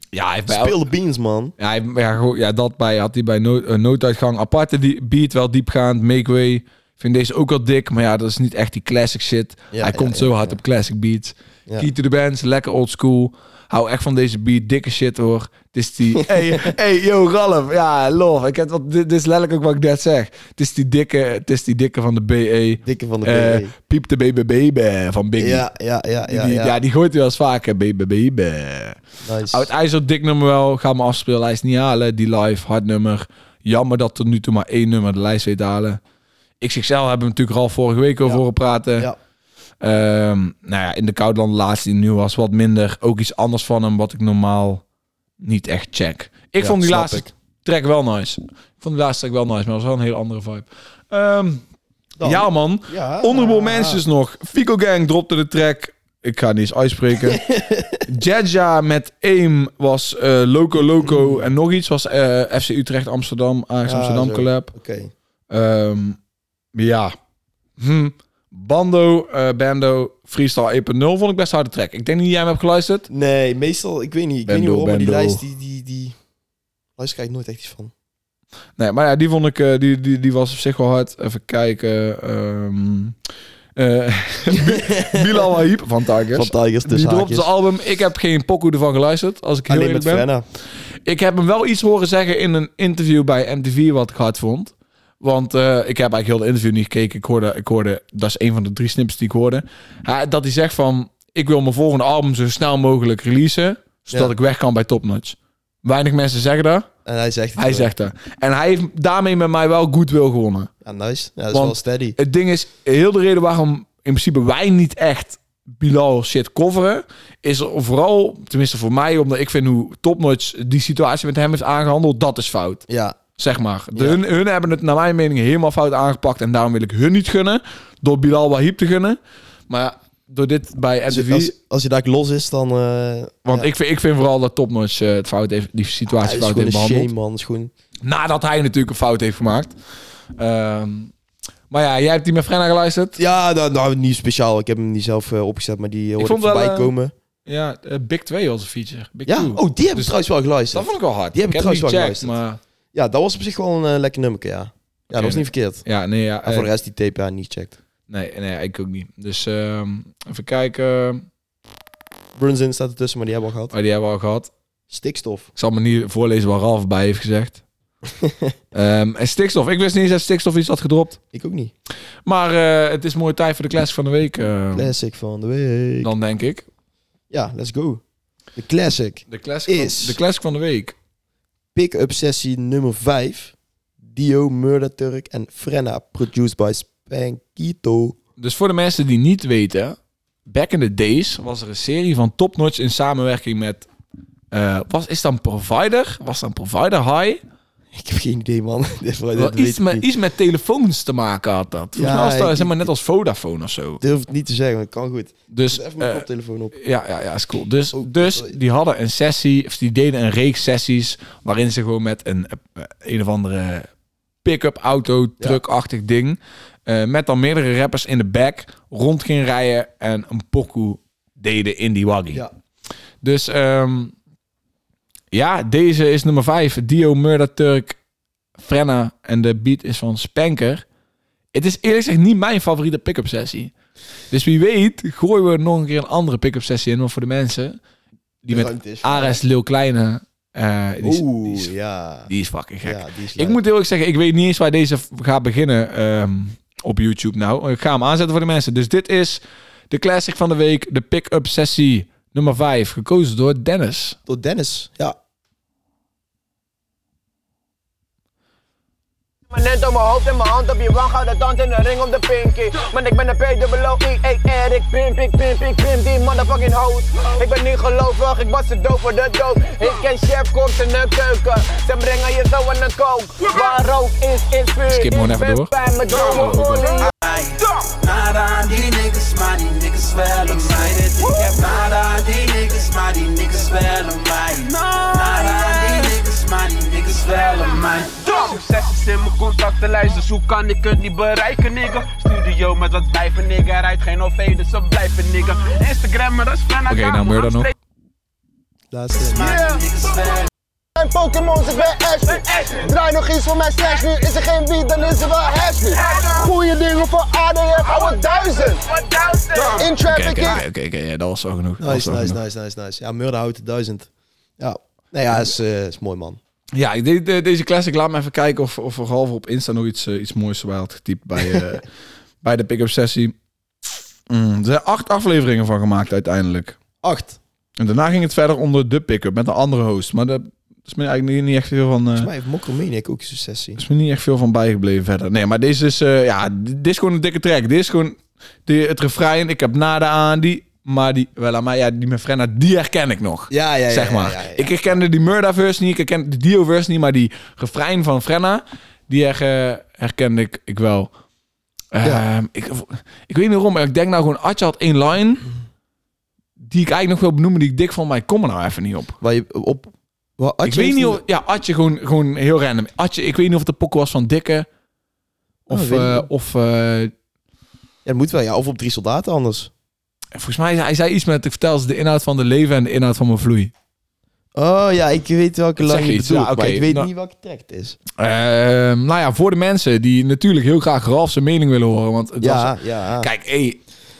[SPEAKER 1] Ja, hij heeft bij
[SPEAKER 2] Speel de beans, man.
[SPEAKER 1] Ja, hij- ja, goed, ja, dat bij, had hij bij nood, eh, nooduitgang. Aparte die, beat, wel diepgaand. Make way. Ik vind deze ook wel dik, maar ja, dat is niet echt die classic shit.
[SPEAKER 2] Ja,
[SPEAKER 1] hij
[SPEAKER 2] ja,
[SPEAKER 1] komt
[SPEAKER 2] ja,
[SPEAKER 1] zo hard
[SPEAKER 2] ja.
[SPEAKER 1] op classic beats.
[SPEAKER 2] Ja.
[SPEAKER 1] Key to the bands, lekker old school. Hou echt van deze beat, dikke shit hoor. Het is die...
[SPEAKER 2] [laughs]
[SPEAKER 1] hey, hey, yo, Ralf. Ja, love. Ik heb wat, dit, dit is letterlijk ook wat ik net zeg. Het is die dikke, het is die dikke van de BE.
[SPEAKER 2] Dikke van de
[SPEAKER 1] Eh,
[SPEAKER 2] BB.
[SPEAKER 1] piep de BBB van Biggie.
[SPEAKER 2] Ja, ja, ja,
[SPEAKER 1] Die-
[SPEAKER 2] ja.
[SPEAKER 1] die, ja.
[SPEAKER 2] ja.
[SPEAKER 1] die gooit hij wel eens vaker. BBB.
[SPEAKER 2] Nice.
[SPEAKER 1] Oud IJzer, dik nummer wel. Ga mijn afspeellijst niet halen. Die live, hard nummer. Jammer dat tot nu toe maar één nummer de lijst weet te halen. XXL hebben we natuurlijk al vorige week over
[SPEAKER 2] Ja.
[SPEAKER 1] horen praten.
[SPEAKER 2] Ja.
[SPEAKER 1] Ehm, nou ja, in de Koudland laatst die nu was wat minder. Ook iets anders van hem wat ik normaal niet echt check. Ik
[SPEAKER 2] Ja,
[SPEAKER 1] vond die
[SPEAKER 2] snap
[SPEAKER 1] laatste
[SPEAKER 2] ik.
[SPEAKER 1] track wel nice. Ik vond die laatste track wel nice, maar het was wel een heel andere vibe. Ehm,
[SPEAKER 2] Dan-
[SPEAKER 1] ja man,
[SPEAKER 2] Ja.
[SPEAKER 1] Honorable Mentions nog. Fico Gang dropte de track. Ik ga niet eens
[SPEAKER 2] [laughs]
[SPEAKER 1] uitspreken. Jaja met AIM was eh, Loco Loco. En nog iets was eh, FC Utrecht Amsterdam. Ajax
[SPEAKER 2] Ja,
[SPEAKER 1] Amsterdam
[SPEAKER 2] zo.
[SPEAKER 1] collab.
[SPEAKER 2] Oké.
[SPEAKER 1] Ehm, ja. Ehm, Hm. Bando, eh, Bando, Freestyle 1.0 vond ik best een harde track. Ik denk niet dat jij hem hebt geluisterd.
[SPEAKER 2] Nee, meestal, ik weet niet. Ik weet niet
[SPEAKER 1] Bendo,
[SPEAKER 2] waarom, maar die
[SPEAKER 1] Bendo.
[SPEAKER 2] lijst, die, die, die... Luister krijg ik nooit echt iets van.
[SPEAKER 1] Nee, maar ja, die vond ik, eh, die, die, die was op zich wel hard. Even kijken. ehm eh, [laughs] Bilal Wahib van Tigers.
[SPEAKER 2] Van Tigers
[SPEAKER 1] die
[SPEAKER 2] tussen
[SPEAKER 1] dropt
[SPEAKER 2] haakjes.
[SPEAKER 1] zijn album. Ik heb geen pokoe ervan geluisterd, als ik heel
[SPEAKER 2] Alleen
[SPEAKER 1] eerlijk
[SPEAKER 2] met
[SPEAKER 1] ben.
[SPEAKER 2] Frenna.
[SPEAKER 1] Ik heb hem wel iets horen zeggen in een interview bij MTV wat ik hard vond. Want eh, ik heb eigenlijk heel de interview niet gekeken. Ik hoorde, ik hoorde, dat is een van de drie snips die ik hoorde. Hij- dat hij zegt van, ik wil mijn volgende album zo snel mogelijk releasen. Zodat
[SPEAKER 2] Ja.
[SPEAKER 1] ik weg kan bij Top Notch. Weinig mensen zeggen dat.
[SPEAKER 2] En hij zegt... het
[SPEAKER 1] Hij
[SPEAKER 2] wel.
[SPEAKER 1] zegt dat. En hij heeft daarmee met mij wel goodwill gewonnen.
[SPEAKER 2] Ja, nice. Ja, dat is
[SPEAKER 1] Want-
[SPEAKER 2] wel steady.
[SPEAKER 1] Het ding is, heel de reden waarom in principe wij niet echt Bilal shit coveren, is er vooral, tenminste voor mij, omdat ik vind hoe Topnotch die situatie met hem heeft aangehandeld, dat is fout.
[SPEAKER 2] Ja,
[SPEAKER 1] Zeg maar. De-
[SPEAKER 2] Ja.
[SPEAKER 1] hun, hun hebben het naar mijn mening helemaal fout aangepakt en daarom wil ik hun niet gunnen, door Bilal Wahib te gunnen. Maar ja, door dit bij
[SPEAKER 2] als,
[SPEAKER 1] MTV,
[SPEAKER 2] Dus als, als je daar los is, dan... eh,
[SPEAKER 1] want
[SPEAKER 2] ja.
[SPEAKER 1] ik, vind, ik vind vooral dat Topnotch eh, het fout heeft, die
[SPEAKER 2] Ja,
[SPEAKER 1] situatie
[SPEAKER 2] het is
[SPEAKER 1] fout
[SPEAKER 2] gewoon
[SPEAKER 1] heeft
[SPEAKER 2] een
[SPEAKER 1] behandeld.
[SPEAKER 2] shame, man. Het is gewoon...
[SPEAKER 1] Nadat hij natuurlijk een fout heeft gemaakt. Ehm, maar ja, jij hebt die met Frenna geluisterd.
[SPEAKER 2] Ja, nou, nou, niet speciaal. Ik heb hem niet zelf eh, opgezet, maar die eh, hoorde ik
[SPEAKER 1] vond wel,
[SPEAKER 2] voorbij
[SPEAKER 1] eh,
[SPEAKER 2] komen.
[SPEAKER 1] Ja, eh, Big 2 was een feature. Big
[SPEAKER 2] Ja,
[SPEAKER 1] Two.
[SPEAKER 2] oh, die heb ik
[SPEAKER 1] Dus
[SPEAKER 2] trouwens wel
[SPEAKER 1] dat
[SPEAKER 2] geluisterd.
[SPEAKER 1] vond ik wel hard.
[SPEAKER 2] Die heb
[SPEAKER 1] hem
[SPEAKER 2] ik trouwens
[SPEAKER 1] niet
[SPEAKER 2] wel
[SPEAKER 1] gecheckt,
[SPEAKER 2] geluisterd.
[SPEAKER 1] maar...
[SPEAKER 2] Ja, dat was op zich wel een eh, lekker nummerke, ja. Ja, dat was
[SPEAKER 1] nee.
[SPEAKER 2] niet verkeerd.
[SPEAKER 1] Ja, nee, ja,
[SPEAKER 2] En
[SPEAKER 1] eh,
[SPEAKER 2] Ah, voor de rest die tape, ja, niet checkt.
[SPEAKER 1] nee, nee, ik ook niet. Dus ehm, even kijken.
[SPEAKER 2] Brunson staat ertussen, maar die hebben we al gehad.
[SPEAKER 1] Oh, die hebben we al gehad.
[SPEAKER 2] Stikstof. [laughs]
[SPEAKER 1] Ik zal me niet voorlezen waar Ralf bij heeft gezegd. Ehm, en stikstof. Ik wist niet eens dat stikstof iets had gedropt.
[SPEAKER 2] Ik ook niet.
[SPEAKER 1] Maar eh, het is mooie tijd voor de classic van de week. eh,
[SPEAKER 2] Classic van de week.
[SPEAKER 1] dan denk ik.
[SPEAKER 2] Ja, let's go. De classic.
[SPEAKER 1] De classic,
[SPEAKER 2] Is.
[SPEAKER 1] Van, de classic van de week.
[SPEAKER 2] Pick-up sessie nummer 5. Dio, Murder Turk en Frenna. Produced by Spankito.
[SPEAKER 1] Dus voor de mensen die niet weten, back in the days was er een serie van Top Notch in samenwerking met. eh was, is dan Provider? Was dan Provider High?
[SPEAKER 2] [laughs] Ik heb geen idee, man. [laughs] Dit- dit
[SPEAKER 1] Wel,
[SPEAKER 2] weet
[SPEAKER 1] iets,
[SPEAKER 2] ik
[SPEAKER 1] met,
[SPEAKER 2] niet.
[SPEAKER 1] iets met telefoons te maken had dat. Volgens
[SPEAKER 2] Ja,
[SPEAKER 1] mij was dat
[SPEAKER 2] ik-
[SPEAKER 1] zeg maar, net als Vodafone of zo.
[SPEAKER 2] Durf het niet te zeggen, want het kan goed.
[SPEAKER 1] Dus,
[SPEAKER 2] Dus even mijn
[SPEAKER 1] eh,
[SPEAKER 2] koptelefoon op.
[SPEAKER 1] ja, ja, ja, is cool. Dus,
[SPEAKER 2] Oh,
[SPEAKER 1] dus
[SPEAKER 2] sorry.
[SPEAKER 1] die hadden een sessie, of die deden een reeks sessies, waarin ze gewoon met een, eh, een of andere pick-up auto, truckachtig ding, eh, met dan meerdere rappers in de back, rond gingen rijden en een pokoe deden in die waggie.
[SPEAKER 2] Ja.
[SPEAKER 1] Dus ehm, ja, deze is nummer 5. Dio, Murder Turk, Frenna en de beat is van Spanker. Het is eerlijk gezegd niet mijn favoriete pick-up sessie. Dus wie weet gooien we nog een keer een andere pick-up sessie in. Want voor de mensen die met
[SPEAKER 2] ruimte is voor-
[SPEAKER 1] Ares Lil Kleine... eh, die, is, die,
[SPEAKER 2] Oeh,
[SPEAKER 1] is,
[SPEAKER 2] ja.
[SPEAKER 1] die is fucking gek.
[SPEAKER 2] Ja, die is
[SPEAKER 1] ik
[SPEAKER 2] leuk.
[SPEAKER 1] moet heel eerlijk zeggen, ik weet niet eens waar deze v- gaat beginnen ehm, op YouTube nou. Ik ga hem aanzetten voor de mensen. Dus dit is de classic van de week. De pick-up sessie nummer 5. Gekozen door Dennis.
[SPEAKER 2] Door Dennis. Ja.
[SPEAKER 5] Permanent op mijn hoofd en mijn hand op je wang, gouden tand en een ring om de pinky. Man, ik ben een P-double-O-I, ey Eric, pimp, E ik pimp, ik pimp die motherfucking hoes. Ik ben niet gelovig, ik was te doof voor de dood. Ik ken chef, komt in de keuken, ze brengen je zo aan de kook. Waar rook is, is vuur.
[SPEAKER 1] Skip gewoon
[SPEAKER 5] Ik
[SPEAKER 1] even
[SPEAKER 5] ben
[SPEAKER 1] door. Oh,
[SPEAKER 5] bij mijn dromen, olie.
[SPEAKER 6] Ay, Nada aan die niggas, maar die niggas wel om mij. Dit ik heb nada aan die niggas, maar die niggas wel om mij. Nada aan die niggas, maar die niggas wel om mij.
[SPEAKER 5] Succes is in mijn contactenlijst, dus hoe kan ik het niet bereiken, nigga? Studio met wat wijven, nigga, Hij rijdt geen OV, dus ze blijven, nigga. Instagram, maar dat is van
[SPEAKER 1] Oké, nou meer dan nog.
[SPEAKER 2] Laatste.
[SPEAKER 6] Maar die niggas wel
[SPEAKER 5] zijn Pokémon's, ik ben Ashley. Draai nog iets voor mijn slash nu. Is er geen beat, dan is er wel hash nu. Goeie dingen voor ADF, ouwe duizend. In
[SPEAKER 1] Oké,
[SPEAKER 5] traffic
[SPEAKER 1] oké,
[SPEAKER 5] is
[SPEAKER 1] oké, oké, oké, ja, dat was al genoeg. Dat was
[SPEAKER 2] Nice,
[SPEAKER 1] al
[SPEAKER 2] nice,
[SPEAKER 1] genoeg.
[SPEAKER 2] nice, nice, nice. Ja, Murder houdt de duizend. Ja. Nou ja, is, eh, is mooi, man.
[SPEAKER 1] Ja, ik deed, eh, deze classic, laat me even kijken of, of Ralf op Insta nog iets, eh, iets moois erbij had getypt bij,
[SPEAKER 2] [laughs]
[SPEAKER 1] eh, bij de pick-up sessie. Mm, er zijn acht afleveringen van gemaakt uiteindelijk.
[SPEAKER 2] Acht.
[SPEAKER 1] En daarna ging het verder onder de pick-up met een andere host. Maar daar is me eigenlijk niet, niet echt veel van... eh,
[SPEAKER 2] Volgens mij heeft Mokromaniac ook een sessie.
[SPEAKER 1] is me niet echt veel van bijgebleven verder. Nee, maar deze is, eh, ja, dit is gewoon een dikke track. Dit is gewoon die, het refrein. Ik heb nada aan die, maar die, wel aan mij, ja, die met Frenna, die herken ik nog.
[SPEAKER 2] Ja, ja, ja.
[SPEAKER 1] zeg maar.
[SPEAKER 2] Ja, ja, ja.
[SPEAKER 1] Ik herkende die Murdaverse niet, ik herkende de Dioverse niet, maar die refrein van Frenna, die her, eh, herkende ik, ik wel.
[SPEAKER 2] Ja.
[SPEAKER 1] Ehm, ik, ik weet niet waarom, maar ik denk nou gewoon, Atje had één line die ik eigenlijk nog wil benoemen, die ik dik vond, maar ik kom er nou even niet op.
[SPEAKER 2] Waar je op... Waar Atje
[SPEAKER 1] ik weet
[SPEAKER 2] heeft
[SPEAKER 1] niet
[SPEAKER 2] een-
[SPEAKER 1] of... Ja, Atje gewoon, gewoon heel random. Atje, ik weet niet of het de pokken was van Dikke.
[SPEAKER 2] Oh,
[SPEAKER 1] Of...
[SPEAKER 2] weet ik
[SPEAKER 1] eh,
[SPEAKER 2] niet.
[SPEAKER 1] of eh,
[SPEAKER 2] Ja, dat moet wel, ja. Of op drie soldaten anders.
[SPEAKER 1] En volgens mij hij zei iets met, ik vertel ze de inhoud van de leven en de inhoud van mijn vloei.
[SPEAKER 2] Oh ja, ik weet welke
[SPEAKER 1] Zeg
[SPEAKER 2] lang je
[SPEAKER 1] iets,
[SPEAKER 2] bedoelt,
[SPEAKER 1] ja, oké,
[SPEAKER 2] maar ik weet
[SPEAKER 1] nou-
[SPEAKER 2] niet welke track het is.
[SPEAKER 1] Ehm, nou ja, voor de mensen die natuurlijk heel graag Ralf zijn mening willen horen. Want het was
[SPEAKER 2] Ja, ja.
[SPEAKER 1] Kijk, hé,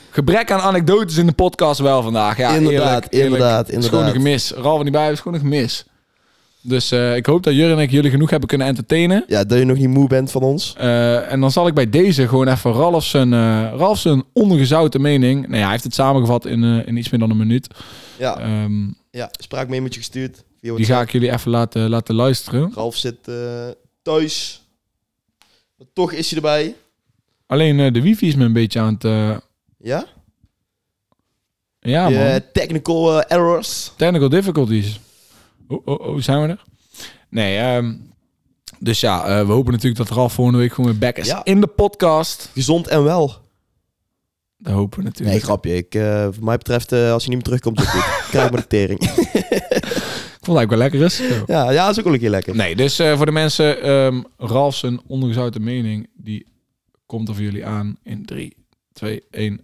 [SPEAKER 1] gebrek aan anekdotes in de podcast wel vandaag. Ja,
[SPEAKER 2] Inderdaad,
[SPEAKER 1] eerlijk,
[SPEAKER 2] inderdaad,
[SPEAKER 1] Het is gewoon een
[SPEAKER 2] inderdaad.
[SPEAKER 1] gemis. Ralf en die bij is gewoon een gemis. Dus eh, ik hoop dat Jur en ik jullie genoeg hebben kunnen entertainen.
[SPEAKER 2] Ja, dat je nog niet moe bent van ons.
[SPEAKER 1] Eh, en dan zal ik bij deze gewoon even Ralf zijn, eh, Ralf zijn ongezouten mening... Nou ja, hij heeft het samengevat in, eh, in iets meer dan een minuut.
[SPEAKER 2] Ja,
[SPEAKER 1] Ehm,
[SPEAKER 2] ja. spraak mee met je gestuurd. Via
[SPEAKER 1] die
[SPEAKER 2] WhatsApp.
[SPEAKER 1] ga ik jullie even laten, laten luisteren.
[SPEAKER 2] Ralf zit eh, thuis. Maar toch is hij erbij.
[SPEAKER 1] Alleen eh, de wifi is me een beetje aan het... eh,
[SPEAKER 2] Ja?
[SPEAKER 1] ja, man.
[SPEAKER 2] Die, eh, technical eh, errors.
[SPEAKER 1] Technical difficulties. Oh, oh, oh, zijn we er? Nee, ehm, dus ja, eh, we hopen natuurlijk dat Ralf volgende week gewoon weer back is
[SPEAKER 2] Ja.
[SPEAKER 1] in de podcast.
[SPEAKER 2] Gezond en wel.
[SPEAKER 1] Dat hopen we
[SPEAKER 2] Nee,
[SPEAKER 1] natuurlijk.
[SPEAKER 2] grapje. Ik, eh, wat mij betreft, eh, als hij niet meer terugkomt, is het [laughs] goed. Krijg maar de tering.
[SPEAKER 1] ik vond het eigenlijk wel lekker rustig.
[SPEAKER 2] [laughs] ja, ja, is ook wel een keer lekker.
[SPEAKER 1] Nee, dus eh, voor de mensen, ehm Ralf zijn ongezouten mening, die komt er voor jullie aan in 3, 2, 1.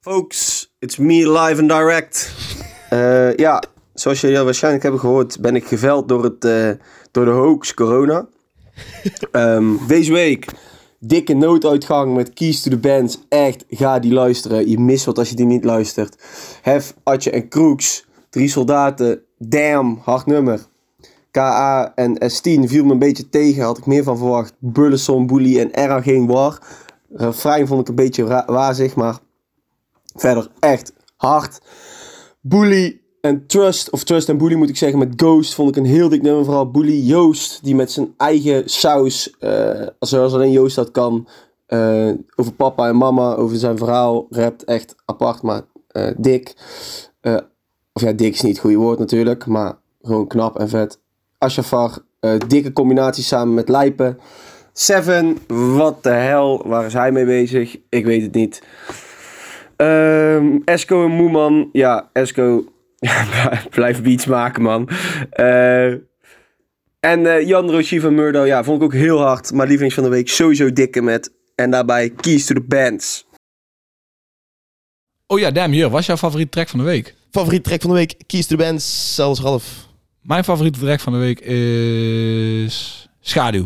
[SPEAKER 7] Folks, it's me live and direct. [laughs] Eh, ja, zoals jullie al waarschijnlijk hebben gehoord, ben ik geveld door, het, eh, door de hoax corona. [laughs] Ehm, deze week, dikke nooduitgang met Keys to the Bands. Echt, ga die luisteren. Je mist wat als je die niet luistert. Hef, Atje en Kroeks, drie soldaten. Damn, hard nummer. KA en S10 viel me een beetje tegen, had ik meer van verwacht. Burleson, Bully en RA geen war. Refrein vond ik een beetje ra- wazig, maar Verder echt hard. Bully en Trust, of Trust en Bully moet ik zeggen, met Ghost vond ik een heel dik nummer. Vooral Bully Joost, die met zijn eigen saus, eh, zoals alleen Joost dat kan, eh, over papa en mama, over zijn verhaal, rapt echt apart, maar eh, dik. Eh, of ja, dik is niet het goede woord natuurlijk, maar gewoon knap en vet. Ashafar, eh, dikke combinatie samen met Lijpen. Seven, wat de hel, waar is hij mee bezig? Ik weet het niet. Ehm, Esco en Moeman. Ja, Esco. [laughs] Blijf beats maken, man. Eh, en eh, Jan Rochie van Murdo. Ja, vond ik ook heel hard. Maar lievelings van de week sowieso dikke met. En daarbij Keys to the Bands.
[SPEAKER 1] Oh ja, damn, Jur, wat is jouw favoriete track van de week?
[SPEAKER 2] Favoriete track van de week. Kies de band, zelfs Ralf.
[SPEAKER 1] Mijn favoriete track van de week is Schaduw.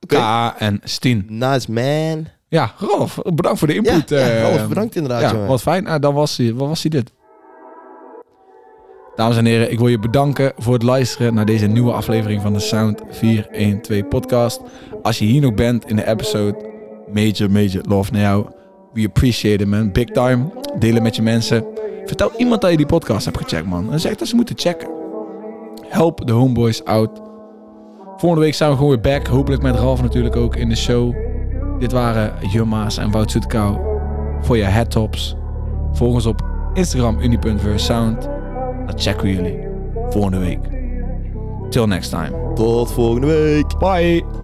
[SPEAKER 2] Oké.
[SPEAKER 1] KA en Steen.
[SPEAKER 2] Nice man.
[SPEAKER 1] Ja, Ralf, bedankt voor de
[SPEAKER 2] Ja,
[SPEAKER 1] input.
[SPEAKER 2] ja,
[SPEAKER 1] eh,
[SPEAKER 2] Ralf, bedankt inderdaad,
[SPEAKER 1] Ja,
[SPEAKER 2] jongen.
[SPEAKER 1] wat fijn. Ah, dan was hij, wat was hij dit? Dames en heren, ik wil je bedanken voor het luisteren naar deze nieuwe aflevering van de Sound 412 podcast. Als je hier nog bent in de episode, major, major love naar jou. We appreciate it, man. Big time. Delen met je mensen. Vertel iemand dat je die podcast hebt gecheckt, man. En zeg dat ze moeten checken. Help de homeboys out. Volgende week zijn we gewoon weer back. Hopelijk met Ralf natuurlijk ook in de show. Dit waren Jumma's en Wout Zoetkou voor je headtops. Volg ons op Instagram uni.versound. Dan checken we jullie volgende week. Till next time.
[SPEAKER 2] Tot volgende week.
[SPEAKER 1] Bye!